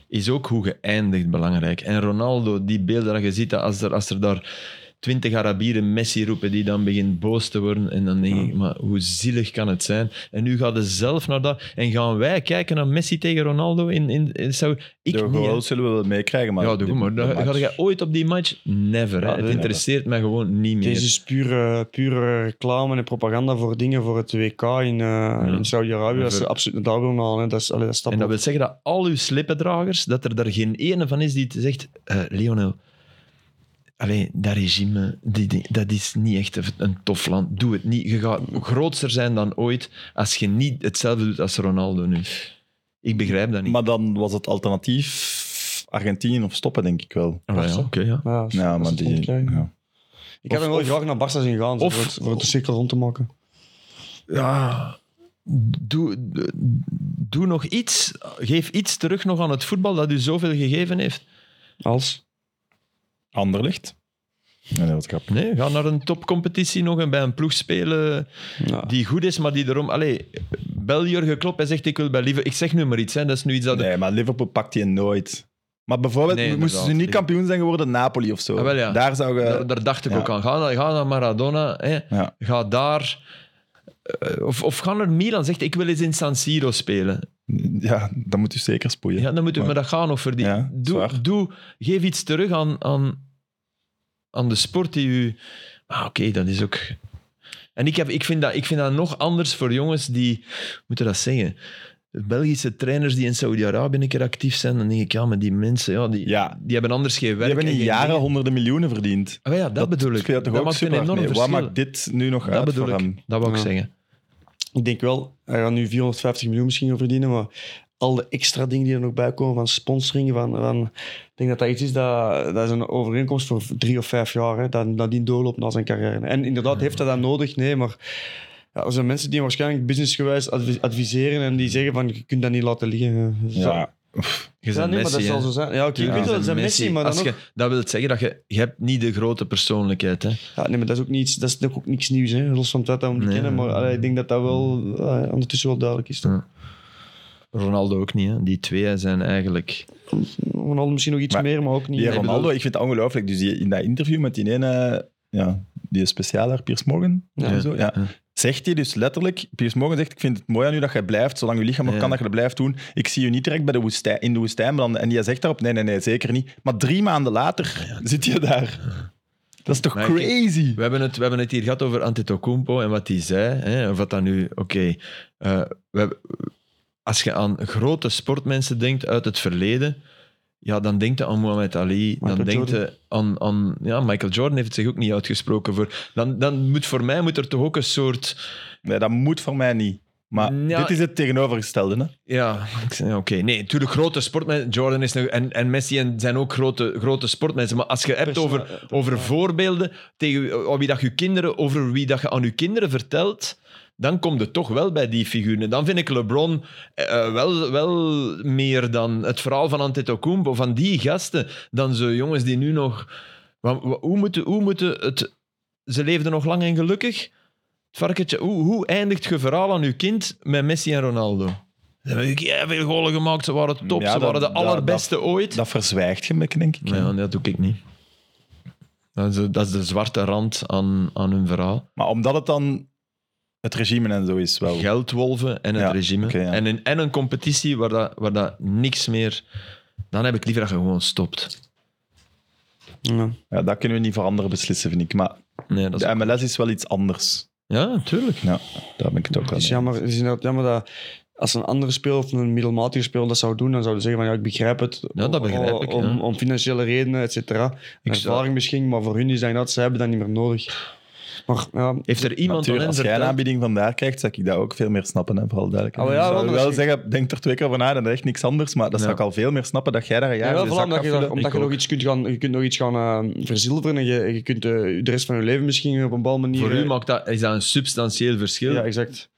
S3: is ook hoe je eindigt belangrijk. En Ronaldo, die beelden dat je ziet, dat als er, als er daar... Twintig Arabieren Messi roepen die dan begint boos te worden. En dan denk ik, maar hoe zielig kan het zijn? En nu gaat het zelf naar dat. En gaan wij kijken naar Messi tegen Ronaldo in, in, in Saudi? Ik
S2: de
S3: niet. hè.
S2: goals zullen we wel meekrijgen, maar...
S3: ja, doe
S2: die-
S3: maar.
S2: de
S3: Dan
S2: match-
S3: Ga jij ooit op die match? Never. hè.
S2: Ja,
S3: het
S2: nee,
S3: interesseert mij gewoon niet meer.
S4: Deze is pure, pure eh, reclame en propaganda voor dingen voor het WK in, eh, in Saudi-Arabië. Dat is
S3: Voor-
S4: absoluut een dagjournaal. hè. Dat is, allee, dat stapt
S3: en dat wil zeggen dat al uw slippendragers, dat er daar geen ene van is die te zegt, eh, Lionel, Allee, dat regime, die, die- dat is niet echt een- een tof land. Doe het niet. Je gaat grootser zijn dan ooit als je niet hetzelfde doet als Ronaldo nu. Ik begrijp dat niet.
S2: Maar dan was het alternatief Argentinië of stoppen, denk ik wel.
S3: Ah, ja,
S4: Barca.
S3: oké, ja.
S4: Ja, als-
S2: Ja,
S4: als
S2: maar
S4: het niet
S2: die...
S4: krijgen.
S2: Ja.
S4: Ik heb
S3: Of-
S4: hem wel
S3: of-
S4: graag naar Barca zien gaan, zo,
S3: of-
S4: voor, het, voor het de cirkel rond te maken.
S3: ja, doe, doe- doe nog iets. Geef iets terug nog aan het voetbal dat u zoveel gegeven heeft.
S4: Als?
S2: Anderlicht. Nee, dat was grap.
S3: Nee, ga naar een topcompetitie nog en bij een ploeg spelen
S4: Ja.
S3: die goed is, maar die erom... Allee, bel Jurgen Klopp en zegt ik wil bij Liverpool... Ik zeg nu maar iets, hè. dat is nu iets dat...
S2: Nee, maar Liverpool pakt je nooit. Maar bijvoorbeeld,
S3: Nee,
S2: moesten ze
S3: inderdaad.
S2: niet kampioen zijn geworden, Napoli of zo.
S3: Ah, wel, ja.
S2: Daar zou je...
S3: daar, daar dacht ik
S2: eh, ja.
S3: ook aan. Ga naar, ga naar Maradona, hè.
S2: Ja.
S3: ga daar... eh, Of, of ga naar Milan, zegt ik wil eens in San Siro spelen.
S2: ja, dan moet je zeker spoeien.
S3: Ja, dan moeten we
S2: Maar-
S3: maar dat gaan of verdienen.
S2: Ja,
S3: doe,
S2: zwaar.
S3: doe, geef iets terug aan, aan, aan de sport die u. Ah, oké, dat is ook. En ik, heb, ik, vind dat, ik vind dat nog anders voor jongens die. hoe Moet je dat zeggen? Belgische trainers die in Saudi-Arabië een keer actief zijn, dan denk ik, ja, maar die mensen, ja, die,
S2: Ja.
S3: die hebben anders geen
S2: Die
S3: werk.
S2: hebben
S3: en
S2: in
S3: geen
S2: jaren
S3: dingen.
S2: honderden miljoenen verdiend.
S3: Ah, ja, dat, bedoel ik.
S2: Speelt toch
S3: dat
S2: ook
S3: maakt een
S2: super
S3: enorm
S2: mee.
S3: verschil.
S2: Wat maakt dit nu nog
S3: dat
S2: uit
S3: bedoel
S2: voor
S3: ik.
S2: hem?
S3: Dat wil ik
S4: Ja.
S3: zeggen.
S4: Ik denk wel, hij gaat nu 450 miljoen misschien gaan verdienen, maar al de extra dingen die er nog bij komen van sponsoring, van, van, ik denk dat dat iets is, dat, dat is een overeenkomst voor drie of vijf jaar, hè, dat, dat die doorloopt na zijn carrière. En inderdaad, heeft hij dat nodig? Nee, maar ja, er zijn mensen die hem waarschijnlijk businessgewijs advi- adviseren en die zeggen van, je kunt dat niet laten liggen. hè. Zo-
S2: Ja.
S3: Je
S4: Ja,
S3: bent
S4: nee, maar dat
S3: Messi,
S4: zal
S3: hè.
S4: zo zijn. Ja, oké,
S3: Je
S4: ik weet
S3: bent
S4: wel, dat
S3: een
S4: is Messi, maar
S3: Als
S4: dan ook...
S3: je- Dat wil zeggen dat je, je hebt niet de grote persoonlijkheid hebt.
S4: Ja, nee, maar dat is ook niets, dat is natuurlijk ook niks nieuws, hè, los van het feit dat we hem niet
S3: Nee.
S4: kennen, maar allee, ik denk dat dat wel eh, ondertussen wel duidelijk is. toch?
S3: Ronaldo ook niet. Hè? Die twee zijn eigenlijk.
S4: Ronaldo misschien nog iets
S2: Maar
S4: meer, maar ook niet.
S2: Die
S4: Nee,
S2: Ronaldo, ik vind dat ongelooflijk. Dus die, in dat interview met die ene, ja, die specialer, Piers Morgan,
S4: Ja.
S2: en zo, ja.
S3: Ja.
S2: zegt hij dus letterlijk, Piers Morgan zegt, ik vind het mooi aan u dat jij blijft, zolang je lichaam nog
S3: Ja.
S2: kan dat je dat blijft doen. Ik zie je niet direct bij de woestijn, in de woestijn belanden. En die zegt daarop, nee, nee, nee, zeker niet. Maar drie maanden later zit je daar. Dat is toch
S3: Maar ik-
S2: crazy?
S3: We hebben, het, we hebben het hier gehad over Antetokounmpo en wat hij zei. Hè? Of wat dat nu... Oké. eh, we hebben- als je aan grote sportmensen denkt uit het verleden... Ja, dan denkt je aan Muhammad Ali. dan
S4: Michael
S3: denkt
S4: Jordan.
S3: je aan, aan... Ja, Michael Jordan heeft het zich ook niet uitgesproken voor... Dan, dan moet voor mij moet er toch ook een soort...
S2: Nee, dat moet voor mij niet. Maar
S3: Ja.
S2: dit is het tegenovergestelde. Hè?
S3: Ja, ik zeg, ja, oké. Nee, natuurlijk grote sportmensen. Jordan is nog... En, en Messi en- zijn ook grote, grote sportmensen. Maar als je hebt
S4: Persoon-
S3: over... over voorbeelden, tegen wie- aan wie dat je kinderen, over wie dat je aan je kinderen vertelt, dan kom je toch wel bij die figuren. Dan vind ik LeBron eh, eh, wel, wel meer dan het verhaal van Antetokounmpo, van die gasten, dan zo jongens die nu nog... wa- wa- Hoe moeten, hoe moeten het... Ze leefden nog lang en gelukkig. Het varkentje, hoe, hoe eindigt je verhaal aan je kind met Messi en Ronaldo? Ze hebben veel golen gemaakt, ze waren top,
S2: Ja,
S3: ze
S2: dat-
S3: waren de
S2: dat-
S3: allerbeste ooit.
S2: Dat verzwijgt je, denk ik. hè.
S3: Ja, nee, dat doe ik niet. Dat is, de- dat is de zwarte rand aan, aan hun verhaal.
S2: Maar omdat het dan het regime en zo is wel.
S3: Geldwolven en het
S2: Ja,
S3: regime.
S2: oké, ja.
S3: en, een, en een competitie waar dat, waar dat niks meer... Dan heb ik liever dat je gewoon stopt.
S4: Ja.
S2: Ja, dat kunnen we niet voor anderen beslissen, vind ik. Maar
S3: Nee, dat is...
S2: de MLS is wel iets anders.
S3: Ja, tuurlijk.
S2: Ja, daar ben ik het ook aan.
S4: Het is jammer, het is inderdaad jammer dat als een andere speler of een middelmatige speler dat zou doen, dan zouden ze zeggen van ja, ik begrijp het.
S3: Ja, dat begrijp ik,
S4: Om,
S3: ja.
S4: om, om financiële redenen, et cetera. Ervaring misschien, maar voor hun is dat inderdaad, ze hebben dat niet meer nodig. Maar ja,
S3: Heeft er iemand aan
S2: Natuurlijk,
S3: hen
S2: als jij een
S3: verteld...
S2: aanbieding vandaar krijgt, zou ik dat ook veel meer snappen, hè, vooral duidelijk.
S4: Ah, maar ja,
S2: ik zou
S4: wel,
S2: wel
S4: maar als je-
S2: zeggen, denk er twee keer over na, dan echt niks anders. Maar dat
S3: Ja.
S2: zou ik al veel meer snappen, dat jij daar een
S4: ja,
S2: jaar
S4: wel
S2: je
S4: vooral
S2: zak
S4: omdat je, daar-
S2: afvullen.
S4: omdat je nog iets kunt gaan, je kunt nog iets gaan eh, verzilveren en je, je kunt eh, de rest van je leven misschien op een bepaalde manier...
S3: Voor u
S4: eh,
S3: maakt dat, is dat een substantieel verschil.
S4: Ja, exact.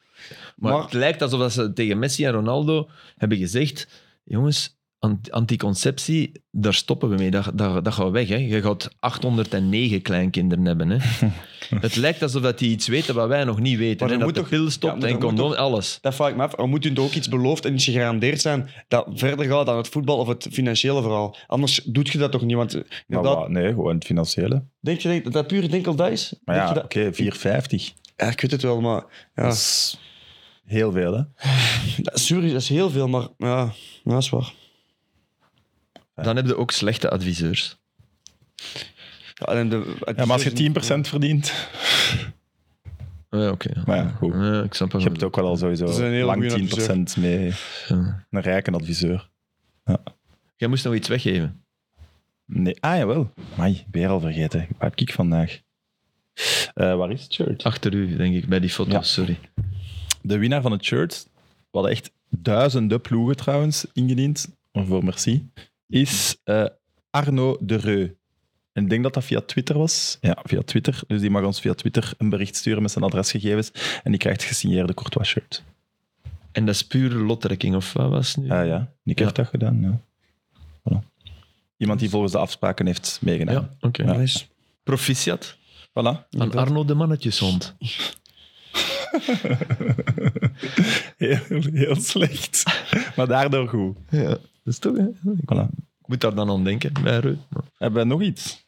S3: Maar,
S4: Maar-
S3: het lijkt alsof dat ze tegen Messi en Ronaldo hebben gezegd: jongens, ant- anticonceptie, daar stoppen we mee. Dat, dat, dat gaat weg. Hè. Je gaat 809 kleinkinderen hebben. Hè. het lijkt alsof dat die iets weten wat wij nog niet weten.
S4: Maar
S3: hè.
S4: er
S3: Dat
S4: moet
S3: de
S4: toch-
S3: pil stopt
S4: ja, maar
S3: en
S4: er moet
S3: condoom, alles.
S4: Dat vraag ik me af. Er moet hun toch ook iets beloofd en iets gegarandeerd zijn dat verder gaat dan het voetbal of het financiële verhaal. Anders doet je dat toch niet, want eh,
S2: Maar
S4: inderdaad,
S2: wat, nee, gewoon het financiële.
S4: Denk je dat dat puur enkel dat is?
S2: Maar
S4: Denk
S2: ja,
S4: je
S2: oké,
S4: dat- Ah.
S2: 4,50.
S4: Ja, ik weet het wel, maar... Ja.
S2: Dat is heel veel, hè.
S4: Dat, is- sorry, dat is heel veel, maar ja, dat is waar.
S3: Dan heb je ook slechte adviseurs.
S4: Ja, en de,
S2: Ja, maar als je 10% verdient...
S3: Ja, oké. ja.
S2: Maar ja, goed.
S3: Ja, ik snap het.
S2: Je hebt ook wel al sowieso
S4: is een heel
S2: lang 10%
S4: goeie
S2: mee.
S3: Ja.
S2: Een rijke adviseur.
S3: Jij moest nog iets weggeven.
S2: Nee. Ah, jawel. Amai, weer al vergeten. Waar heb ik vandaag? Eh, waar is het shirt?
S3: Achter u, denk ik, bij die foto.
S2: Ja.
S3: Sorry.
S2: De winnaar van het shirt, wat echt duizenden ploegen trouwens ingediend, maar voor merci, is eh, Arno de Reu. En ik denk dat dat via Twitter was. Ja, via Twitter. Dus die mag ons via Twitter een bericht sturen met zijn adresgegevens. En die krijgt gesigneerde Courtois shirt.
S3: En dat is pure lotrekking, of wat was het nu?
S2: Ah ja, Dus- Nick heeft dat gedaan. Ja. Voilà. Iemand die volgens de afspraken heeft
S4: Eh,
S2: meegedaan.
S3: Ja, oké.
S2: Ja.
S4: Nice.
S3: Proficiat
S2: Voilà.
S3: aan Arno de mannetjeshond.
S2: Heel, heel slecht. Maar daardoor goed.
S3: Ja, dat is Dus toch, hè? Ik
S2: Voilà.
S3: moet daar dan aan denken, bij Reu. Maar
S2: Hebben we nog iets?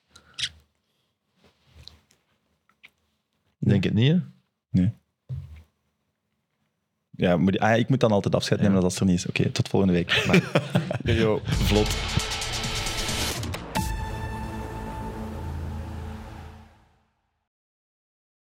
S3: ik Denk het niet, hè?
S2: Ja, moet, ah, ja, ik moet dan altijd afscheid nemen als dat er niet is. Oké, tot volgende week. Bye.
S4: Yo.
S2: Vlot.